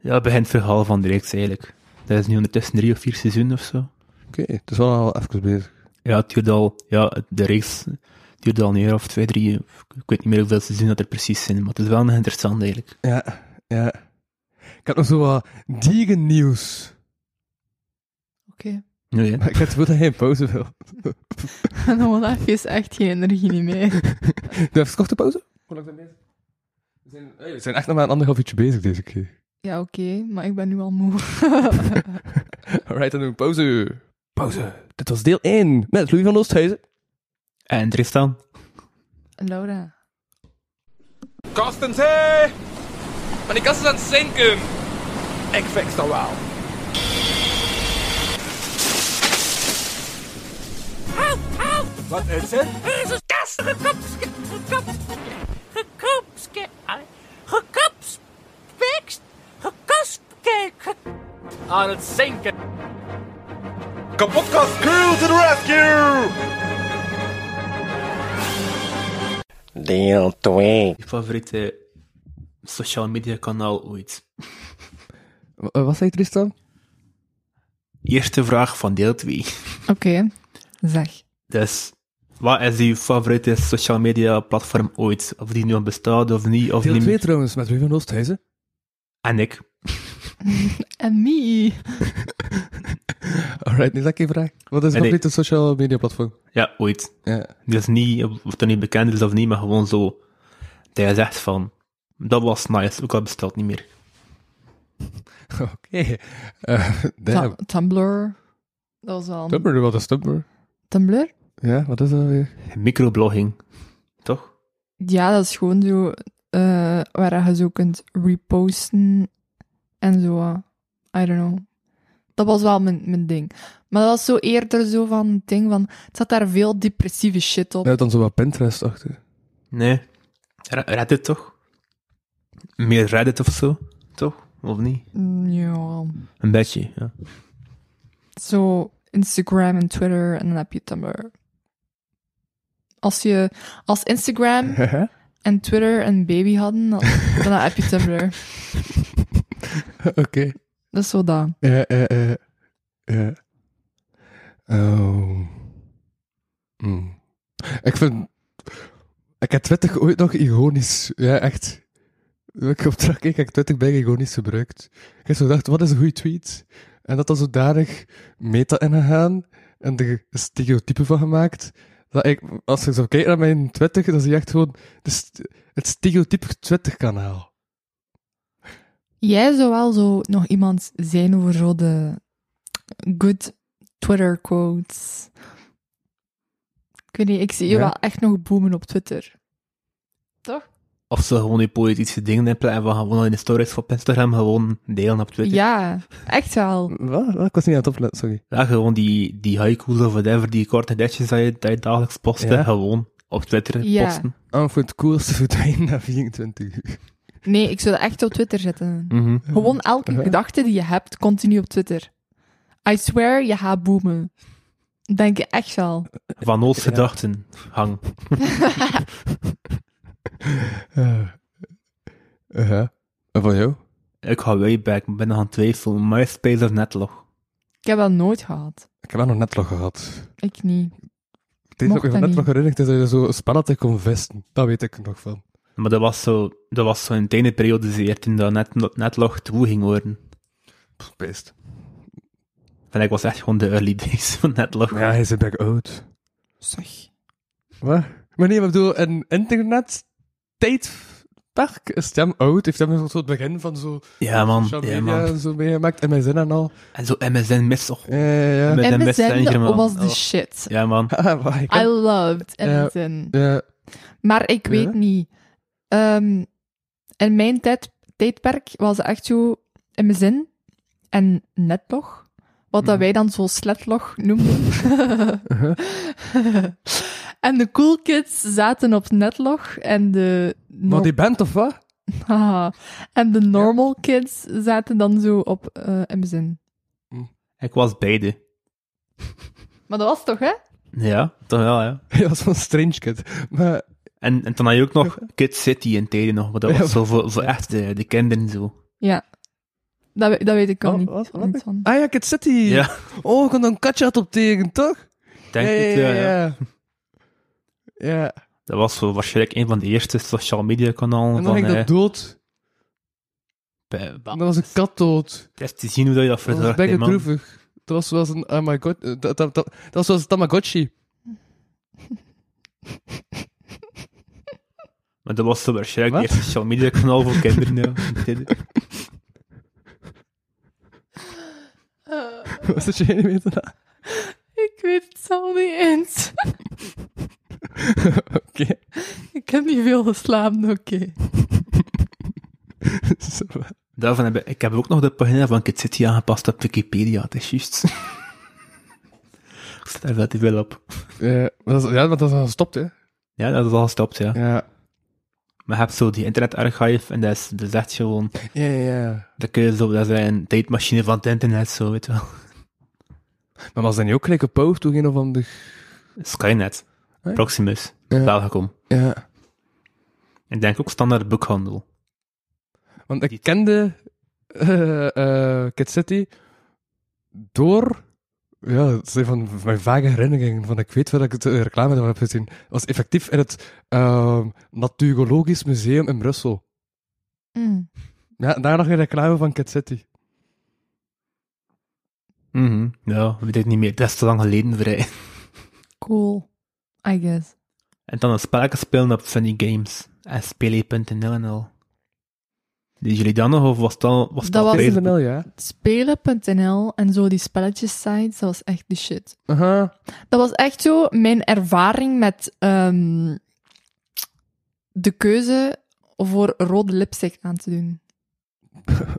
Ja, het begint het verhaal van de reeks eigenlijk. Dat is nu ondertussen drie of vier seizoenen of zo.
Oké, het is wel al even bezig.
Ja, het duurt al, ja, het- de reeks duurt al een jaar of twee, drie, of ik weet niet meer hoeveel seizoenen dat er precies zijn, maar het is wel nog interessant eigenlijk.
Ja, ja. Ik had nog zo wat dierennieuws.
Oké.
Ja,
*laughs*
ja.
Maar ik had het dat hij geen pauze wil.
En dan was even echt geen energie niet meer.
Doe even een korte pauze. Hoe lang zijn we bezig? We zijn, hey, we zijn echt nog maar een anderhalf uurtje bezig deze keer.
Ja, oké, maar ik ben nu al moe. *laughs*
Alright, dan doen we pauze. Pauze. Dit was deel 1 met Louis van Oosthuizen.
En Tristan?
Laura.
Kastens, hé! Maar die kast is aan het zinken. Ik fix dat wel. Wat is het?
is een kast gekopske, gekopske, gekopske, gekopspikst, gekospkeken.
Aan het zinken.
Je favoriete social media kanaal ooit?
wat zei Tristan?
Eerste vraag van deel 2.
Oké, zeg.
Dus, wat is uw favoriete social media platform ooit? Of die nu al bestaat of niet? Of
Deel
niet
2
meer?
trouwens met Louis van Oosthuizen.
En ik.
En me.
Alright, nu is dat geen vraag. Wat is
Nee.
het favoriete social media platform?
Ja, ooit.
Ja.
Dus niet, of dat niet bekend is of niet, maar gewoon zo. Dat je zegt van, dat was nice, ook al bestaat het niet meer.
Oké. Eh, damn.
Tu- Tumblr. Dat was wel...
Tumblr, wat is Tumblr?
Tumblr?
Ja, wat is dat weer?
Microblogging. Toch?
Ja, dat is gewoon zo... eh, waar je zo kunt reposten en zo. eh, I don't know. Dat was wel mijn, mijn ding. Maar dat was zo eerder zo van het ding van... Het zat daar veel depressieve shit op.
Je hebt dan zo wat Pinterest achter.
Nee. Re- Reddit toch? Meer Reddit of zo? Toch? Of niet?
Mm, Ja.
Een beetje, ja.
zo Instagram en Twitter en dan heb je Tumblr. Als je als Instagram
*laughs*
en Twitter een baby hadden, dan, dan heb je Tumblr.
Oké.
Dat is zo dat.
Ja, ja, ja. Ja. eh. Oh. Hmm. Ik vind... Ik heb Twitter ooit nog ironisch... Ja, echt. Toen Ik op terug keek, heb ik Twitter bij ironisch gebruikt. Ik heb zo gedacht, wat is een goede tweet? En dat dan zodanig meta in gegaan en er stereotypen van gemaakt. Dat ik, als je zo kijkt naar mijn Twitter, dan zie je echt gewoon de st- het stereotype Twitter-kanaal.
Jij zou wel zo nog iemand zijn over zo de good Twitter quotes. Ik weet niet, ik zie je
Ja.
wel echt nog boomen op Twitter. Toch?
Of ze gewoon die politieke dingen inplannen en we gaan gewoon in de stories op Instagram gewoon delen op Twitter.
Ja, echt wel.
Wat? Wat? Ik was niet aan het opletten, sorry.
Ja, gewoon die, die haiku's of whatever, die korte ditjes dat je, dat je dagelijks postte,
Ja.
gewoon op Twitter
Ja.
posten.
Ah, voor het coolste *laughs* verdwijnen na 24 uur.
Nee, ik zou dat echt op Twitter zetten.
Mhm.
Gewoon elke
Ja.
gedachte die je hebt, continu op Twitter. I swear, je gaat boomen. Denk je echt wel.
Van ons gedachten hang.
Eh, eh, En van jou?
Ik ga Wayback, maar ben nog aan het twijfelen. MySpace of Netlog?
Ik heb dat nooit gehad.
Ik heb wel nog netlog gehad.
Ik niet.
Het is
Mocht
ook nog
dat
netlog
niet.
herinnerd is dat je zo spannend kon vesten. Dat weet ik nog van.
Maar dat was zo, dat was zo in het ene periode zeer, toen dat net, Netlog toe ging worden.
Beest.
En ik was echt gewoon de early *laughs* days van Netlog.
Ja, hij is een back oud.
Zeg.
Wat? Maar nee, maar ik bedoel, een internet tijdperk is hem oud. Heeft hem zo het begin van zo
Ja, man.
social
Ja,
media
man.
en zo meegemaakt. En mijn zin en al.
En zo MSN mis toch.
Ja, ja, ja.
Met
MSN
Messenger, man.
was de
Oh.
shit.
Ja, man.
*laughs* Ah, maar ik
I
heb-
loved
Ja.
MSN.
Ja,
Maar ik weet
Ja?
niet. Ehm, in mijn tijd, tijdperk was het echt zo MSN en netlog. Wat
Mhm.
dat wij dan zo sletlog noemden. *laughs* en de cool kids zaten op netlog en de...
Maar
no-
die band of wat?
*laughs*
*laughs*
Haha. en de normal kids zaten dan zo op eh, MSN.
Ik was beide.
Maar dat was toch, hè?
Ja, toch wel, ja.
Hij was van Strange Kid. Maar
En, en toen had je ook nog Kid City in tijden nog, maar dat was zo voor, voor echt de, de kinderen zo.
Ja. Dat, we- dat weet ik al
Oh,
niet.
wat- wat
niet
heb
van.
Ah ja, Kid City.
Ja,
Oh, ik kon dan Katja had op tegen, toch?
denk ik. Ja, ja.
Ja.
Dat was zo waarschijnlijk een van de eerste social media kanalen
En dan
van...
ging dat
eh,
dood.
bij-
En
bah,
dan was een kat dood.
Het is te zien hoe dat je dat
Dat was
verzorgt, hè,
bijna
man.
droevig. Dat was zoals een... Oh my god. eh, Dat, dat, dat, dat was zoals een Tamagotchi. *laughs*
Maar dat was zo waarschijnlijk
Wat?
het eerste social media kanaal voor kinderen, ja.
*laughs*
in de tijden.
*laughs*
was dat je niet meer te na-
Ik weet het zelf niet eens.
Oké.
Ik heb niet veel geslapen, oké.
Zo, eh,
Daarvan heb ik, ik heb ook nog de pagina van Kid City aangepast op Wikipedia, het is juist. *laughs* ik zit daar relatief wel op.
Ja, maar dat is- ja, want dat is al gestopt, hè.
Ja, dat is al gestopt, ja.
Ja.
Maar je hebt zo die internetarchive en dat is, dat is echt gewoon...
Ja, ja, ja.
Dat, kun je zo, dat is een tijdmachine van het internet, zo, weet je wel.
Maar was dat niet ook gelijk op Pauw toen geen of van de...
Skynet,
Hey.
Proximus,
Ja.
Belgacom.
Ja.
Ik denk ook standaard boekhandel.
Want ik kende eh eh, Kid City door... Ja, het zijn van mijn vage herinneringen. Van ik weet waar ik de reclame daarvan heb gezien. Het was effectief in het ehm Naturologisch Museum in Brussel.
Mm.
Ja, daar nog een reclame van Kid City.
Mhm. Ja, weet ik niet meer. Dat is te lang geleden vrij.
Cool, I guess.
En dan een spelletje spelen op Funny Games. En spelen.nl en al. Deden jullie dat nog, of was dat... Was
Dat
dat
was-
Facebook?
PNL, ja.
Spelen.nl en zo die spelletjessites, dat was echt de shit.
Aha.
Dat was echt zo mijn ervaring met ehm, de keuze voor rode lipstick aan te doen.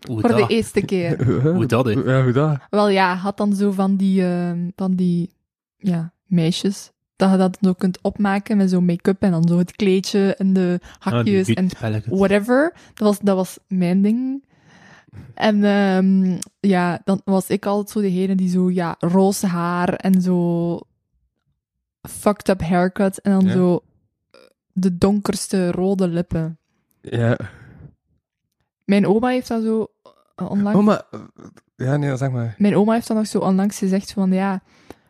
Hoe
voor
dat?
de eerste keer.
Hoe dat, hè?
Ja, hoe dat?
Wel ja, had dan zo van die, ehm, van die ja, meisjes. Dat je dat zo kunt opmaken met zo'n make-up en dan zo het kleedje en de
Ah, die
hakjes en
beautyspelletjes.
whatever. Dat was, dat was mijn ding. En ehm, ja, dan was ik altijd zo degene die zo, ja, roze haar en zo fucked up haircut en dan
Ja.
zo de donkerste rode lippen.
Ja.
Mijn oma heeft dat zo onlangs...
Oh, maar... eh, Ja, nee, zeg maar.
Mijn oma heeft dan nog zo onlangs gezegd van ja,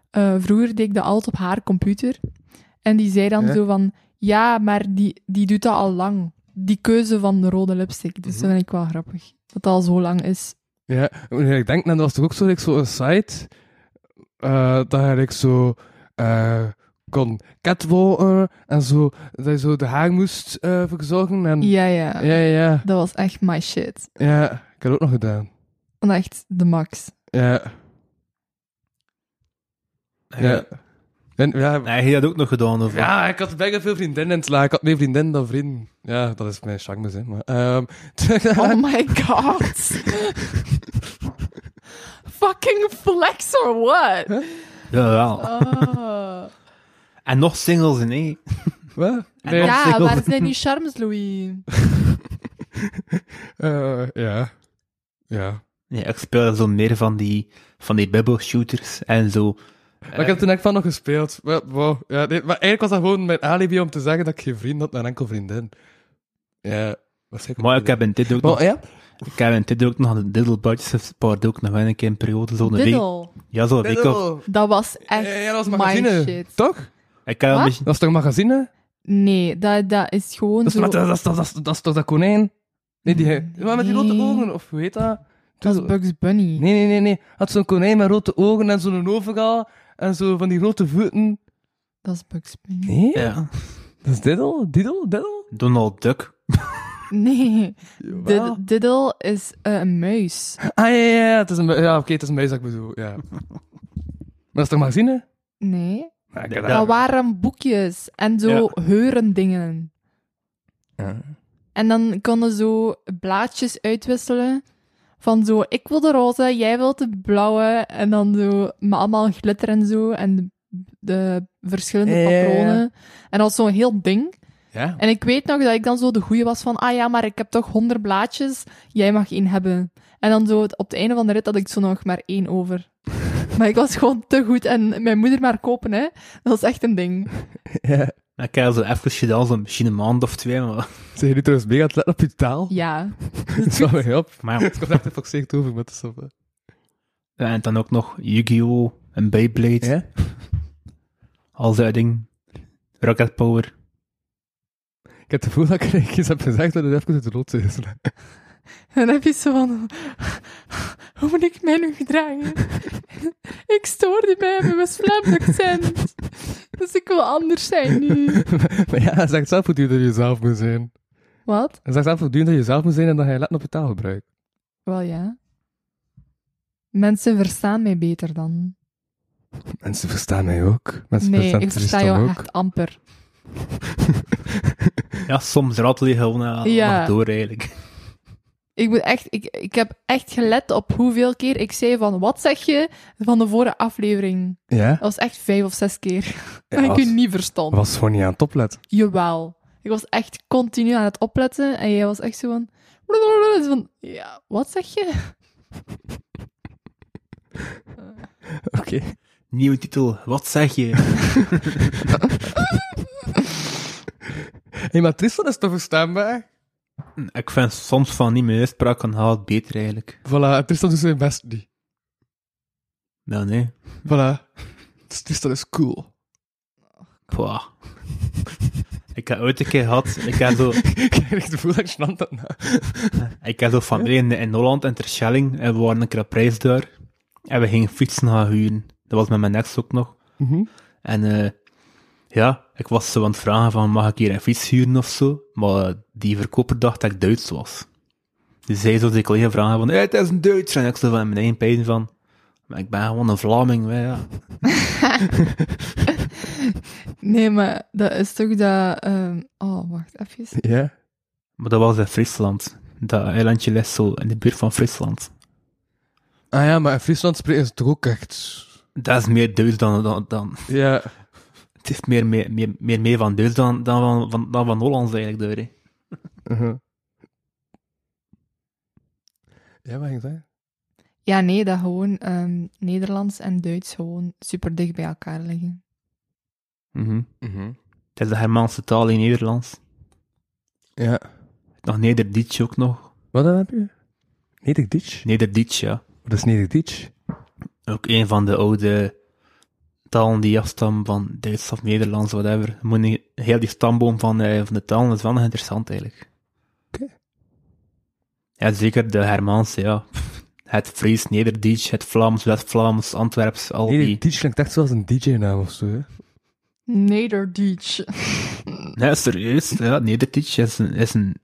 eh, vroeger deed ik dat altijd op haar computer. En die zei dan
Ja.
zo van ja, maar die, die doet dat al lang. Die keuze van de rode lipstick. Dus
Mhm.
dat vind ik wel grappig. Dat dat al zo lang is.
Ja, wanneer ik denk, dan was toch ook zo, like, zo een site eh dat ik zo eh, kon catwalken en zo, dat je zo de haar moest eh, verzorgen. En,
Ja, ja,
ja, ja,
Dat was echt my shit.
ja. Ik heb dat ook nog gedaan.
En echt de
*laughs*
max.
Ja, ja. En, ja,
Nee, hij had ook nog gedaan, of wat?
ja, ik had bijna veel vriendinnen in het laag. Ik had meer vriendinnen dan vrienden. Ja, dat is mijn charme, hè. Maar, ehm, *laughs*
Oh my god. Fucking flex or what?
Jawel.
Ah.
En nog singles, nee.
wat? Nee,
dan-
Ja,
Zeker.
waar zijn die charms, Louis?
eh, ja. Ja.
Ja, ik speel zo meer van die, van die bubble shooters en zo.
Maar ik heb toen echt van nog gespeeld. Wel, Wow. Ja, nee, maar eigenlijk was dat gewoon mijn alibi om te zeggen dat ik geen vriend had, maar een enkel vriendin. Ja, Wat zeg ik?
Maar ik heb in dit ook nog...
Maar, ja?
Ik heb in dit ook nog de Diddle Budgets Part ook nog wel een keer een periode, zo'n week.
Diddle.
Ja, zo'n week of...
Diddle.
Dat was echt
Ja, dat was
my
magazine.
shit.
Toch?
Ik heb een
Wat?
beetje...
Dat is toch magazine?
Nee, dat, dat is gewoon
Dat is,
zo...
maar dat, is, dat, is, dat, is, dat is toch dat konijn? Nee, die, maar met die rode
Nee.
ogen, of hoe heet dat?
dat is Bugs Bunny.
Nee, nee, nee, nee. Had zo'n konijn met rode ogen en zo'n overal en zo van die grote voeten.
Dat is Bugs Bunny.
Nee?
Ja.
Dat is Diddle? Diddle? Diddle?
Donald Duck.
*laughs*
Nee,
Jawel.
Did- Diddle is eh, een muis.
Ah, ja, ja, ja. Het is een, mu- ja oké, het is een muis dat ik bedoel, *laughs* ja. Maar dat is toch magazine?
Nee,
Ja, ik heb
Ja.
dat-
dat waren boekjes en zo heurendingen.
Ja.
En dan konden zo blaadjes uitwisselen van zo, ik wil de roze, jij wilt de blauwe, en dan zo, met allemaal glitter en zo, en de, de verschillende
Ja, ja, ja.
patronen. En dat was zo'n heel ding.
Ja.
En ik weet nog dat ik dan zo de goeie was van, ah ja, maar ik heb toch honderd blaadjes, jij mag één hebben. En dan zo, het- op het einde van de rit had ik zo nog maar één over. *laughs* maar ik was gewoon te goed en mijn moeder maar kopen, hè. Dat was echt een ding.
Ja.
Ik heb zo even gedaan, zo misschien een maand of twee, maar...
Zijn jullie trouwens mega aan het letten op je taal? *laughs*
Ja.
Zo, mij op.
maar
*laughs*
ja.
Het komt echt even gezegd over, maar het is eh. op, hè.
En dan ook nog Yu-Gi-Oh! en Beyblade. Al dat ding. Rocket Power.
Ik heb het gevoel dat ik er eens heb gezegd dat het even uit de rood is.
En dan heb je zo van, *laughs* hoe moet ik mij nu gedragen? ik stoorde mij met mijn slaapdocent. Dus ik wil anders zijn nu.
*laughs* maar ja, hij zegt zelf voortdurend dat je zelf moet zijn.
Wat?
Hij zegt zelf voortdurend dat je zelf moet zijn en dat hij letten op je taalgebruik.
Wel ja. Mensen verstaan mij beter dan.
Mensen verstaan mij ook. Mensen
nee,
verstaan
ik versta
Tristan
jou
ook.
echt amper.
Ja, soms ratel je gewoon eh,
Ja.
door eigenlijk. *laughs*
Ik, moet echt, ik, ik heb echt gelet op hoeveel keer ik zei van wat zeg je van de vorige aflevering.
*laughs* Ja?
Dat was echt vijf of zes keer.
Ja,
en ik
was-
je niet verstond.
was gewoon niet aan het opletten.
Jawel. Ik was echt continu aan het opletten en jij was echt zo van... blablabla, zo van ja, wat zeg je?
Oké.
Nieuwe titel, wat zeg je? *laughs*
*laughs* Hé, maar Tristan is toch verstaanbaar?
ik vind soms van niet mijn uitspraak kan haal het beter eigenlijk.
Voilà, Tristan doet zijn best niet.
Nou nee.
Voilà. Dus Tristan is cool.
Pwa. *laughs* ik heb ooit een keer gehad, ik heb zo,
*laughs* ik heb echt het gevoel dat ik snap dat na.
ik heb zo familie in, in Holland, in Terschelling, en we waren een keer op reis daar. En we gingen fietsen gaan huren. Dat was met mijn ex ook nog.
Mhm.
En eh, ja, ik was zo aan het vragen van, mag ik hier een fiets huren of zo? Maar eh, die verkoper dacht dat ik Duits was. Dus hij zo die collega vragen van, hey, het is een Duits. En ik zo van mijn eigen pijn van, maar ik ben gewoon een Vlaming, hè, ja.
Nee, maar dat is toch dat... ehm, Oh, wacht, even.
Ja.
Maar dat was in Friesland. Dat eilandje ligt zo in de buurt van Friesland.
Ah ja, maar in Friesland spreken ze toch ook echt...
Dat is meer Duits dan... dan, dan
Ja.
het is meer meer, meer, meer, meer van Duits dan, dan, van, van, dan van Hollands eigenlijk, door, hè.
Mhm. Ja, wat ging ik zeggen?
Ja, nee, dat gewoon ehm, Nederlands en Duits gewoon super dicht bij elkaar liggen.
Mhm. Het is de Germaanse taal in Nederlands.
Ja.
Nog Nederdietje ook nog.
Wat dan heb je? Nederdietsch?
Nederdietje, ja.
Wat is Nederdietsch?
Ook een van de oude talen die afstammen van Duits of Nederlands, whatever. Moet niet- Heel die stamboom van, eh, van de talen is wel nog interessant eigenlijk.
Oké.
Ja, zeker de Hermaanse, ja. *laughs* Pff, Het Fries, Nederduits, het Vlaams, West-Vlaams, Antwerps, al die.
Nederdietsch klinkt echt zoals een DJ-naam of zo, hè?
Nederdeutsch.
Nee, serieus. Ja, Nederduits is een, is een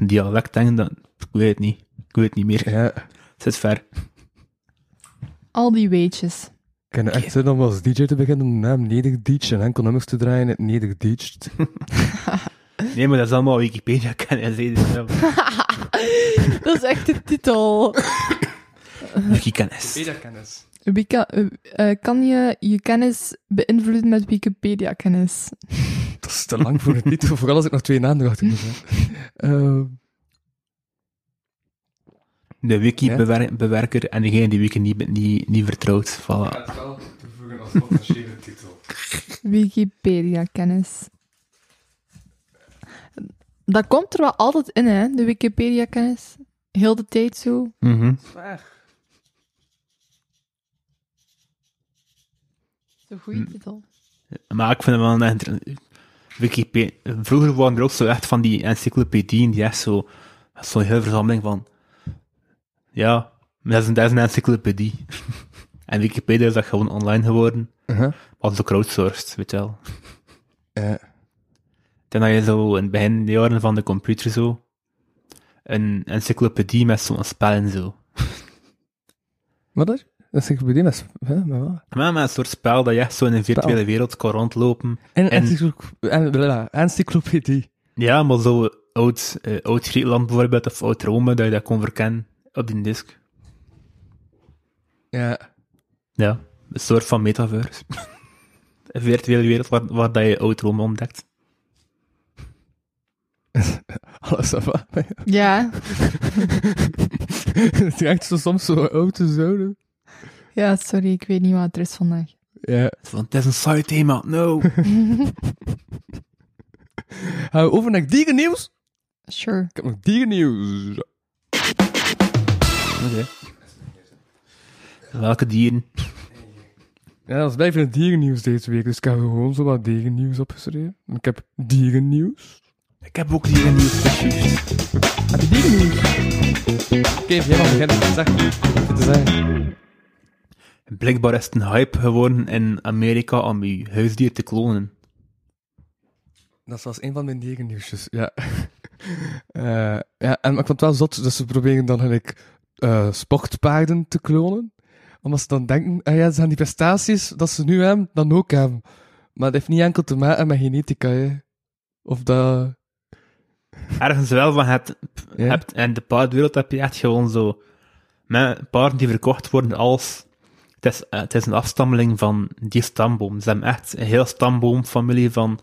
dialect, denk ik. dat- Ik weet het niet. Ik weet het niet meer.
Ja.
Het is ver.
Al die weetjes. *laughs*
Ik heb nu echt zin om als DJ te beginnen om de naam Nederdietsch en enkel nummers te draaien in het Nederdietsch.
Nee, maar dat is allemaal Wikipedia *laughs* dus kennen. Wikipedia
Dat is echt de titel.
kennis.
kennis.
Wie kan, eh, eh, kan je je kennis beïnvloeden met Wikipedia-kennis?
Dat is te lang voor een titel, vooral als ik nog twee namen erachter moet *laughs* zetten. Ehm,
De
Ja.
wiki-bewerker en degene die wiki niet, niet, niet vertrouwt. Voilà.
het wel toevoegen als potentiële titel.
Wikipedia-kennis. Dat komt er wel altijd in, hè, de Wikipedia-kennis. Heel de tijd zo.
Mhm.
Zo'n goede titel.
Maar ik vind het wel een inter- Wikipedia. Vroeger waren er ook zo echt van die encyclopedieën die echt zo. dat is Zo'n hele verzameling van. Ja, maar dat is een, dat is een encyclopedie. *laughs* en Wikipedia is dat gewoon online geworden.
Uh-huh.
Was zo crowdsourced, weet je wel.
Ja.
Ten dat je zo in het begin de jaren van de computer zo. een encyclopedie met zo'n spel en zo.
Wat is? Dat is een probleem, dat is... Hè, maar wat?
Maar met een soort spel dat je echt zo in een virtuele
Spel.
wereld kan rondlopen.
En,
En-
encyclo- en, blablabla, encyclopedie.
Ja, maar zo oud, eh, oud Griekenland bijvoorbeeld, of oud Rome, dat je dat kon verkennen op die disk.
Ja.
Ja, een soort van metaverse. *laughs* een virtuele wereld waar, waar dat je oud Rome ontdekt.
Alles af.
Ja,
*laughs* Het is echt zo soms zo oude zonen.
ja, sorry, ik weet niet wat er is vandaag.
Ja.
Van, het is een saai thema, *laughs* no.
Gaan we over naar dierennieuws?
Sure.
Ik heb nog dierennieuws.
Welke dieren?
Ja, dat is blijven het dierennieuws deze week. Dus ik heb gewoon zo wat dierennieuws opgeschreven. En Ik heb dierennieuws.
Ik heb ook dieren nieuws.
Heb je dierennieuws? Oké, jij mag beginnen. Zeg, dit te zeggen.
Blijkbaar is het een hype geworden in Amerika om je huisdier te klonen.
Dat was een van mijn dierennieuwsjes, ja. *laughs* Eh, ja, en maar ik vond het wel zot, dus ze proberen dan gelijk eh, sportpaarden te klonen. Omdat ze dan denken, ah ja, ze gaan die prestaties dat ze nu hebben, dan ook hebben. Maar dat heeft niet enkel te maken met genetica, hè. Of dat...
Ergens wel, want het,
Ja.
hebt, in de paardwereld heb je echt gewoon zo... Met paarden die verkocht worden als... Het is, eh, het is een afstammeling van die stamboom. Ze hebben echt een heel stamboomfamilie van,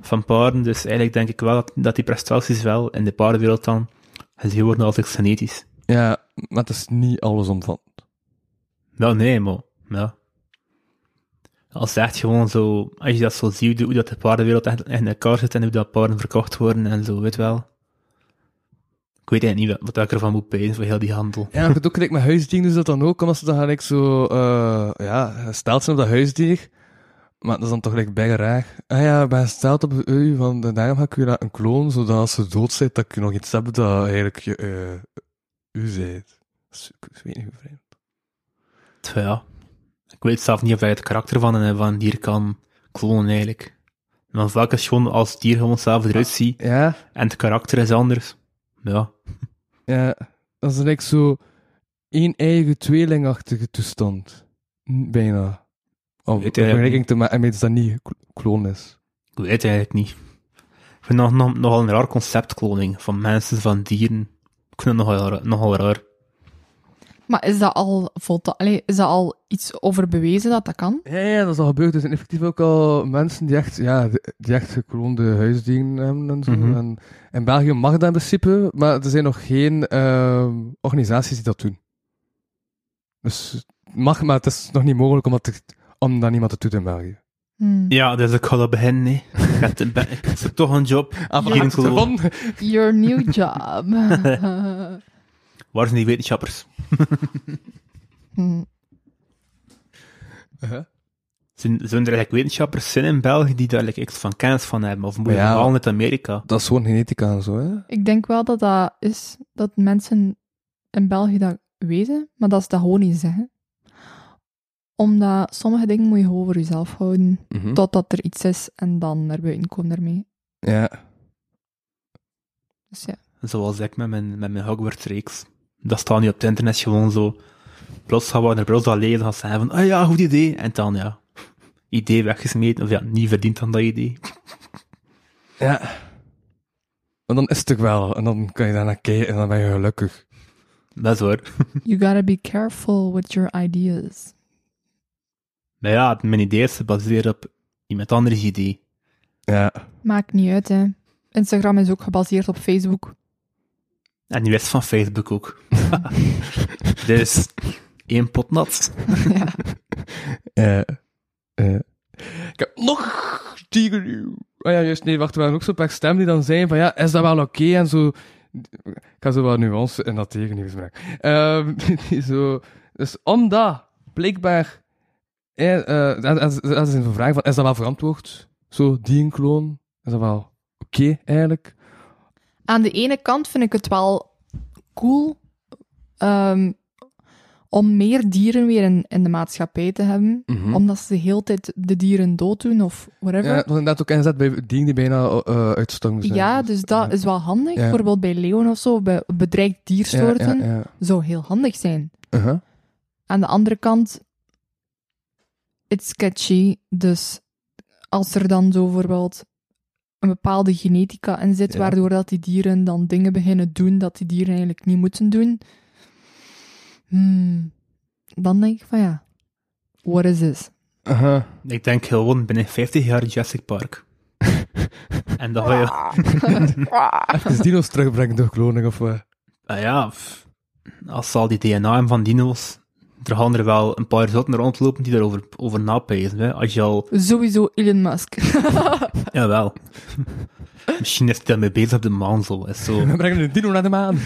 van paarden. Dus eigenlijk denk ik wel dat, dat die prestaties wel in de paardenwereld dan gezien worden als iets genetisch.
Ja, maar het is niet allesomvattend.
Wel, nee, maar... Ja. Als je echt gewoon zo... Als je dat zo ziet, hoe dat de paardenwereld echt in elkaar zit en hoe dat paarden verkocht worden en zo, weet wel. Ik weet eigenlijk niet wat, wat ik ervan moet pijn voor heel die handel.
Ja, maar het ook gelijk met huisdieren doen ze dat dan ook, omdat ze dan gelijk zo, eh, ja, gesteld zijn op dat huisdier. Maar dat is dan toch gelijk bij raar. Ah ja, ik ben gesteld op u, van de daarom ga ik u laten klonen, zodat als ze dood zijn, dat ik u nog iets heb dat eigenlijk je, eh, u zijt. Dat is- Ik weet niet hoe vreemd.
Tja, ja. Ik weet zelf niet of je het karakter van een, van een dier kan klonen, eigenlijk. Want vaak is gewoon als het dier gewoon zelf eruit ziet
Ja,
en het karakter is anders. Ja.
ja. Dat is gelijk zo één eigen tweelingachtige toestand. Hm, Bijna. Om een
Weet jij dat
vergelijking te maken met iets dat niet klo- kloon is.
Ik weet het eigenlijk niet. Ik vind nog, nog, nogal een raar concept kloning van mensen, van dieren. Ik vind het nogal, ra- nogal raar.
Maar is dat al volta- Allee, is dat al iets over bewezen dat dat kan?
Ja, ja, dat is al gebeurd. Er zijn effectief ook al mensen die echt, ja, die echt gekloonde huisdieren hebben en zo.
Mhm.
En in België mag dat in principe, maar er zijn nog geen ehm, organisaties die dat doen. Dus het mag, maar het is nog niet mogelijk om dat, te- om dat niemand te doen in België.
Hmm.
Ja, dus ik ga dat beginnen, nee. Ik heb- Ik ben- ik heb toch een job.
Ah,
Dieren klonen.
Your new job. *laughs*
Waar zijn die wetenschappers?
Hmm.
Zijn, zijn er eigenlijk wetenschappers zijn in België die daar like, iets van kennis van hebben? Of moet je
Ja.
vooral uit Amerika?
Dat is gewoon genetica en zo, hè?
Ik denk wel dat dat is dat mensen in België dat weten, maar dat ze dat gewoon niet zeggen. Omdat sommige dingen moet je gewoon voor jezelf houden, totdat er iets is en dan naar buiten komen daarmee.
Ja.
Dus ja.
Zoals ik met mijn, met mijn Hogwarts-reeks. Dat staat nu op het internet gewoon zo. Plots gaan we er plots dat lezen, gaan ze zeggen van, ah ja, goed idee. En dan, ja, idee weggesmeten. Of ja, niet verdiend aan dat idee.
Ja. En dan is het toch wel. En dan kan je daarna kijken en dan ben je gelukkig.
Dat is waar.
You gotta be careful with your ideas.
Maar ja, mijn idee is gebaseerd op iemand anders idee.
Ja.
Maakt niet uit, hè. Instagram is ook gebaseerd op Facebook.
En die wist van Facebook ook. *laughs* dus, één pot nat.
ja.
Eh, eh. Ik heb nog dierennieuws. Oh ja, juist, nee, wacht, er waren ook zo'n paar stemmen die dan zeiden van, ja, is dat wel oké? En zo... Ik ga zo wat nuance in dat tegennieuws brengen. Ehm, *laughs* die zo... Dus omdat, blijkbaar... eh, eh, dat- dat is- dat is een vraag van, is dat wel verantwoord? Zo, die een kloon? Is dat wel oké, eigenlijk?
aan de ene kant vind ik het wel cool ehm, om meer dieren weer in, in de maatschappij te hebben. Omdat ze de hele tijd de dieren dooddoen of
Hm? Ja, het
whatever. Ja,
was inderdaad ook inzet bij dingen die bijna eh uitstongen zijn.
dus dat is wel handig.
Ja.
Bijvoorbeeld bij leeuwen of zo, bij bedreigd diersoorten,
Ja, ja, ja.
zou heel handig zijn.
Uh-huh.
Aan de andere kant, it's sketchy. Dus als er dan zo bijvoorbeeld een bepaalde genetica in zit,
Ja.
waardoor dat die dieren dan dingen beginnen doen dat die dieren eigenlijk niet moeten doen, hmm, dan denk ik van ja, what is this?
Uh-huh.
Ik denk gewoon binnen 50 jaar Jurassic Park. en dat wil je...
Even dino's terugbrengen door kloning of... eh,
Ah ja, pff. als ze al die DNA hebben van dino's, er gaan er wel een paar zotten rondlopen die daarover over napijzen. Hè? Als je al...
Sowieso Elon Musk.
Jawel. Misschien is hij daarmee bezig op de maan, zo. Is zo,
We brengen een dino naar de maan.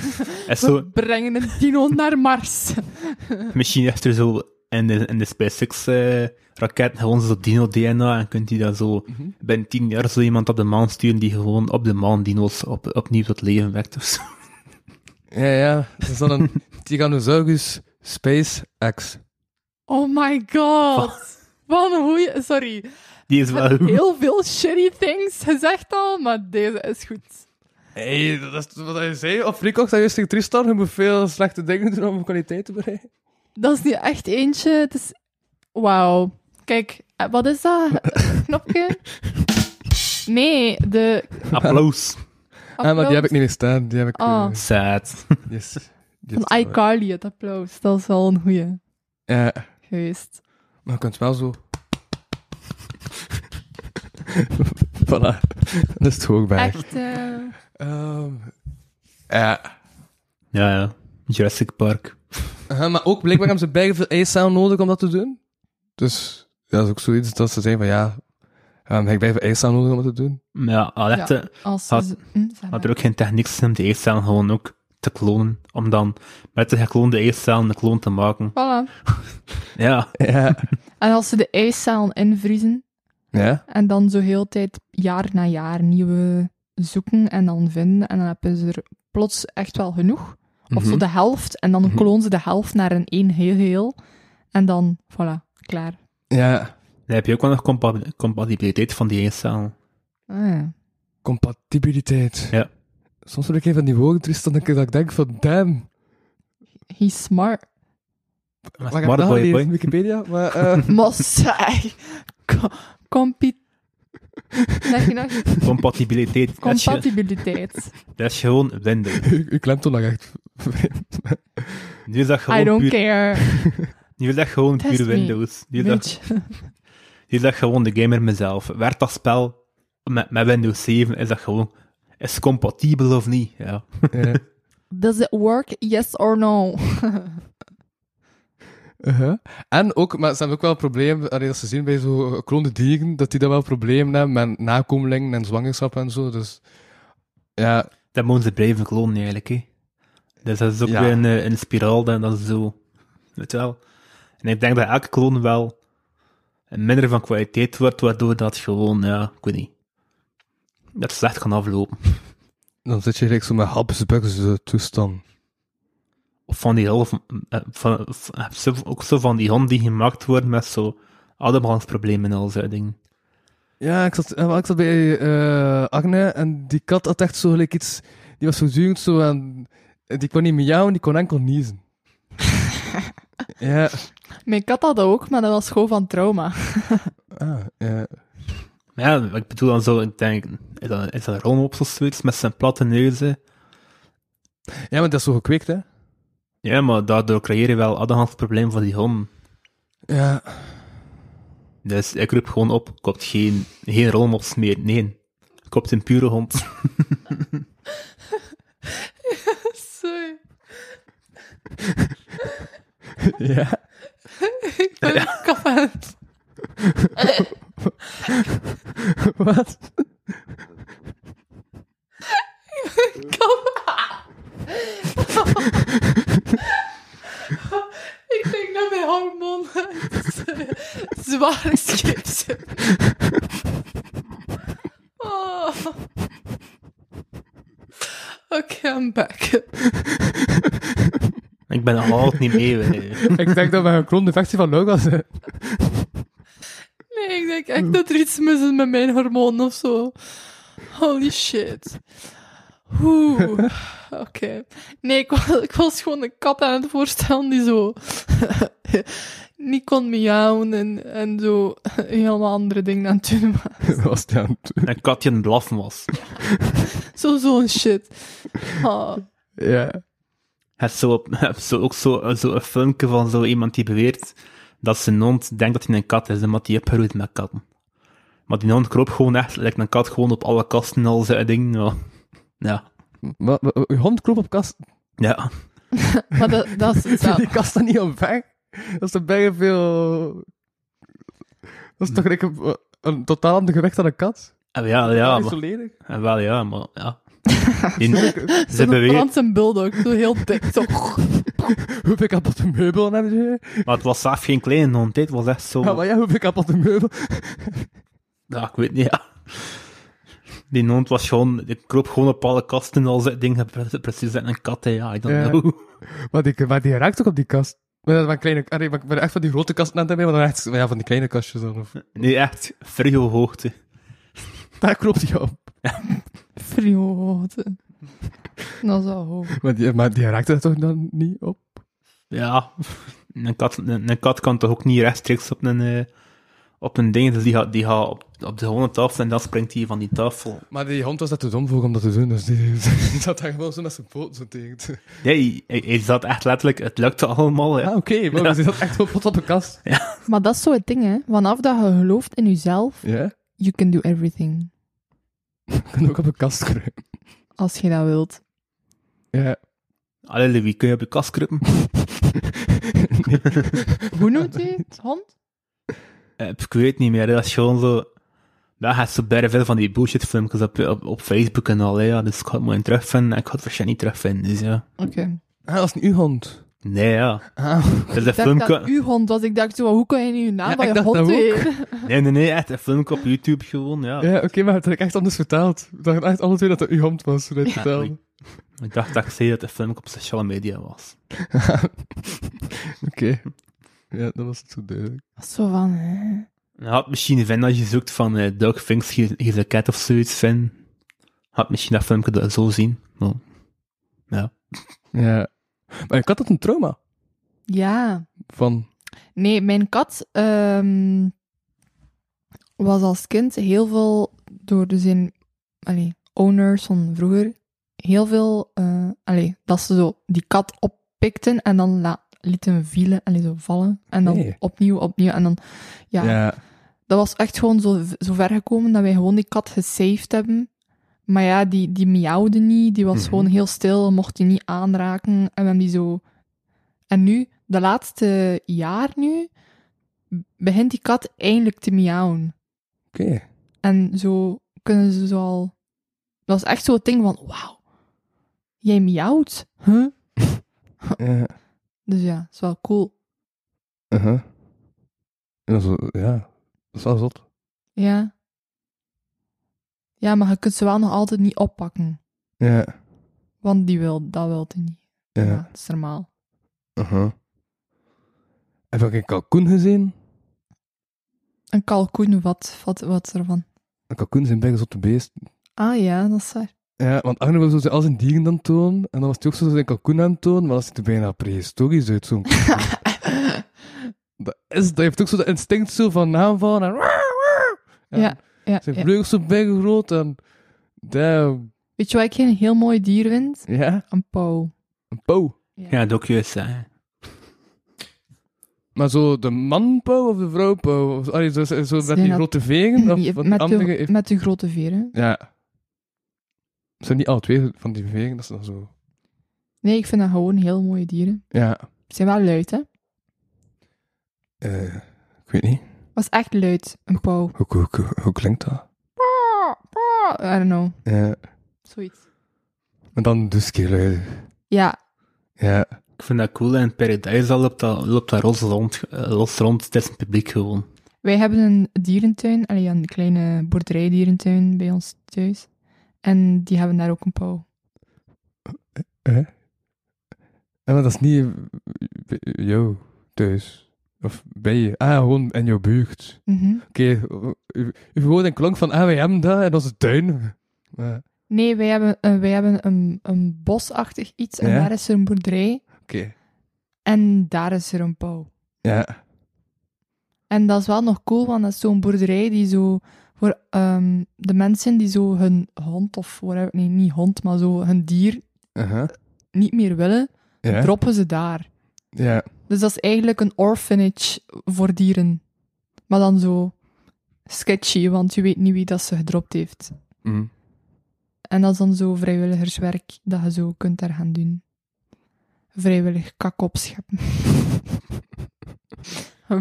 is zo
Brengen een dino naar Mars.
misschien heeft er zo in de, in de SpaceX-raket gewoon zo dino-DNA en kunt hij dat zo binnen 10 jaar zo iemand op de maan sturen die gewoon op de maan dino's op, opnieuw tot leven wekt of zo.
Ja, ja. Dat is dan een Tyrannosaurus SpaceX.
Oh my god. Wat een goeie... Sorry.
Die is wel goed.
Heel veel shitty things gezegd al, maar deze is goed.
Hé, hey, dat is wat hij zei. Op Freecox, dat is tegen Tristan. Je moet veel slechte dingen doen om kwaliteit te bereiken.
Dat is niet echt eentje. Het is... Wauw. Kijk, eh, wat is dat? Knopje? Nee, de...
*laughs* Applaus.
Ah, maar die heb ik niet meer staan. Die heb ik...
Ah.
eh,
Sad.
yes. Die heb ik
Van
wel.
iCarly, het applaus. Dat is wel een goeie
Ja,
geweest.
maar je kunt wel zo... *laughs* voilà. Dat is het hoogberg.
Echt... eh,
Ehm ja.
*laughs* Ja, ja. Jurassic Park.
Aha, maar ook blijkbaar hebben ze bijna veel eicel nodig om dat te doen. Dus ja, dat is ook zoiets dat ze zeggen van ja, ehm heb ik bijna veel eicel nodig om dat te doen.
Maar ja, al echt,
ja,
eh,
als ze
had-
ze- hm, zeg
had
maar.
er ook geen techniek zijn om de eicellen gewoon ook te klonen. Om dan met de gekloonde eicellen een kloon te maken.
Voilà.
Ja,
Ja.
En als ze de ijscellen invriezen
ja?
en dan zo heel de tijd jaar na jaar nieuwe zoeken en dan vinden en dan hebben ze er plots echt wel genoeg. Of zo de helft. En dan
Mhm.
klonen ze de helft naar een één heel heel. En dan, voilà, klaar.
Ja.
dan heb je ook wel nog compa- compatibiliteit van die eicellen.
Ah, ja.
Compatibiliteit.
Ja.
Soms word ik even van die woorden, Tristan, dat ik dat ik denk van damn.
He's smart. *laughs*
Maar
Waar heb
smart
ik dat
boy,
gelezen?
boy.
Wikipedia? Maar,
*laughs*
eh,
Mossai. Co- compi- Zeg je nog?
*laughs*
*laughs*
Compatibiliteit. dat, is je,
Compatibiliteit.
dat is gewoon winden.
u, u klemt toch nog echt. *laughs*
Nu is dat *laughs*
I
gewoon
don't
puur, *laughs*
care.
nu is dat gewoon
Test
puur
me,
Windows. Nu is, dat,
Bitch.
nu is dat gewoon de gamer mezelf. Werd dat spel met, met Windows 7, is dat gewoon... Is het compatibel of niet? Ja.
Ja.
Does it work? Yes or no? *laughs*
Uh-huh. En ook, maar ze hebben ook wel problemen, allee, als ze zien bij zo gekloonde dieren, dat die dan wel problemen hebben met nakomelingen en zwangerschap en zo. Dus ja,
Dat moeten ze blijven klonen eigenlijk, hè. Dus dat is ook
Ja.
weer een, eh, een spiraal, dan dat is zo... Weet je wel? En ik denk dat elke kloon wel een minder van kwaliteit wordt, waardoor dat gewoon, ja, ik weet niet. Dat slecht kan aflopen.
Dan zit je gelijk zo met Habsburgse toestand.
Of van die heel... Van, eh, van, van- heb je zo- ook zo van die hond die gemaakt wordt met zo ademhalingsproblemen en al zo'n dingen.
Ja, ik zat, eh, wel, ik zat bij eh Agne en die kat had echt zo gelijk iets... Die was voortdurend zo aan... eh, Die kon niet miauwen, die kon enkel niezen. ja.
Mijn kat had dat ook, maar dat was gewoon van trauma.
Ah, ja.
Maar ja, ik bedoel dan zo, ik denk, is dat, is dat een Ronald of zoiets met zijn platte neuzen?
ja, maar dat is zo gekweekt, hè?
Ja, maar daardoor creëer je wel ademhalingsproblemen voor die honden.
Ja.
Dus ik roep gewoon op, koopt geen, geen rolmops meer, nee. Koopt een pure hond.
Sorry.
ja.
Ik ben kapot.
*laughs* Wat?
eh, zware chips. oh. Oké, I'm back.
Ik ben nog altijd niet mee. hè.
Ik denk dat we een kroondefectie van Laura *laughs* zijn.
Nee, ik denk echt dat er iets mis is met mijn hormoon of zo. Holy shit. Oeh. *laughs* Oké. Nee, ik was, ik was gewoon een kat aan het voorstellen die zo. *laughs* niet kon miauwen en, en zo *laughs* helemaal andere dingen aan het doen was.
was het aan het-
Een katje aan het blaffen was.
Zo, zo'n shit. Ah.
Ja.
Heb zo, heb zo ook zo, zo een filmpje van zo iemand die beweert dat zijn hond denkt dat hij een kat is, omdat hij opgeroeid met katten. Maar die hond kroop gewoon echt, lijkt een kat, gewoon op alle kasten en al zijn dingen. Ja. Ja.
Maar, maar, uw hond kroop op kast.
ja.
Maar dat, dat *laughs* is
Zit
hetzelfde.
die kast dan niet omver? Dat is toch bijna veel... Dat is toch gelijk een, een totaal ander gewicht aan een kat?
En wel, Ah, ja,
Dat is
maar,
zo lelijk.
en wel, ja, maar, ja. Die- ze
Een
beweert,
Franse bulldog, zo heel dik. Zo.
Hoeveel kapotte meubel hebben ze?
maar het was zelf geen kleine hond, hè. het was echt zo...
Ja, Ah, maar ja, hoeveel kapotte meubel?
Ja, ik weet niet, ja. Die hond was gewoon... Ik kroop gewoon op alle kasten en al zijn dingen. pre- Precies en een kat, hè. Ja, ik nou.
Ja.
don't know.
Maar die, maar die raakt toch op die kast? Maar dat waren kleine... Allee, maar ik ben echt van die grote kasten aan het hebben, maar dan echt maar ja, van die kleine kastjes dan. Of,
Nee, echt. Frigo hoogte.
*laughs* daar klopt hij op.
Frioten. Dat is wel hoog.
Maar die, maar die raakte er toch dan niet op?
Ja. Een kat, een, een kat kan toch ook niet rechtstreeks op een... eh, op een ding. Dus die gaat, die gaat op, op de gewone tafel en dan springt hij van die tafel.
Maar die hond was dat te dom voor om dat te doen, dus die, *laughs* die zat daar gewoon zo met zijn poot zo tegen. te-
Nee, hij, hij zat echt letterlijk... Het lukte allemaal,
Ah,
ja.
oké, maar die zat echt wel pot op de kast.
Maar dat is zo het ding, hè. Vanaf dat je gelooft in jezelf,
Ja,
you can do everything.
kan ook op een kast kruipen.
Als je dat wilt.
*laughs* Ja.
Allee, Louis, kun je op je kast kruipen?
Hoe noemt hij het? Hond?
Eh, Ik weet niet meer, dat is gewoon zo... Daar gaat zo bij veel van die bullshit filmpjes op, op, op Facebook en al, hè, ja. Dus ik ga het mooi terugvinden en ik ga het waarschijnlijk niet terugvinden, dus ja.
Oké.
*laughs* Ah, dat is Ah. niet uw hond.
Nee, *laughs* ja. Dat is een
Ik dacht dat
filmpje...
uw hond was. Ik dacht zo, hoe kan je nu je naam
Ja,
van
ik
je
dacht
hond
dat ook.
weten? *laughs*
Nee, nee, nee, echt een filmpje op YouTube gewoon, ja.
Ja, oké, maar het heb ik echt anders vertaald. Ik dacht echt alle twee dat het uw hond was, toen hij het
Ja,
vertelde.
oei. Ik dacht dat ik zei dat het een filmpje op sociale media was.
*laughs* Oké. Ja, dat was het zo duidelijk.
Zo van, hè.
Je had misschien vinden als je zoekt van eh, Doug Finks, hier is een cat of zoiets, Finn. Had misschien dat filmpje dat zo zien, maar... Ja.
Ja. Maar ik had dat een trauma
Ja.
van...
Nee, mijn kat ehm, was als kind heel veel door de zin, allee, owners van vroeger, heel veel, eh, allee, dat ze zo die kat oppikten en dan la- lieten vielen, allee, zo vallen. En dan
Nee.
opnieuw, opnieuw. En dan, ja, dat was echt gewoon zo, zo ver gekomen dat wij gewoon die kat gesaved hebben. Maar ja, die, die miauwde niet, die was
Mhm.
gewoon heel stil, mocht die niet aanraken. En we hebben die zo... En nu, de laatste jaar nu, begint die kat eindelijk te miauwen.
Oké.
En zo kunnen ze zo al... Dat was echt zo'n ding van, wauw, jij miauwt? Huh?
Ja.
Dus ja, is wel cool.
Uh-huh. En zo, ja, dat is wel zot.
Ja. Ja, maar je kunt ze wel nog altijd niet oppakken.
Ja.
Want die wil, dat wil hij niet.
Ja.
Ja, dat is normaal.
Uh-huh. Heb ik een kalkoen gezien?
Een kalkoen, wat, wat, wat ervan?
Een kalkoen zijn bijna zotte beest.
Ah ja, dat
*laughs*
is waar.
Ja, want Arno wilde zo zijn- al zijn dieren dan tonen. En dan was hij ook zo zijn kalkoen aan het tonen. Maar dat ziet er bijna prehistorisch uit, zo'n kalkoen. dat, is, dat heeft ook zo dat instinct zo van aanvallen. En,
Ja, ja, ja,
Zijn vleugels zo bijna groot. En, damn.
Weet je wat ik een heel mooi dier vind?
Ja,
Een pauw.
een pauw.
Ja, dat ook juist, hè.
Maar zo de manpauw of de vrouwpauw? Of, allee, zo, zo met
Zijn
die
dat-
grote vegen?
*laughs*
Of
Die-
wat
met,
andere
de,
heeft-
met de grote veren.
Ja. Het zijn niet alle twee van die vegen, dat is dan zo.
Nee, ik vind dat gewoon heel mooie dieren.
Ja.
Ze zijn wel luid, hè?
Eh, ik weet niet.
Was echt luid, een pauw.
Hoe, hoe, hoe, hoe klinkt dat?
I don't know,
Ja.
zoiets.
Maar dan dus keer
Ja,
Ja.
Ik vind dat cool en Paradise al loopt dat, loopt dat los, rond, eh, los rond. Het is een publiek gewoon.
Wij hebben een dierentuin, allee, ja, een kleine boerderijdierentuin bij ons thuis. En die hebben daar ook een pauw.
Ja, maar dat is niet bij jou thuis. Of bij je. Ah, gewoon in jouw buurt.
Mhm.
Oké, u uw woorden klonk van, ah, wij hebben dat in onze tuin. Maar,
Nee, wij hebben, eh, wij hebben een, een bosachtig iets en
Ja?
daar is er een boerderij
Oké.
en daar is er een pauw.
Ja.
En dat is wel nog cool, want dat is zo'n boerderij die zo voor ehm, de mensen die zo hun hond of whatever, nee, niet hond, maar zo hun dier
Aha.
niet meer willen,
Ja.
droppen ze daar.
Ja.
Dus dat is eigenlijk een orphanage voor dieren. Maar dan zo sketchy, want je weet niet wie dat ze gedropt heeft.
Mm.
En dat is dan zo vrijwilligerswerk dat je zo kunt daar gaan doen. Vrijwillig kak opscheppen. *laughs*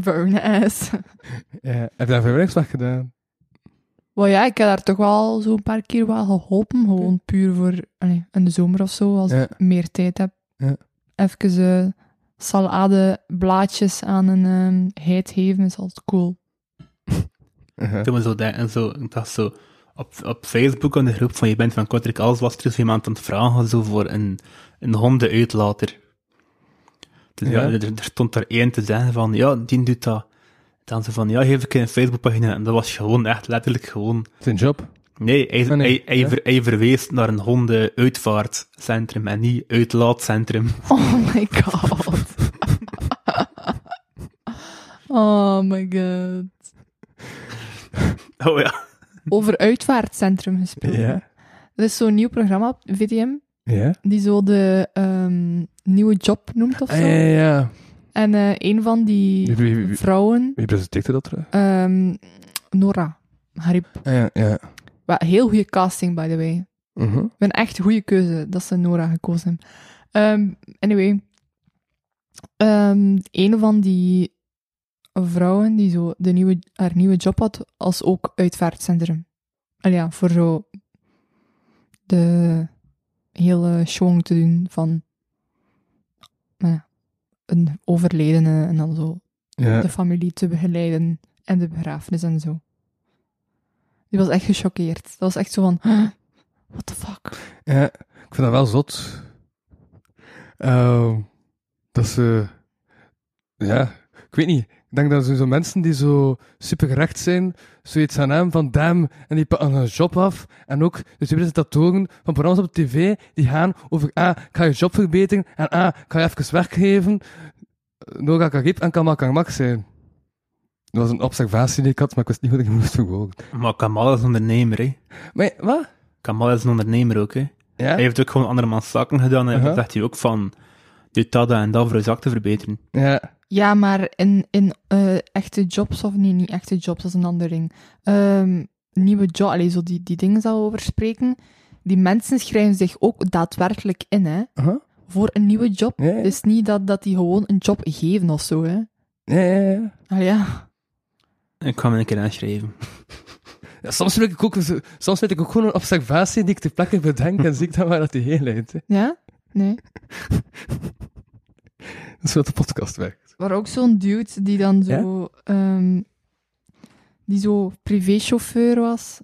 Burn ass.
Ja. Heb je daar vrijwilligerswerk gedaan?
Wel ja, ik heb daar toch wel zo'n paar keer wel geholpen. Gewoon puur voor allee, in de zomer of zo, als
Ja.
ik meer tijd heb.
Ja.
Even eh, saladeblaadjes aan een ehm, heid geven is altijd
*laughs*
cool.
Aha.
Toen we zo daar- en zo, ik dacht zo, op, op Facebook in de groep van je bent van Kortrijk Alles was er eens iemand aan het vragen zo voor een, een hondenuitlater. Dus ja,
Ja.
er, er stond er één te zeggen van, ja, die doet dat. Dan ze van, ja, geef ik een Facebookpagina. En dat was gewoon echt letterlijk gewoon...
Zijn job?
Nee, hij,
Ah, nee,
hij, hij,
ja.
ver- hij verwees naar een hondenuitvaartcentrum en niet uitlaatcentrum. *laughs*
Oh my god. *laughs* oh my god.
Oh ja.
Over uitvaartcentrum gesproken. Er is zo'n nieuw programma op VTM,
Ja?
die zo de ehm, nieuwe job noemt of zo.
Ah, ja, ja, ja.
En eh, een van
Wie,
die
wie, wie- wie-
vrouwen,
wie presenteerde dat terug?
ehm, Nora Harip.
Ah, ja, ja.
Wel, heel goede casting, by the way.
Mhm.
Ik ben echt goede keuze dat ze Nora gekozen hebben. Ehm, anyway. Ehm, een van die vrouwen die zo de nieuwe, haar nieuwe job had, als ook uitvaartcentrum. Al ja, voor zo de hele schwung te doen van nou ja, een overledene en dan zo
Ja.
de familie te begeleiden en de begrafenis en zo. Die was echt gechoqueerd. Dat was echt zo van, *gasps* "Huh? what the fuck?
Ja, ik vind dat wel zot. Ehm, dat ze... Ja, ik weet niet. Ik denk dat er zo mensen die zo supergerecht zijn, zoiets aan hem van damn, en die pakken hun job af. En ook de presentatoren van programma's op tv, die gaan over ah, ik ga je job verbeteren, en ah, ik ga je even weggeven. Noga Kagib en Kamal Kangmak zijn. Dat was een observatie die ik had, maar ik wist niet hoe ik die moest verwoorden.
Maar Kamal is een ondernemer, hè.
Maar wat?
Kamal is een ondernemer ook, hè.
Ja?
Hij heeft ook gewoon andermans zaken gedaan en
Aha.
dan zegt hij ook van, doe dat en dat voor je zak te verbeteren.
Ja.
Ja, maar in, in eh, echte jobs, of nee, niet echte jobs, dat is een ander ding. Ehm, nieuwe job, allee, zo die, die dingen zou over spreken. Die mensen schrijven zich ook daadwerkelijk in, hè.
Aha.
Voor een nieuwe job.
Ja, ja.
Het is niet dat, dat die gewoon een job geven of zo, hè.
Ja, ja, ja.
Allee, ja.
Ik kwam een keer aanschrijven.
Ja, soms, wil ik ook, soms weet ik ook gewoon een observatie die ik ter plekke bedenk en zie ik dan waar dat die heen leidt. hè.
Ja? Nee.
Dat is wat de podcast werkt.
Maar ook zo'n dude die dan zo... ehm, die zo privéchauffeur was.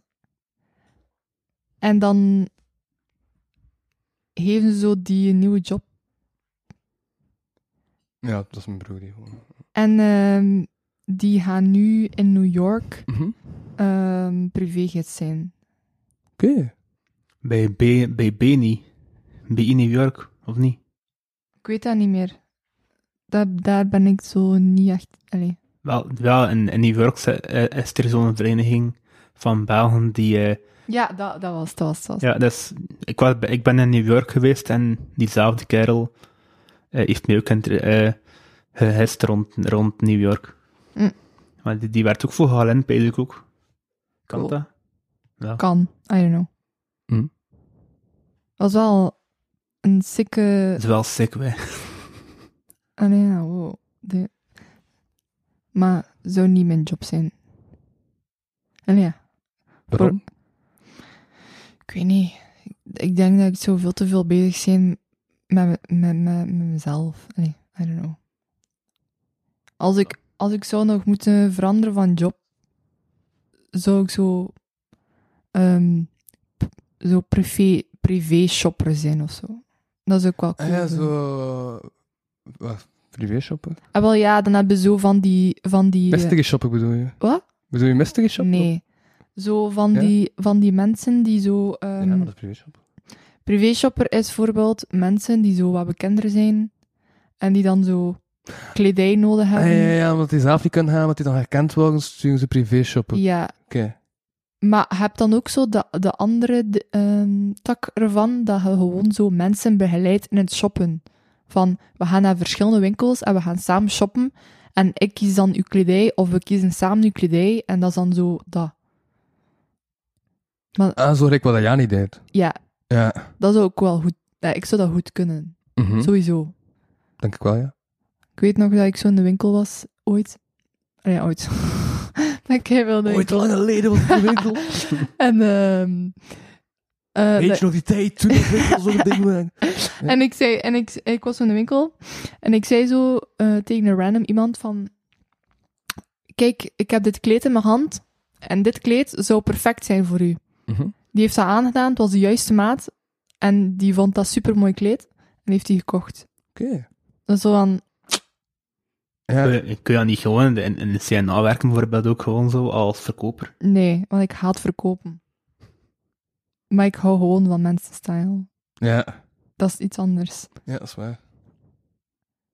En dan... Geven ze zo die een nieuwe job.
Ja, dat is mijn broer die gewoon...
En ehm, die gaan nu in New York
Mhm.
ehm privégids zijn.
Oké.
Bij, B, bij Beni. Bij in New York, of niet?
Ik weet dat niet meer. Dat, daar ben ik zo niet echt... Allee.
Wel, wel in, in New York ze- eh, is er zo'n vereniging van Belgen die... eh,
Ja, dat, dat was dat. Was, dat was.
ja, dus, ik, was, ik ben in New York geweest en diezelfde kerel eh, heeft mij ook inter- eh, gehest rond, rond New York.
Mm.
Maar die, die werd ook voor HLN, weet ik ook. Kan
Cool.
dat?
Kan. I don't know.
Hm.
was wel een sikke...
Dat is wel sick, wij.
Ah nee, ja, wow. De... Maar zou niet mijn job zijn. En ja,
Waarom?
ik weet niet. Ik denk dat ik zo veel te veel bezig ben met, me- met, met, met mezelf. Nee, I don't know. Als ik als ik zou nog moeten veranderen van job, zou ik zo, ehm, p- zo privé, privé shopper zijn of zo. Dat is ook wel cool.
Ah ja,
vinden.
zo... Wat? Privé shoppen?
Ah, wel ja, dan heb je zo van die... Van die
Mestige shoppen bedoel je?
Wat?
Bedoel je mestige shoppen?
Nee. Zo van,
Ja?
die, van die mensen die zo...
Ja,
ehm
maar dat is privé shoppen.
Privéshopper is bijvoorbeeld mensen die zo wat bekender zijn en die dan zo kledij nodig
Ah,
hebben.
ja, ja, ja, omdat die zelf niet kunnen gaan, omdat die dan herkend worden, sturen ze privé shoppen.
Ja,
Oké.
maar je hebt dan ook zo de, de andere de, ehm, tak ervan, dat je gewoon zo mensen begeleidt in het shoppen. Van, we gaan naar verschillende winkels en we gaan samen shoppen en ik kies dan uw kledij of we kiezen samen uw kledij en dat is dan zo dat.
Ah, zo ik wat dat niet deed.
Ja,
Ja.
dat zou ook wel goed... Ja, ik zou dat goed kunnen,
Mhm.
sowieso.
Denk ik wel, ja.
Ik weet nog dat ik zo in de winkel was, ooit. Ah Ja, ooit. *laughs* dat ik heel wilde.
Ooit lang geleden was ik in de winkel.
*laughs* En, ehm eh,
Weet
dat-
je nog die tijd toen ik winkel zo'n
*laughs*
ding waren?
en ik zei, en ik, ik was zo in de winkel en ik zei zo eh, tegen een random iemand van, kijk, ik heb dit kleed in mijn hand en dit kleed zou perfect zijn voor u.
Mhm.
Die heeft dat aangedaan, het was de juiste maat en die vond dat super mooi kleed en heeft die gekocht.
Oké.
Dat is zo van,
Ja.
Kun, je- kun je Eh, dat niet gewoon in de, in, in de CNA werken, bijvoorbeeld, ook gewoon zo, als verkoper?
nee, want ik haat verkopen. Maar ik hou gewoon van mensenstyle.
Ja.
dat is iets anders.
Ja, dat is waar.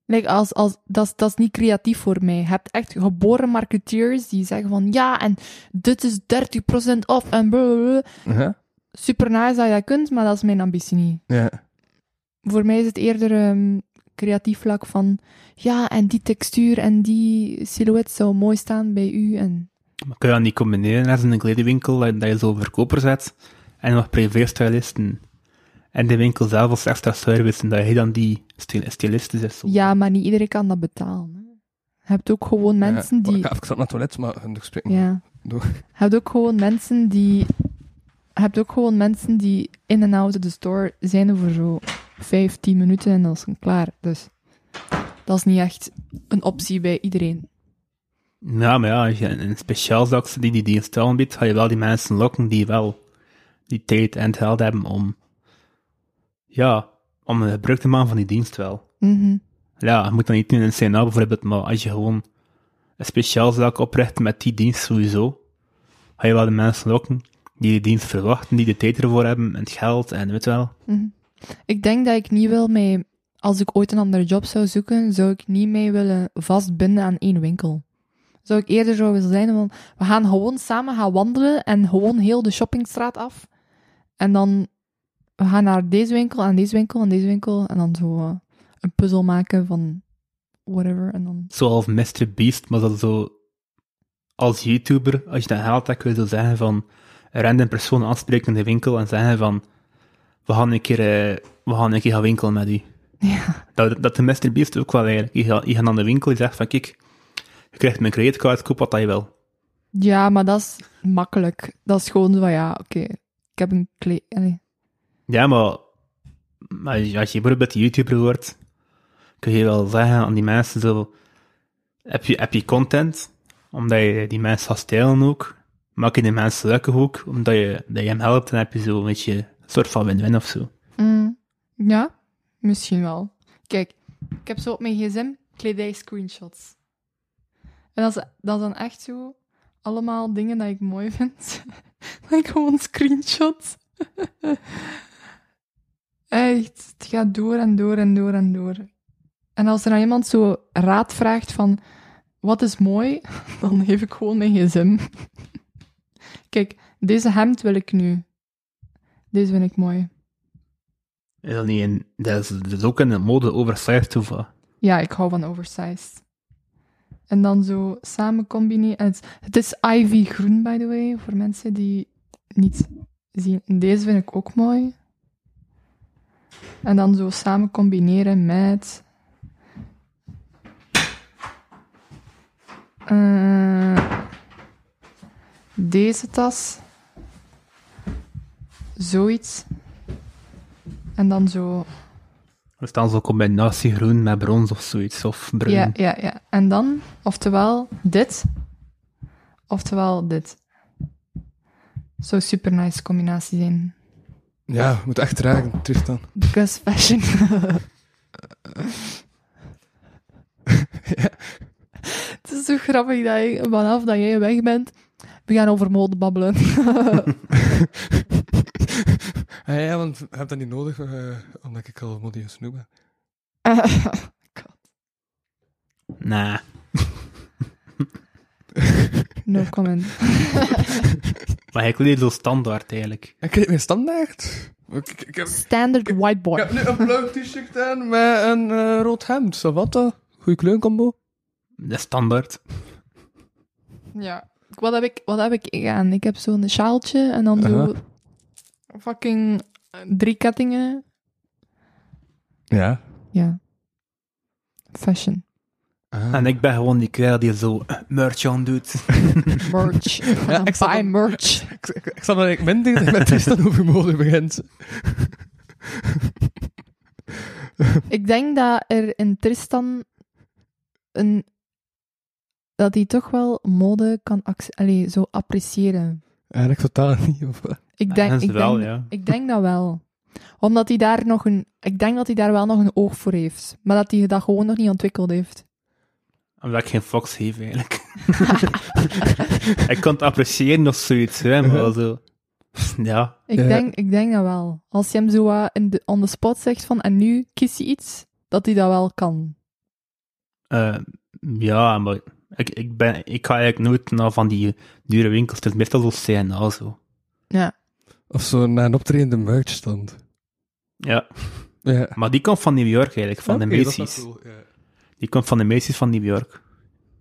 Like als, als, dat, is, dat is niet creatief voor mij. Je hebt echt geboren marketeers die zeggen van ja, en dit is 30% off en blablabla.
Ja.
Super nice dat je dat kunt, maar dat is mijn ambitie niet.
Ja.
Voor mij is het eerder ehm, creatief vlak van ja, en die textuur en die silhouet zou mooi staan bij u. En,
Maar kun je dat niet combineren als in een kledingwinkel, dat, dat je zo verkoper zet en nog privé-stylisten? En de winkel zelf als extra service, en dat je dan die stil- stylisten is. Zo.
ja, maar niet iedereen kan dat betalen. hè. Je hebt ook gewoon mensen
Ja.
die.
Ik ga even snel naar het toilet, maar hun spreken.
Ja.
Door.
Je hebt ook gewoon mensen die... Je hebt ook gewoon mensen die in en out of de store zijn voor zo 5, 10 minuten en dan is het klaar. Dus dat is niet echt een optie bij iedereen.
Ja, maar ja, als je een, een speciaal zakse die die dienst aanbiedt, ga je wel die mensen lokken die wel die tijd en het geld hebben om, ja, om een gebruik te maken van die dienst wel.
Mhm.
Ja, je moet dan niet in een CNA bijvoorbeeld, maar als je gewoon een speciaal zaak opricht met die dienst sowieso, ga je wel de mensen lokken die die dienst verwachten, die de tijd ervoor hebben en het geld en weet wel.
Ik denk dat ik niet wil mij... Als ik ooit een andere job zou zoeken, zou ik niet mee willen vastbinden aan één winkel. Zou ik eerder zo willen zijn van... We gaan gewoon samen gaan wandelen en gewoon heel de shoppingstraat af. En dan... We gaan naar deze winkel en deze winkel en deze winkel. En dan zo eh, een puzzel maken van... Whatever. En dan...
Zoals Mr. Beast, maar dat zo als YouTuber, als je dat haalt, dan kun je zo zeggen van een random persoon aanspreken in de winkel en zeggen van we gaan een keer, eh, we gaan, een keer gaan winkelen met u.
Ja.
Dat, dat de Mr. Beast ook wel eigenlijk. Je gaat, je gaat aan de winkel, je zegt van kijk, je krijgt mijn creditcard, koop wat dat je wil.
Ja, maar dat is makkelijk. Dat is gewoon zo van... Ja, oké. ik heb een kleed... allee.
Ja, maar als je als je bijvoorbeeld YouTuber wordt, kun je wel zeggen aan die mensen zo, heb je, heb je content, omdat je die mensen gaat stelen ook, maak je die mensen gelukkig ook, omdat je, dat je hem helpt, dan heb je zo een beetje een soort van win-win of zo.
Mm, ja, misschien wel. Kijk, ik heb zo op mijn gsm kledij screenshots. En dat is, dat is dan echt zo allemaal dingen dat ik mooi *laughs* vind. dat ik gewoon screenshots. echt, het gaat door en door en door en door. En als er aan iemand zo raad vraagt van wat is mooi, *laughs* dan geef ik gewoon mijn gsm. *laughs* Kijk, deze hemd wil ik nu. Deze vind ik mooi.
Is dat niet een, dat is, dat is ook in de mode oversized of wat?
Ja, ik hou van oversized. En dan zo samen combineren. En Het, het is Ivy groen, by the way, voor mensen die niet zien. En Deze vind ik ook mooi. En dan zo samen combineren met... Eh, deze tas. Zoiets. En dan zo
Er staan zo'n combinatie groen met brons of zoiets, of bruin.
Ja, ja, ja. En dan, oftewel dit, oftewel dit. Zou super nice combinatie zijn.
Ja, moet echt raken, *laughs* Tristan.
Because fashion. *laughs* Het is zo grappig dat je, vanaf dat jij weg bent, we gaan over mode babbelen. *laughs*
Ja, Ah, ja, want je hebt dat niet nodig, eh, omdat ik al modieus genoeg *laughs* ben.
Eh,
Nah.
no comment. *laughs*
Maar hij kleedt zo standaard eigenlijk.
Ik kreeg mijn standaard. Ik, ik, ik heb, ik
Standard whiteboard.
heb nu een blauw t-shirt aan met een eh, rood hemd. Zo wat dan? Goeie kleurencombo.
Dat is standaard.
Ja. Wat heb ik, wat heb ik aan? Ik heb zo'n sjaaltje en dan zo fucking eh, drie kettingen.
Ja.
Ja.
*laughs*
Fashion.
Ah.
En ik ben gewoon die kerel die zo eh, merch aan doet. *laughs*
Merch.
Ja, ik zat
Buy
op-
merch.
Ik, ik, ik snap dat ik minder dat ik met Tristan over mode *laughs* begint.
Ik denk dat er in Tristan een... Dat hij toch wel mode kan acce- allee, zo appreciëren.
Eigenlijk totaal *laughs* niet. Of, wat?
Ik denk,
dat is
ik,
wel,
denk,
ja.
ik denk dat wel. Omdat hij daar nog een... Ik denk dat hij daar wel nog een oog voor heeft. Maar dat hij dat gewoon nog niet ontwikkeld heeft.
Omdat ik geen fox heb eigenlijk. *laughs* ik kan het appreciëren of zoiets, hè, maar wel zo. Ja,
Ik,
Ja.
denk, ik denk dat wel. Als je hem zo wat in de, on the spot zegt van en nu kies je iets, dat hij dat wel kan.
Eh, ja, maar ik, ik, ben, ik ga eigenlijk nooit naar van die dure winkels. Het is meestal zo CNA zo.
of zo naar een optredende merchstand.
Ja,
Ja.
maar die komt van New York eigenlijk, van de Macy's. Die komt van de Macy's van New York.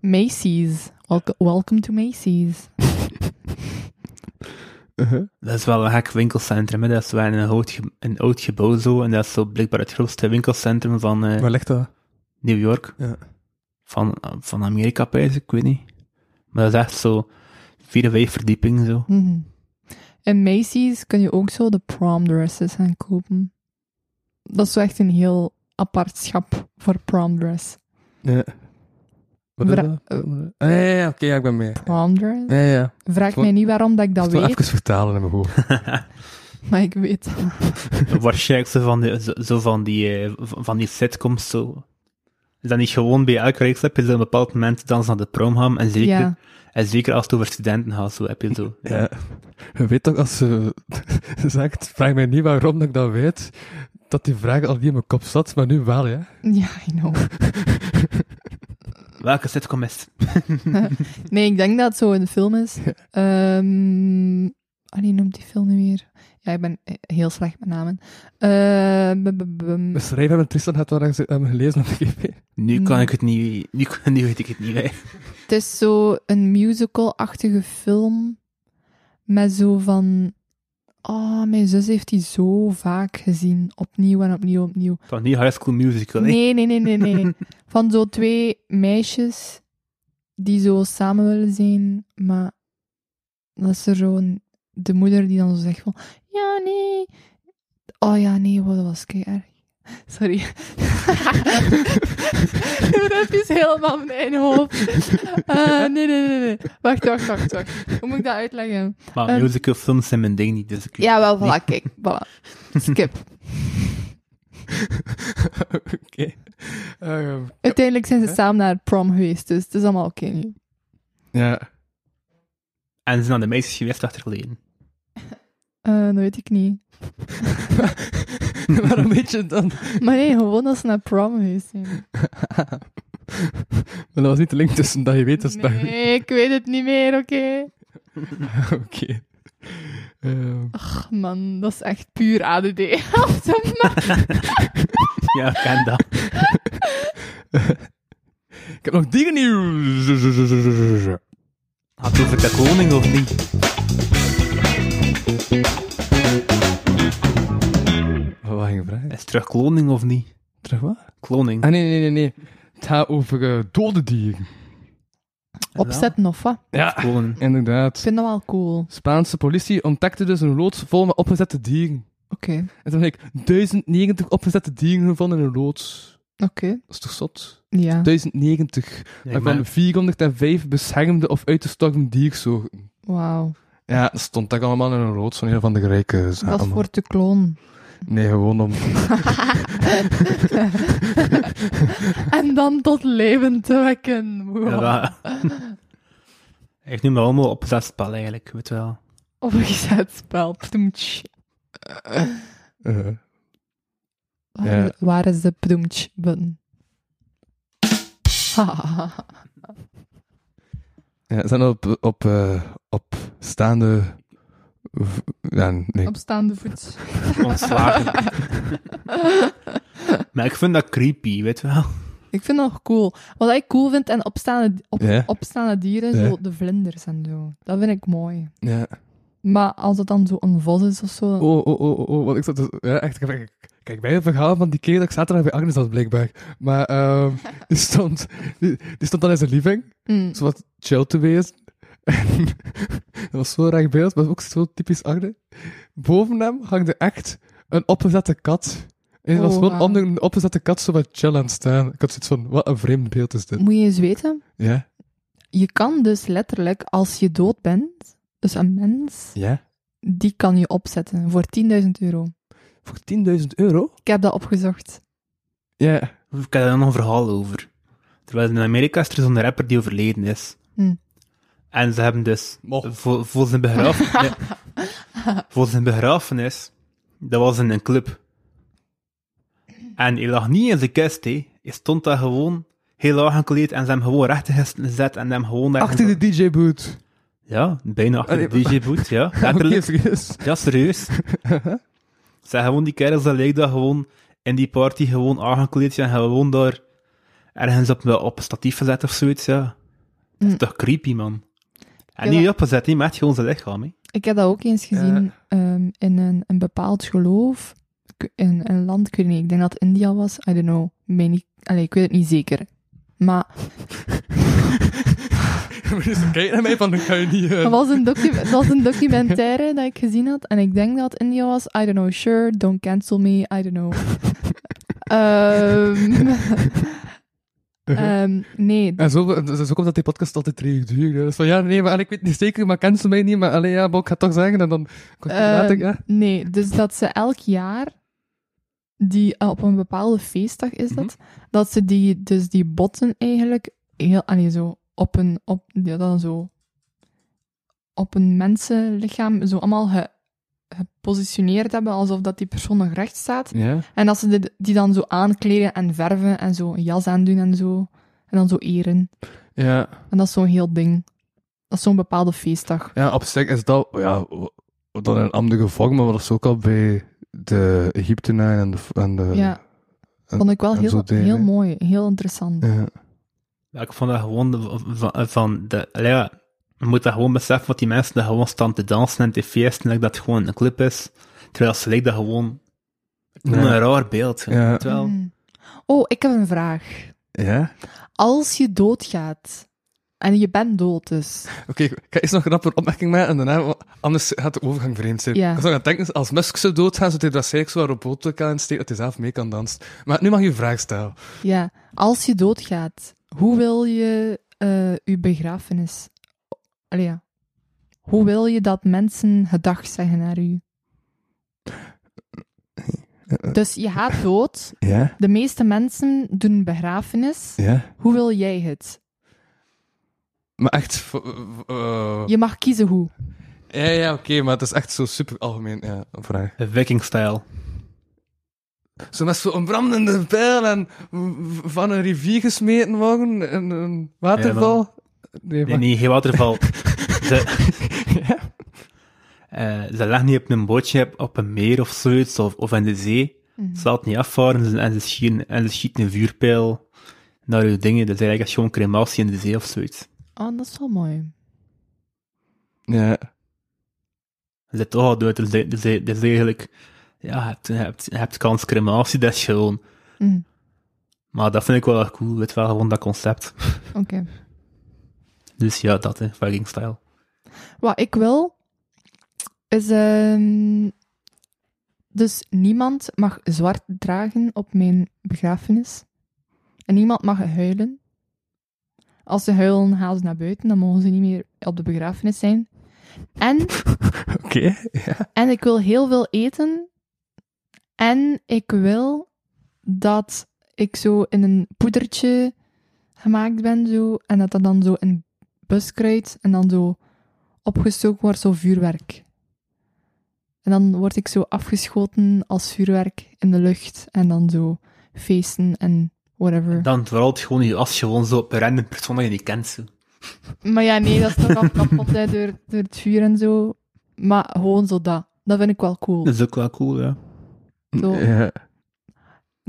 Macy's. Welcome, welcome to Macy's.
Uh-huh.
Dat is wel een gek winkelcentrum, hè. dat is wel in een oud, ge- een oud gebouw zo. En dat is zo blijkbaar het grootste winkelcentrum van eh,
Waar ligt dat?
New York.
Ja.
Van, van Amerika, pijs ik, ik weet niet. Maar dat is echt zo vier of vijf
*laughs*
verdiepingen zo.
Mhm. In Macy's kun je ook zo de prom dresses gaan kopen. Dat is zo echt een heel apart schap voor prom dress.
Ja. Wat is
Bra- eh,
dat? Ah, ja, ja, ja, oké, ja, ik ben mee.
Prom dress?
Ja, ja.
Vraag
Gewoon-
mij niet waarom dat ik
Dat
dat
ik wil
weet,
even vertalen in mijn hoofd.
maar ik weet dat.
Waarschijnlijk zo van, de, zo, zo van, die, eh, v- van die sitcoms zo. Is dat niet gewoon bij elke reeks heb je zo een bepaald moment dan ze naar de prom gaan en zeker,
Ja.
en zeker als het over studenten gaat, zo heb je zo.
*laughs* Ja. Je weet toch, als ze *laughs* zegt, vraag mij niet waarom dat ik dat weet, dat die vraag al niet in mijn kop zat, maar nu wel, ja.
Ja, I know.
*laughs*
Welke sitcom is het?
Nee, ik denk dat het zo een film is. Ehm ah, die noemt die film nu weer. Ja, ik ben heel slecht met namen. Ehm, bum,
*laughs*
bum, bum.
Beschrijf hem, Dus en Tristan had dat ergens hebben gelezen op de GP.
Nu kan
Nee.
ik het niet, nu, kan- nu weet ik het niet hè.
Het is zo een musical-achtige film met zo van... Oh, mijn zus heeft die zo vaak gezien. Opnieuw en opnieuw, opnieuw.
Van die High School Musical, hè.
Nee, nee, nee, nee,
*laughs*
nee. *laughs* nee. Van zo twee meisjes die zo samen willen zijn, maar dat is er zo'n... De moeder die dan zo zegt van... Ja, nee. Oh ja, nee, wow, dat was kei erg. *laughs* Sorry. *laughs* dat is helemaal mijn eigen
*laughs*
hoofd. Eh, nee, nee, nee, nee. Wacht, wacht, wacht, wacht. Hoe moet ik dat uitleggen?
Maar
Ehm.
musical films zijn mijn ding niet, dus ik...
Ja, wel, voilà, kijk. Voilà. Skip.
Oké. Ehm,
*laughs* Uiteindelijk zijn ze samen naar prom geweest, dus het is allemaal oké nu.
ja.
En ze zijn aan de meisjes geweest achtergeleden.
Eh, dat weet ik niet.
*laughs* maar een beetje dan...
Maar nee, gewoon als ze naar prom geweest zijn.
Maar dat was niet de link tussen dat je weet en dat je weet.
Nee, ik weet het niet meer, oké.
*laughs* Oké. Ehm,
Ach, Man, dat is echt puur ADD. *laughs* Op de *laughs* ma-
*laughs* Ja, ik ken dat.
*laughs* ik heb nog dingen nieuws.
Had het over de koning of niet?
Wat was je vraag?
Is het terug kloning of niet?
Terug wat?
Kloning.
Ah, nee, nee, nee, nee. Het gaat over eh, dode dieren.
Opzetten of wat?
Ja.
Klonen.
Inderdaad.
Ik vind dat wel cool.
Spaanse politie ontdekte dus een loods vol met opgezette dieren.
Oké,
En toen heb ik 1090 opgezette dingen gevonden in rood.
oké.
Dat is toch zot?
Ja.
1090.
Ja,
Waarvan 405 beschermde of uit te storten diersoorten. Ah,
Wauw.
Ja, dat stond dat allemaal in een rood van een van de rijke
Dat
zaken.
voor de kloon.
Nee, gewoon om...
*laughs* en dan tot leven te wekken. Wow.
Ja, dat- *laughs* Hij heeft nu maar allemaal op zes spel eigenlijk, weet je wel.
Opgezet spel. Pdoemtsch.
eh,
Waar,
Ja.
waar is de pdoemtsch *laughs* button? Hahaha.
ja, zijn op, op, eh, op staande... v- Ja, nee.
Op staande voet.
*laughs*
*laughs*
Ontslagen. maar ik vind dat creepy, weet je wel.
ik vind dat cool. Wat ik cool vind, en opstaande, op,
Ja.
opstaande dieren,
Ja.
zo de vlinders en zo. Dat vind ik mooi.
Ja.
Maar als het dan zo een vos is of zo...
Oh, oh, oh, oh, oh, want ik zat dus, ja, echt, ik- ik- kijk, bij een verhaal van die keer dat ik zaterdag bij Agnes zat, blijkbaar. Maar ehm die, stond, die, die stond dan in zijn living,
Mm.
zo wat chill te wezen. En *laughs* dat was zo'n raar beeld, maar ook zo typisch Agnes. Boven hem hangde echt een opgezette kat. En die was
Oh,
gewoon
wauw.
onder een opgezette kat zo wat chill aan het staan. Ik had zoiets van, wat een vreemd beeld is dit.
Moet je eens weten,
Ja?
je kan dus letterlijk, als je dood bent, dus een mens,
Ja?
die kan je opzetten voor 10.000 euro.
Voor 10.000 euro?
Ik heb dat opgezocht.
Ja.
Ik heb daar nog een verhaal over. Terwijl in Amerika is er zo'n rapper die overleden is.
Hm.
En ze hebben dus
Mo.
voor, voor zijn begrafenis... nee, voor zijn begrafenis, dat was in een club. En hij lag niet in zijn kist, hè. Hij stond daar gewoon heel aangekleed en ze hebben hem gewoon recht gezet en hem gewoon... daar-
Achter de DJ-boot.
Ja, bijna achter
Allee,
de
*laughs*
DJ-boot, ja. Letterlijk. Ja, serieus. Zijn gewoon die kerels, dat lijkt dat gewoon in die party gewoon aangekleed en gewoon daar ergens op, op een statief gezet of zoiets, ja. Dat is
Hm.
Mm.
toch creepy, man. En
Ja,
niet
dat-
opgezet, hè, met gewoon zijn lichaam, hè.
Ik heb dat ook eens gezien ehm, in een, een bepaald geloof. Ik- In een land, ik weet niet, ik denk dat het India was. I don't know. Mij niet, allee, ik weet het niet zeker. Maar
Kijk naar mij van, dan kan je niet... eh,
dat
*laughs*
*laughs* was, een docu- dat was een documentaire dat ik gezien had. En ik denk dat het India was. I don't know, sure, don't cancel me, I don't know.
*laughs*
Ehm,
Eh,
ehm, nee,
En zo, dus zo komt dat die podcast altijd drie uur duurt. hè. Dus van, ja, nee, maar ik weet niet zeker, maar ken ze mij niet, maar allee, ja, maar ik ga het toch zeggen. En dan komt hij later,
Ehm,
ja.
Nee, dus dat ze elk jaar, die, eh, op een bepaalde feestdag is dat, dat ze die, dus die botten eigenlijk heel, allee, zo op een, op, ja, dan zo, op een mensenlichaam zo allemaal ge- gepositioneerd hebben, alsof dat die persoon nog recht staat.
Ja.
En dat ze de- die dan zo aankleden en verven en zo een jas aandoen en zo. En dan zo eren.
Ja.
En dat is zo'n heel ding. Dat is zo'n bepaalde feestdag.
ja, op zich is dat, ja, w- dan een andere vorm, maar dat is ook al bij de Egyptenaren en de... En de
ja.
en-
Vond ik wel
en
heel,
zo dingen,
heel
hè.
mooi, heel interessant.
ja.
Ja, ik vond dat gewoon de- van, van de, allee, ja, je moet dat gewoon beseffen, wat die mensen daar gewoon staan te dansen en te feesten, like dat het gewoon een clip is. Terwijl ze lijkt dat gewoon, ik noem
Ja.
dat een raar beeld.
Ja.
Terwijl,
Mm. Oh, ik heb een vraag.
Ja?
Als je doodgaat, en je bent dood dus,
Oké, ik ga eerst nog een rapper opmerking maken en daarna, want anders gaat de overgang vreemd zijn.
Ja.
Ik was nog aan het denken, als Musk zou doodgaan, zou hij waarschijnlijk zo'n robotica insteken dat hij zelf mee kan dansen. Maar nu mag je een vraag stellen.
ja, als je doodgaat, hoe wil je eh, je begrafenis? Allee, ja. Hoe wil je dat mensen gedag zeggen naar u? Dus je gaat dood.
Ja?
De meeste mensen doen een begrafenis.
Ja?
Hoe wil jij het?
Maar echt... v- v- eh,
Je mag kiezen hoe.
Ja, ja, oké, maar het is echt zo super algemeen, ja, een vraag.
viking-style.
Zo met zo'n brandende pijl en v- van een rivier gesmeten worden, een, een waterval. Nee,
Nee,
wacht.
nee, geen waterval.
*laughs*
ze, *laughs* Eh, ze leggen niet op een bootje op, op een meer of zoiets, of, of in de zee.
Mhm.
Ze laten het niet afvaren ze- en ze, schieten, en ze schieten een vuurpijl naar hun dingen. Dat is eigenlijk echt gewoon crematie in de zee of zoiets.
Oh, dat is wel mooi.
Ja.
Ze zit toch al dood, dus dat is dat is eigenlijk... Ja, je hebt, je hebt, je hebt kans crematie, dat is gewoon...
Mhm.
Maar dat vind ik wel echt cool, weet wel, gewoon dat concept.
Oké.
Dus ja, dat, hè, Viking style.
Wat ik wil, is ehm, Dus niemand mag zwart dragen op mijn begrafenis. En niemand mag huilen. Als ze huilen, halen ze naar buiten. Dan mogen ze niet meer op de begrafenis zijn. En,
Oké.
en ik wil heel veel eten. En ik wil dat ik zo in een poedertje gemaakt ben. Zo, en dat dat dan zo in buskruid en dan zo opgestoken wordt, zo vuurwerk. En dan word ik zo afgeschoten als vuurwerk in de lucht. En dan zo feesten en whatever.
Dan vooral het gewoon als je gewoon zo op een random persoon dat je niet kent. Zo.
Maar ja, nee, dat is toch al kapot hè, door, door het vuur en zo. Maar gewoon zo dat. Dat vind ik wel cool.
Dat is ook wel cool, ja.
Zo,
Ja.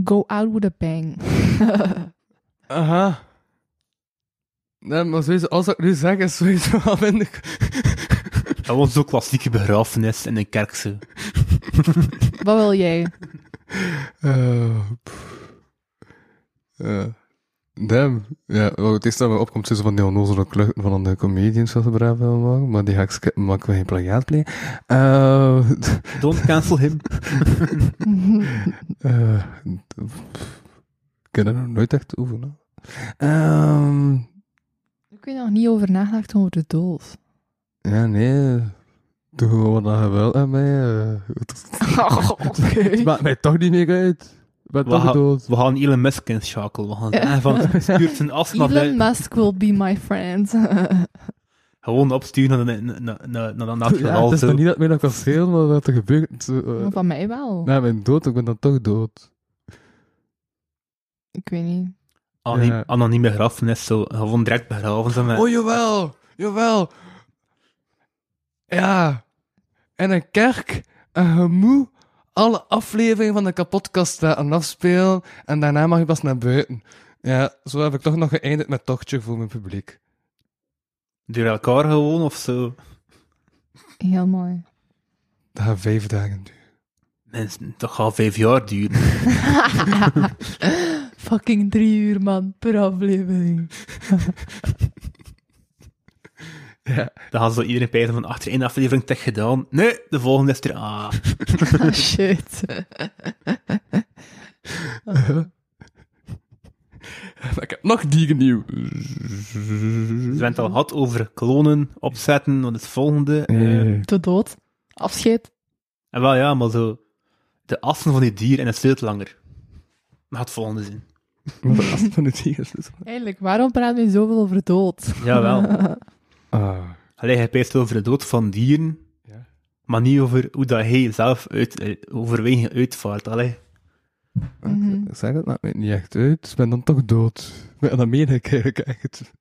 go out with a bang. *laughs*
Aha. Nee, maar sowieso, alles wat ik nu zeg is sowieso *laughs* al minder...
Dat was zo'n klassieke begrafenis in een kerk. Zo.
Wat wil jij?
Eh, pff. Eh, damn. Ja, wel, het eerste dat me opkomt is van die onnozele kluchten van de comedians dat ze braaf willen maken, maar die ga ik skippen, maar ik wil geen plagiaat plegen. Eh, *laughs*
Don't cancel him.
eh, pff. ik heb daar nog nooit echt over na. Ehm,
Ik heb nog niet over nagedacht over de dood.
ja, nee. Doe gewoon wat je wil aan mij. eh. Het maakt mij toch niet meer uit. Ik ben
Wat
toch
ha-
dood.
*laughs* We gaan Elon Musk inschakelen. We gaan zeggen van, stuurt zijn *laughs* as naar
Elon
buiten.
Musk will be my friend.
Gewoon opsturen naar, de- naar, naar, naar, naar, naar het
Ja,
verhaal.
het is
zo.
nog niet dat mij dat kan schelen, maar wat er gebeurt. eh,
Maar van mij wel.
na mijn dood, ik ben dan toch dood.
Ik weet niet.
Anoniem,
Ja.
Anonieme grafenis, zo. Gewoon direct begraven. Zo, met-
Oh, jawel, jawel. Ja, en een kerk, een gemoe, alle afleveringen van de kapotkast aan afspelen en daarna mag je pas naar buiten. Ja, zo heb ik toch nog geëindigd met tochtje voor mijn publiek.
Door elkaar gewoon, of zo.
Heel mooi. *laughs*
Dat gaat vijf dagen duren.
Mensen, dat gaat vijf jaar duren. *laughs*
Fucking drie uur, man, per aflevering.
Dan gaan ze iedereen pijzen van, achter één aflevering tech gedaan. Nee, de volgende is er. Ah.
Ah, shit.
*laughs* Ik heb nog die nieuw.
Ze hebben het al gehad over klonen, opzetten, wat is het volgende? Eh,
*laughs*
De dood. Afscheid.
En wel ja, maar zo. De assen van die dier en het sleurt langer. Maar het volgende zin.
van het hier is het.
Eigenlijk, waarom praat je zoveel over dood?
Jawel.
Ah.
Allee, hij peest over de dood van dieren.
Ja.
Maar niet over hoe dat hij zelf uit, eh, overwegingen uitvaart. Allee.
Mhm.
Ik zeg het, maakt me niet echt uit. Ik ben dan toch dood. Maar dat meen ik eigenlijk echt.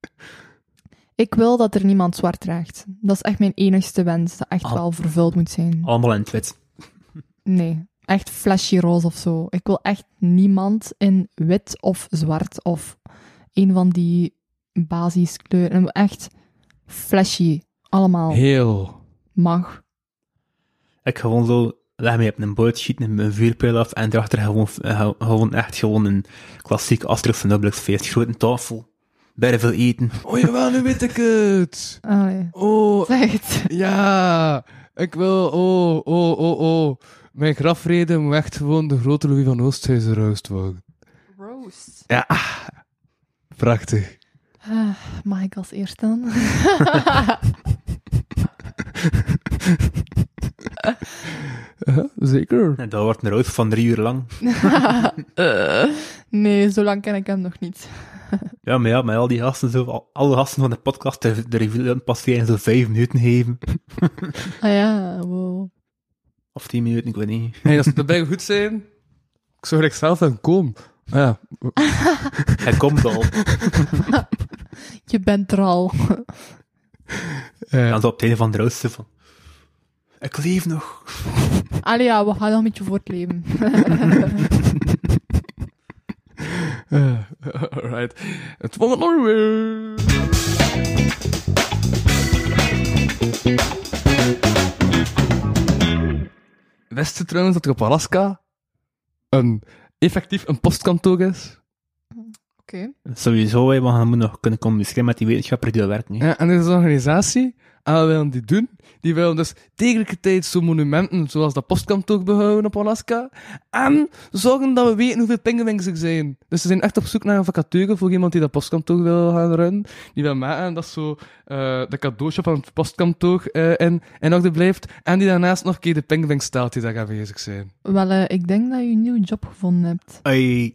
Ik wil dat er niemand zwart draagt. Dat is echt mijn enigste wens, dat echt
Ah.
wel vervuld moet zijn.
Allemaal in het wit.
Nee, echt flashy roze of zo. Ik wil echt niemand in wit of zwart of een van die basiskleuren. Echt
Oh.
flashy. Allemaal
Heel.
mag.
Ik gewoon zo, leg mij op een boot, schiet met mijn vuurpijl af en daarachter gewoon, eh, gewoon echt gewoon een klassiek Asterix en Obelix feest. Grote tafel, bij veel eten. *laughs*
Oh jawel, nu weet ik het.
Allee.
Oh,
Zeg het.
Ja, ik wil. Oh, oh, oh, oh. Mijn grafrede moet echt gewoon de grote Louis van Oosthuizen roast worden.
Roast.
*laughs* Prachtig.
Ah, mag ik als eerst dan?
Ja, zeker.
En dat wordt een rood van drie uur lang.
Eh, nee, zo lang ken ik hem nog niet. *laughs*
Ja, maar ja, met al die gasten, zo, al- alle gasten van de podcast, de, de review aan passeren zo vijf minuten geven.
Ah ja, wow.
Of tien minuten, ik weet niet. *laughs*
Hey, als het erbij goed zijn, ik zou er echt zelf aan komen. Ah Ja,
Hij komt al.
Je bent er al.
eh,
Dan zo op het einde van de rooster van... Ik leef nog.
Allee, ja, we gaan nog een beetje *laughs* voortleven.
eh, *laughs* alright. Het was het nog weer. Wist je trouwens dat er op Alaska een, effectief een postkantoor is?
Sowieso, hè, want je moet nog kunnen communiceren met die wetenschapper die daar werkt. hè.
Ja, en er is een organisatie, en we willen die doen, die willen dus tegelijkertijd zo'n monumenten, zoals dat postkantoor behouden op Alaska, en zorgen dat we weten hoeveel pinguïns er zijn. Dus ze zijn echt op zoek naar een vacature voor iemand die dat postkantoor wil gaan runnen, die wil maken dat zo eh de cadeautje van het postkantoor eh, in, in orde blijft, en die daarnaast nog een keer de pinguïns stelt die daar aanwezig *laughs* zijn.
Wel, eh, ik denk dat je een nieuwe job gevonden hebt.
Ai. *laughs*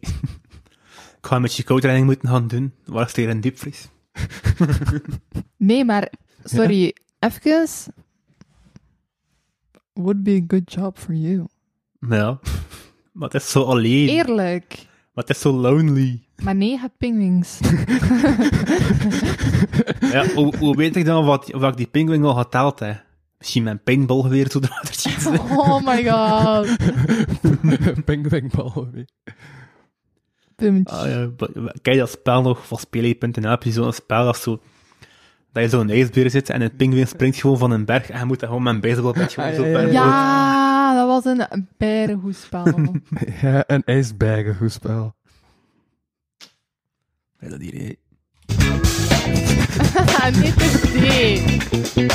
Ik ga een beetje koudtraining moeten gaan doen. Waar is er een diepvries?
Nee, maar, sorry, even... Would be a good job for you.
Nou Ja. *laughs* Maar het is zo alleen.
Eerlijk.
Maar het is zo lonely.
Maar nee, je
*laughs*
hebt pingwings.
Ja, hoe, hoe weet ik dan wat, wat ik die pinguïn al geteld heb? Misschien mijn paintballgeweer zo eruit schieten.
Oh my god.
Pinguïnbal, weet
Puntje.
*laughs* Ah, ja, wat- wat- Ken je dat spel nog van spelen.nl? Heb je zo'n spel dat, zo, dat je zo'n ijsbeer zit en een pinguïn springt gewoon van een berg en je moet dan gewoon met een baseballpetje gewoon zo
Ah, ja, ja,
ver-
Ja, dat was een
*laughs*
berenhoespel.
Ja, een ijsbergen, goed spel.
Ja, dat hier, hè.
nee, het is nee.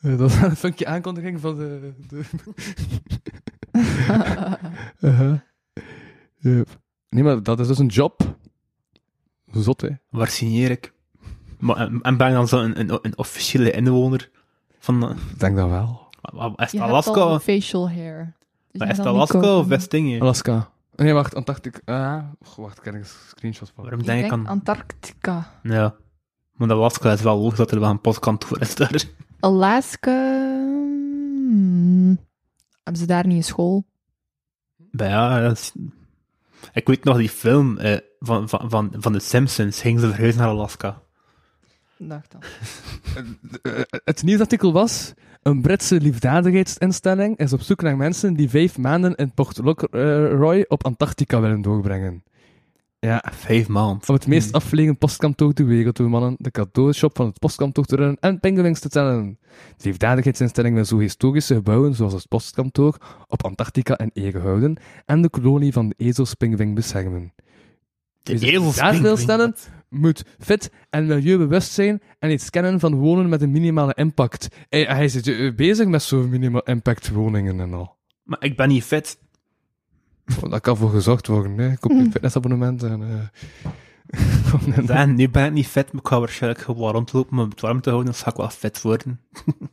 Eh, Dat was een funkje aankondiging van de. de... Aha. Uh-huh. Yep. Nee, maar dat is dus een job. Zot, hè?
Waar signeer ik? Maar, en, en ben je dan zo een, een, een officiële inwoner van... eh,
Ik denk dat wel.
wa- wa- Is
Je
het
hebt al
Alaska?
een facial hair. Dus
Maar
je
Is het
zal niet
Alaska
koken.
of Westingen?
Alaska. Nee, wacht, Antarctica. Ah, goh, wacht, ik heb er een screenshot van.
Waarom
Ik
denk ik
denk
aan...
Antarctica.
Ja. Maar dat Alaska is wel logisch dat er wel een postkantoor is daar.
Alaska... hmm, Hebben ze daar niet een school?
Maar ja, dat is- Ik weet nog die film eh, van, van, van, van de Simpsons. Gingen ze verhuizen naar Alaska?
Dacht dat.
Eh, het nieuwsartikel was. Een Britse liefdadigheidsinstelling is op zoek naar mensen die vijf maanden in Port Lockroy op Antarctica willen doorbrengen. Ja,
Vijf maanden.
Om het meest afgelegen postkantoor ter wereld te mannen, de cadeaushop van het postkantoor te runnen en pinguïns te tellen. De liefdadigheidsinstelling wil zo historische gebouwen zoals het postkantoor op Antarctica in ere houden en de kolonie van de ezelspinguïn beschermen. Wie
De
zich
ezels
daar wil
pinguïn.
stellen, moet fit en milieubewust zijn en iets kennen van wonen met een minimale impact. Hij, hij zit eh, bezig met zo'n minimaal impact woningen en al.
Maar ik ben niet fit.
Oh, Dat kan voor gezorgd worden, hè. Koop je fitnessabonnement en... eh, *laughs* kom net-
En nu ben ik niet fit, maar ik ga waarschijnlijk gewoon rondlopen om het warm te houden. Dan ga ik wel fit worden.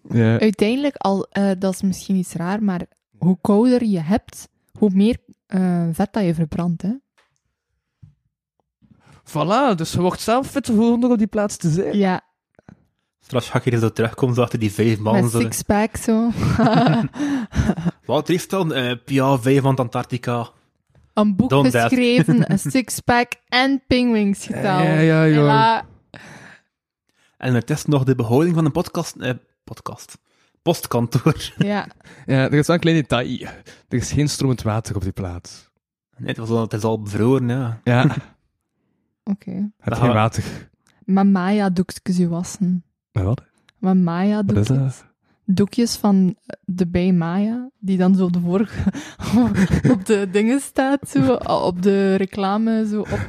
Ja.
Uiteindelijk, al, eh, dat is misschien iets raar, maar hoe kouder je hebt, hoe meer eh, vet dat je verbrandt. Hè?
Voilà, dus je wordt zelf fit voor nog op die plaats te zijn.
Ja,
Straks ga ik hier zo terugkomen, zo achter die vijf maanden.
met
zo-
sixpack
*laughs*
zo.
Wat heeft dan? eh PA 5 van Antarctica.
Een boek
Don't
*laughs*
that.
geschreven, een sixpack en pingwings geteld.
Ja, ja, joh.
Hela.
En het is nog de behouding van een podcast. eh, podcast. Postkantoor. *laughs*
Ja,
Ja, er is wel een klein detail. Er is geen stromend water op die plaats.
Nee, het, was al, het is al bevroren, ja.
*laughs* Ja, het
oké.
heeft
Ah.
geen water.
Met Maya doekjes je wassen.
Maar wat?
Met Maya
Wat is
doekjes.
dat?
Doekjes van eh, de bij Maya, die dan zo op de vorige, *laughs* op de dingen staat, zo, op de reclame, zo op.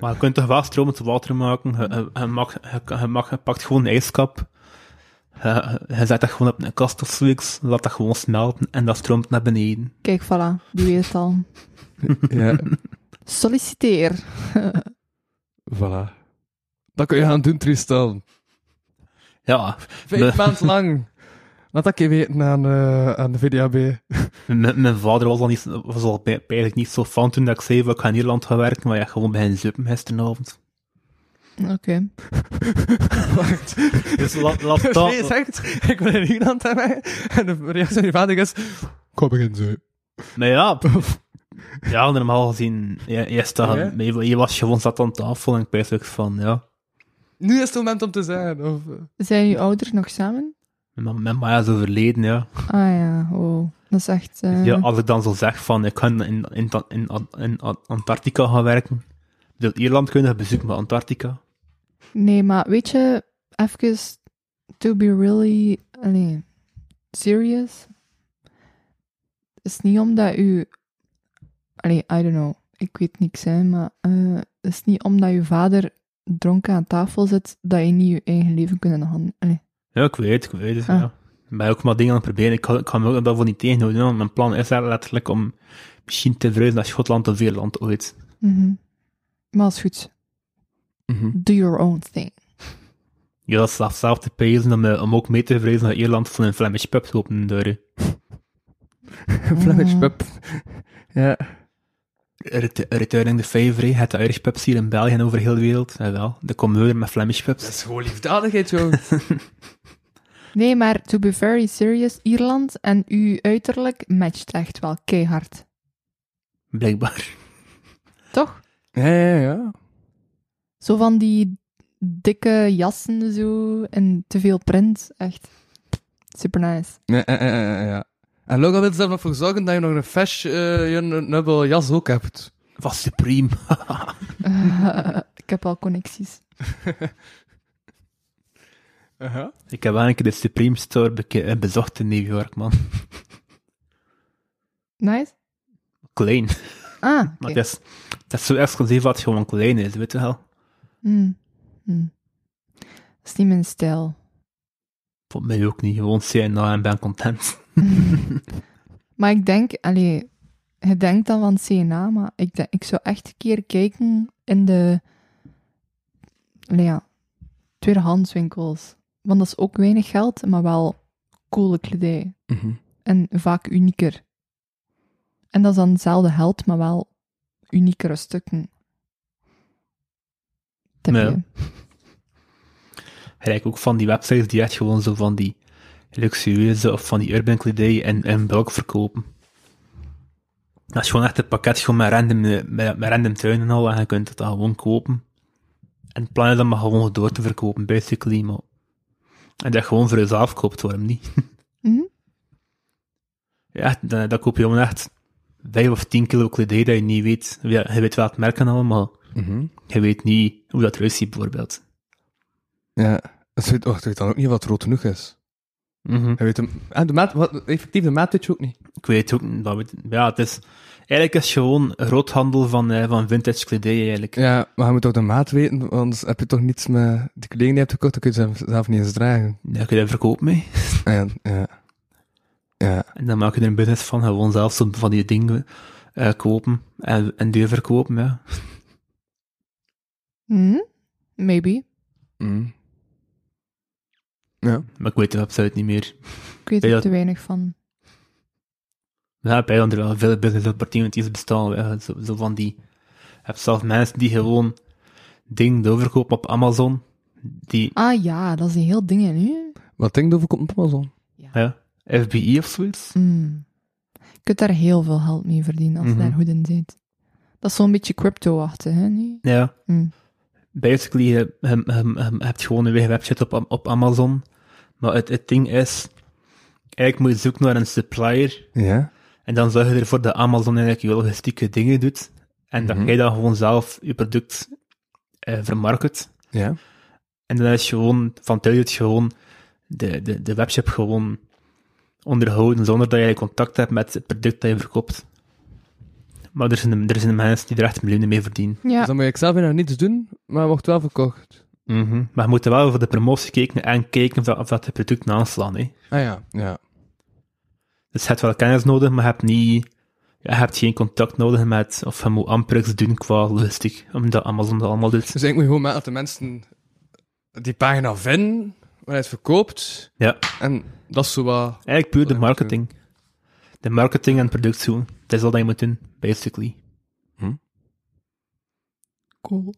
Maar je kunt toch wel stromend water maken. Je, je- je mag, je, je mag- je pakt gewoon een ijskap. Je, je zet dat gewoon op een kast of zoiets. Laat dat gewoon smelten en dat stroomt naar beneden.
Kijk, voilà, die weet het al.
*laughs* Ja,
Solliciteer. *laughs*
voilà. Dat kun je gaan doen, Tristan.
Ja,
Vijf maanden lang. Laat dat je weten aan, eh, aan de VDAB. *laughs*
m- m- mijn vader was al, niet, was al bij- eigenlijk niet zo fan toen dat ik zei dat ik ga in Nederland gaan werken, maar ja, gewoon bij een zuppen gisteravond.
Oké.
Wacht.
Dus laat, laat
*laughs*
dat...
Je zegt, ik ben in Ierland en mij. En de reactie van je vader is, kom ik in zo.
Maar ja, ja normaal gezien, je, je, staat-
Ja?
je, je was gewoon zat aan tafel en ik weet ook van, ja.
Nu is het moment om te zijn. Of, eh,
Zijn je ouders nog samen?
Mijn mijn ma is overleden, ja.
Ah ja, wow. Dat is echt... eh,
ja. Als ik dan zo zeg van, ik ga in, in, in, in, in Antarctica gaan werken. Dus Ierland kunnen bezoeken, maar Antarctica.
Nee, maar weet je, even to be really allee, serious. Het is niet omdat u. Allee, I don't know. Ik weet niks, hè, maar eh, het is niet omdat je vader dronken aan tafel zit, dat je niet je eigen leven kunt in de hand... Allee.
Ja, ik weet, ik weet. het,
Ah.
Ja. Ik ben ook maar dingen aan het proberen. Ik ga, ik ga me ook daarvoor niet tegenhouden. hoor. Mijn plan is daar letterlijk om misschien te verhuizen naar Schotland of Ierland ooit.
Mhm. Maar is goed. Do your own thing.
Ja, dat is zelfs zelf te prijzen om, eh, om ook mee te verhuizen naar Ierland van een Flemish pub te openen. Door, eh,
Flemish *laughs*
Ah.
pub. eh. Ja.
Ret- Returning the Favre, het de Irish pubs hier in België en over heel de wereld. Jawel, de commeur met Flemish pubs.
Dat is gewoon liefdadigheid, joh.
Nee, maar to be very serious, Ierland en uw uiterlijk matcht echt wel keihard.
Blijkbaar. *laughs*
Toch?
ja, ja, ja.
Zo van die dikke jassen zo en te veel print. Echt super nice. *laughs*
Ja, ja, ja, ja, eh, ja. En Logan wil er zelf nog voor zorgen dat je nog een fesh, eh, je een nubbel jas ook *laughs* hebt.
Was supreme.
ik heb al connecties.
Ik heb wel een keer de Supreme Store beke- eh, bezocht in New York, man.
Nice?
Klein.
Ah,
Maar
oké.
het, is, het is zo exclusief dat het gewoon klein is, weet je wel.
Hmm. Hmm. Dat is niet mijn stijl.
Voor mij ook niet. Gewoon CNA en ben *laughs* content.
*laughs* Maar ik denk, allee, je denkt dan van CNA, maar ik, denk, ik zou echt een keer kijken in de allee, ja, tweedehandswinkels. Want dat is ook weinig geld, maar wel coole kledij.
Mhm.
En vaak unieker. En dat is dan hetzelfde geld, maar wel uniekere stukken. Tipje.
Ja. Gelijk ook van die websites die echt gewoon zo van die luxueuze of van die urban kledij en, en bulk verkopen. Dat is gewoon echt een pakket gewoon met random, eh, met, met random tuinen en al en je kunt het dan gewoon kopen. En het plan is om dat gewoon door te verkopen, basically. Maar... En dat gewoon voor jezelf koopt, waarom niet?
Mhm.
Ja, dan, dan koop je gewoon echt 5 of 10 kilo kledij dat je niet weet. Ja, je weet wel het merk en allemaal,
Mhm.
je weet niet hoe dat eruit ziet, bijvoorbeeld.
Ja. Dat weet, oh, dat weet dan ook niet wat rood genoeg is. Hij weet hem, en de maat, wat, effectief, de maat weet je ook niet.
Ik weet ook niet, dat weet- ja, het is, eigenlijk is het gewoon groothandel van, eh, van vintage kledij eigenlijk.
Ja, maar je moet toch de maat weten, want anders heb je toch niets met die kleding die je hebt gekocht, dan kun je ze zelf- zelf niet eens dragen. Ah,
Daar kun je verkoop mee.
Ja, ja. Ja.
En dan maak je er een business van, gewoon zelf zo van die dingen eh, kopen en, en duur verkopen, ja.
Mhm. Maybe.
Mm.
Maar ik weet de website niet meer.
Ik weet
Ja, ja.
er te weinig van.
Ja, bij er wel veel business opportunities bestaan, ja. zo, zo van die... Ik heb zelf mensen die gewoon dingen doorverkopen op Amazon, die,
Ah ja, dat is een heel ding, hè, nu.
Wat denk je over komt op Amazon?
ja, FBI of zoiets.
Mm. Je kunt daar heel veel geld mee verdienen als je
Mhm.
daar goed in zit. Dat is zo'n beetje crypto-achtig, hè, nu?
Ja.
Mm.
Basically, je, je, je- je- je hebt gewoon een eigen website op, Am- op Amazon. Maar het, het ding is, eigenlijk moet je zoeken naar een supplier.
Ja.
En dan zorg je ervoor dat Amazon eigenlijk je logistieke dingen doet. En dat jij dan gewoon zelf je product eh, vermarkt.
Ja.
En dan is gewoon, van thuis uit gewoon, de, de, de webshop gewoon onderhouden zonder dat jij contact hebt met het product dat je verkoopt. Maar er zijn, er zijn mensen die er echt miljoenen mee verdienen.
Dus
Ja,
dan moet ik zelf nog niets doen, maar wordt wel verkocht.
Mhm. Maar je moet er wel voor de promotie kijken en kijken of dat, of dat de producten aanslaan. Hè.
Ah ja. Ja.
Dus je hebt wel kennis nodig, maar je hebt, niet, ja, je hebt geen contact nodig met, of je moet amper iets doen qua logistiek, omdat Amazon dat allemaal doet.
Dus ik moet je gewoon maken dat de mensen die pagina vinden, waar hij het verkoopt,
Ja,
en dat is zo wat...
eigenlijk puur de
Dat moet ik
marketing. De marketing en product zoeken, dat is wat je moet doen, basically.
cool.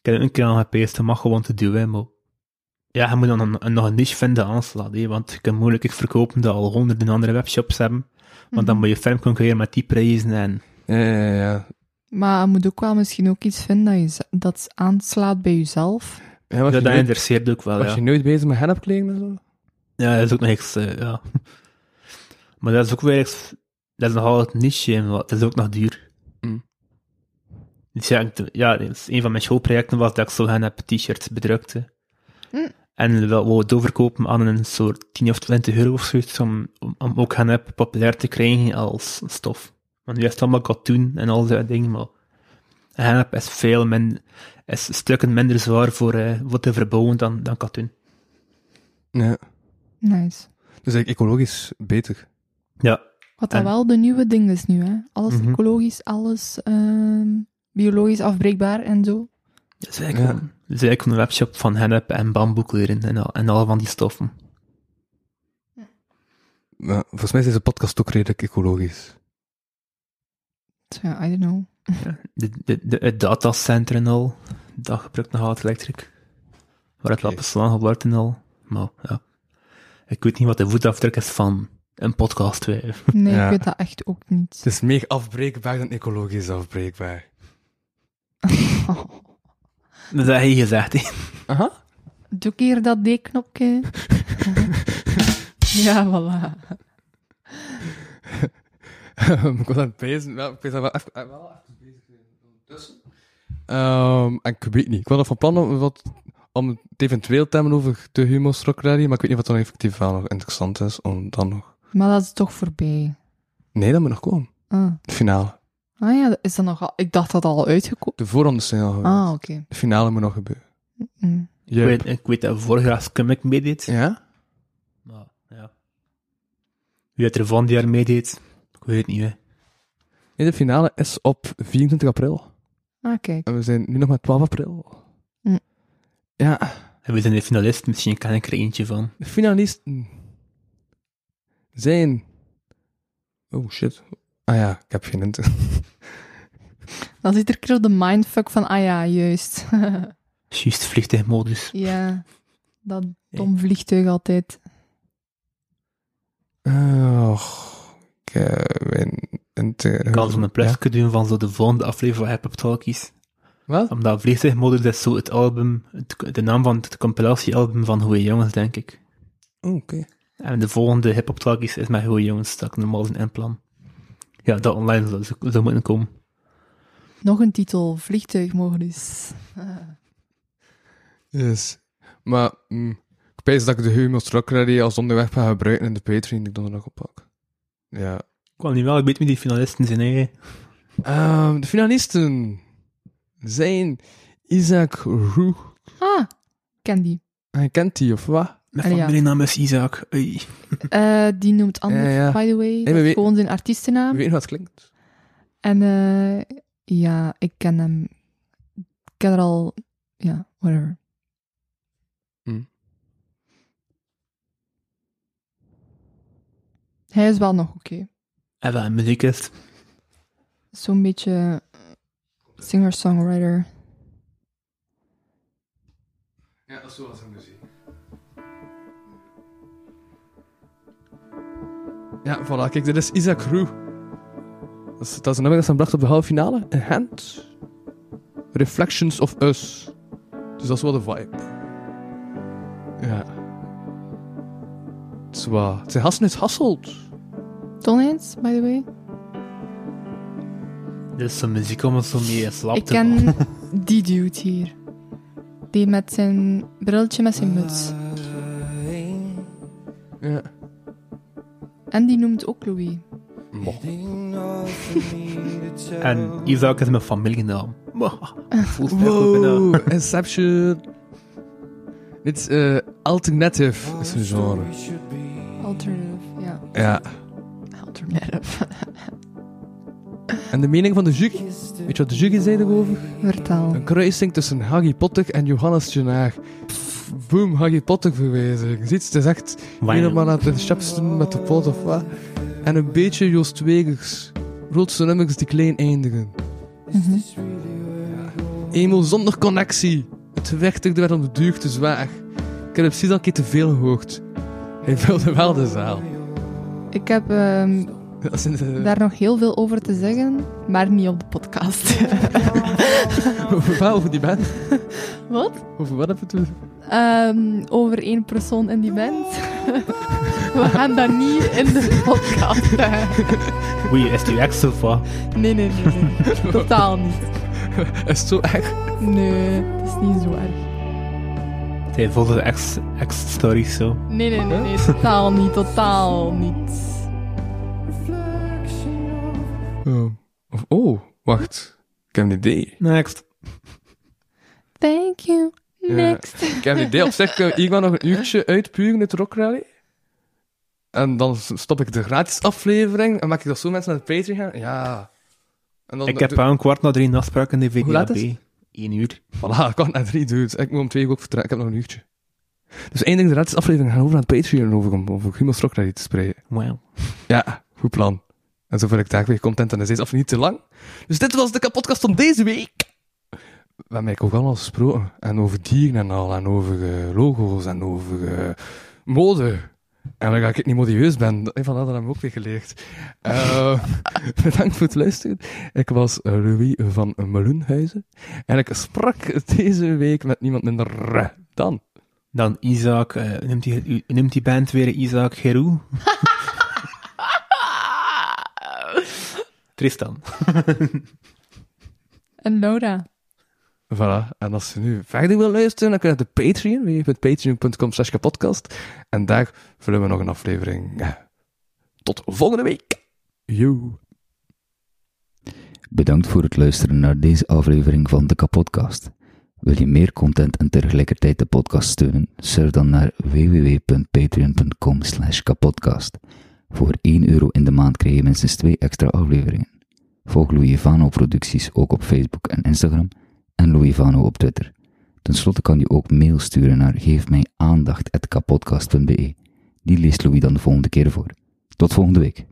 Ik heb ook een keer aan gepeest, dat mag gewoon te duwen, maar... Ja, je moet dan een, een- nog een niche vinden aanslaat, hè, want je kan moeilijk iets verkopen dat al honderden andere webshops hebben, want dan
Mhm.
moet je ferm concurreren met die prijzen en...
Ja, ja, ja.
Maar je moet ook wel misschien ook iets vinden dat, je, z- dat aanslaat bij jezelf.
ja was,
Ja,
je
dat
nooit,
interesseert ook wel,
was
ja.
je nooit bezig met hennepkleding en zo?
Ja, dat is ook nog iets, eh, ja. *laughs* Maar dat is ook weer iets, dat is nog altijd niche, en wat- dat is ook nog duur.
Mm.
Dus ja, ik doe- ja, dat is een van mijn schoolprojecten was dat ik zo gaan heb t-shirts bedrukte.
Mm.
En wel wou doorverkopen aan een soort 10 of 20 euro of zoiets, om, om, om ook gaan heb populair te krijgen als stof. Want nu is het allemaal cartoon en al dat dingen, maar hennep is veel min, is stukken minder zwaar voor, eh, voor te verbouwen dan, dan katoen.
Ja.
Nice.
Dus eigenlijk ecologisch beter.
Ja,
Wat dan
En-
wel de nieuwe ding is nu, hè? Alles
Mhm.
ecologisch, alles ehm, biologisch afbreekbaar en zo.
dat is eigenlijk, gewoon- dat is eigenlijk een webshop van hennep en bamboekleren en al, en al van die stoffen.
Maar volgens mij is deze podcast ook redelijk ecologisch.
Dus Ja, I don't know.
De, de, de, het datacenter en al, dat gebruikt nog altijd elektric. Waar het
Oké.
lappenslaan gebruikt en al. Maar ja, ik weet niet wat de voetafdruk is van een podcast. hè.
Nee,
Ja.
ik weet dat echt ook niet.
*laughs*
Het is meer afbreekbaar dan ecologisch afbreekbaar.
Oh.
Dat heb je gezegd, hè.
Doe keer dat
*laughs*
D-knopje. ja, voilà.
*laughs* ik was aan het pezen. wel, ik ben daar wel echt eh, wel echt bezig tussen. Ehm, en ik weet niet. Ik was nog van plan om, wat, om het eventueel te hebben over de Humo's Rock Rally, maar ik weet niet wat dan effectief wel nog interessant is om dan nog...
Maar dat is toch voorbij.
Nee, dat moet nog komen.
Ah,
De finale.
ah ja, is dat nog al... Ik dacht dat al uitgekomen.
De voorrondes zijn al geweest.
Ah, oké.
De finale moet nog gebeuren.
Mm.
Ik
Jup.
weet, ik weet dat vorig jaar Skummick meedeed.
Ja?
Maar, ja. Wie het er van die jaar meedeed, ik weet het niet, hè.
Nee, de finale is op 24 april.
Ah, kijk.
En we zijn nu nog maar 12 april.
Hm.
Ja,
En we zijn de finalist, misschien kan ik er eentje van.
de finalisten zijn... Oh, shit. Ah ja, ik heb geen internet.
Dan zit er keer op de mindfuck van, ah ja, juist. *laughs*
Juist vliegtuigmodus.
ja, dat dom vliegtuig altijd.
Och, Oh, Kevin.
Ik kan zo'n plusje doen van zo de volgende aflevering van Hip Hop Talkies.
Wat?
Omdat Vliegtuigmodus is zo het album, het, de naam van het compilatiealbum van Goeie Jongens, denk ik.
Oh, Oké.
En de volgende Hip Hop Talkies is met Goeie Jongens, dat ik normaal zijn plan. Ja, dat online zou, zou moeten komen.
Nog een titel,
*laughs*
dus. vliegtuigmodus.
Yes. Maar mm, ik pees dat ik de Humo Truck Rally als onderweg ga gebruiken in de Patreon die ik donderdag oppak. Ja.
Ik kwam niet wel, ik weet wie die finalisten zijn, hè.
Ehm, de finalisten zijn Isaac Roe.
Ah, ik ken die.
Hij kent die, of wat?
Mijn
Allee, ja.
familienaam is Isaac. Oei.
Eh, die noemt anders,
Ja, ja.
by the way. Dat
maar
is
weet-
gewoon zijn artiestennaam.
Weet je hoe het klinkt?
En eh, ja, ik ken hem. Ik ken er al... Ja, whatever.
Hm.
Hij is wel nog oké.
En wel een muziekist.
Zo'n beetje eh, singer-songwriter.
Ja, dat is zoals een muziek. Ja, voilà, kijk, dit is Isaac Roe. Dat is, dat is een nummer dat ze bracht op de halve finale. Een hand. Reflections of Us. Dus dat is wel de vibe. Ja. Het is waar. Het zijn gasten uit Hasselt.
Ton eens, by the way.
Dit is zo'n muziek om ons zo mee in slaap
Ik
te vallen.
ken *laughs* die dude hier. Die met zijn brilletje met zijn muts.
Ja.
En die noemt ook Louis.
En Isaac is mijn familienaam. *laughs* Voelt mij goed bijna.
Wow, Inception. Dit is eh, alternative, is een genre.
Alternative, ja.
Ja.
Alternative. *laughs*
En de mening van de Jug? Weet je wat de Jug zei erover?
Vertel.
Een kruising tussen Harry Potter en Johannes Genaar. Pff, Boom, Harry Potter verwijzing. Ziet, het is echt
Wauw.
helemaal naar de chapsten met de pot of wat. En een beetje Joost Wegers. Roodse nummers die klein eindigen.
Mhm.
Eenmaal zonder connectie. Het verwichtigde werd om de duur te zwaar. Ik heb het precies al een keer te veel gehoord. Hij vulde wel de zaal.
Ik heb ehm,
Dat is eh, in de...
daar nog heel veel over te zeggen, maar niet op de podcast. *laughs*
Over wat? Over die band?
Wat?
Over wat heb je het?
Ehm, over één persoon in die band. *laughs* We gaan dat niet in de podcast. zeggen.
Oei, is die ex of wat?
Nee, nee, nee. nee. Totaal niet.
*laughs* Is het zo echt?
Nee, het is niet zo erg.
Hij volgde de ex- ex-stories zo.
Nee, nee, nee, nee. Totaal niet. Totaal niet.
Oh. Of, oh, wacht. Ik heb een idee.
Next.
Thank you. Next.
Ik heb een idee. Op zich kan ik nog een uurtje uitpuren uit de rockrally. En dan s- stop ik de gratis aflevering en maak ik dat zo mensen naar de Patreon gaan. Ja. En dan
Ik heb eh, aan kwart na drie een afspraak in de VDAB.
laat is
Eén uur.
Voilà, ik kan naar drie, dude. Ik moet om twee uur ook vertrekken. Ik heb nog een uurtje. Dus één ding, de laatste aflevering gaan over aan het Patreon over, om over Humo's Rockrally te spreken.
Wow.
Ja, goed plan. En zo vul ik daar weer content en is deze aflevering niet te lang. Dus dit was de podcast van deze week. We hebben eigenlijk ook allemaal gesproken. En over dieren en al. En over eh, logo's en over eh, mode. En waar ik niet modieus ben, dat- van dat hebben we ook weer geleerd. *laughs* Eh, bedankt voor het luisteren. Ik was eh, Louis van Meloenhuizen. En ik sprak deze week met niemand minder dan...
Dan Isaac, eh, u noemt, die, u- u noemt die band weer Isaac
*laughs*
Gerou? Tristan.
En Laura.
Voilà, en als je nu verder wil luisteren, dan kun je naar de Patreon, www.patreon.com slash kapodcast. En daar vullen we nog een aflevering. eh, Tot volgende week! Yo!
Bedankt voor het luisteren naar deze aflevering van de Kapodcast. Wil je meer content en tegelijkertijd de podcast steunen? Surf dan naar www.patreon.com slash kapodcast. Voor 1 euro in de maand krijg je minstens 2 extra afleveringen. Volg Louis Vano producties ook op Facebook en Instagram en Louis Vano op Twitter. Ten slotte kan je ook mail sturen naar geefmijaandacht.kapodcast.be. Die leest Louis dan de volgende keer voor. Tot volgende week.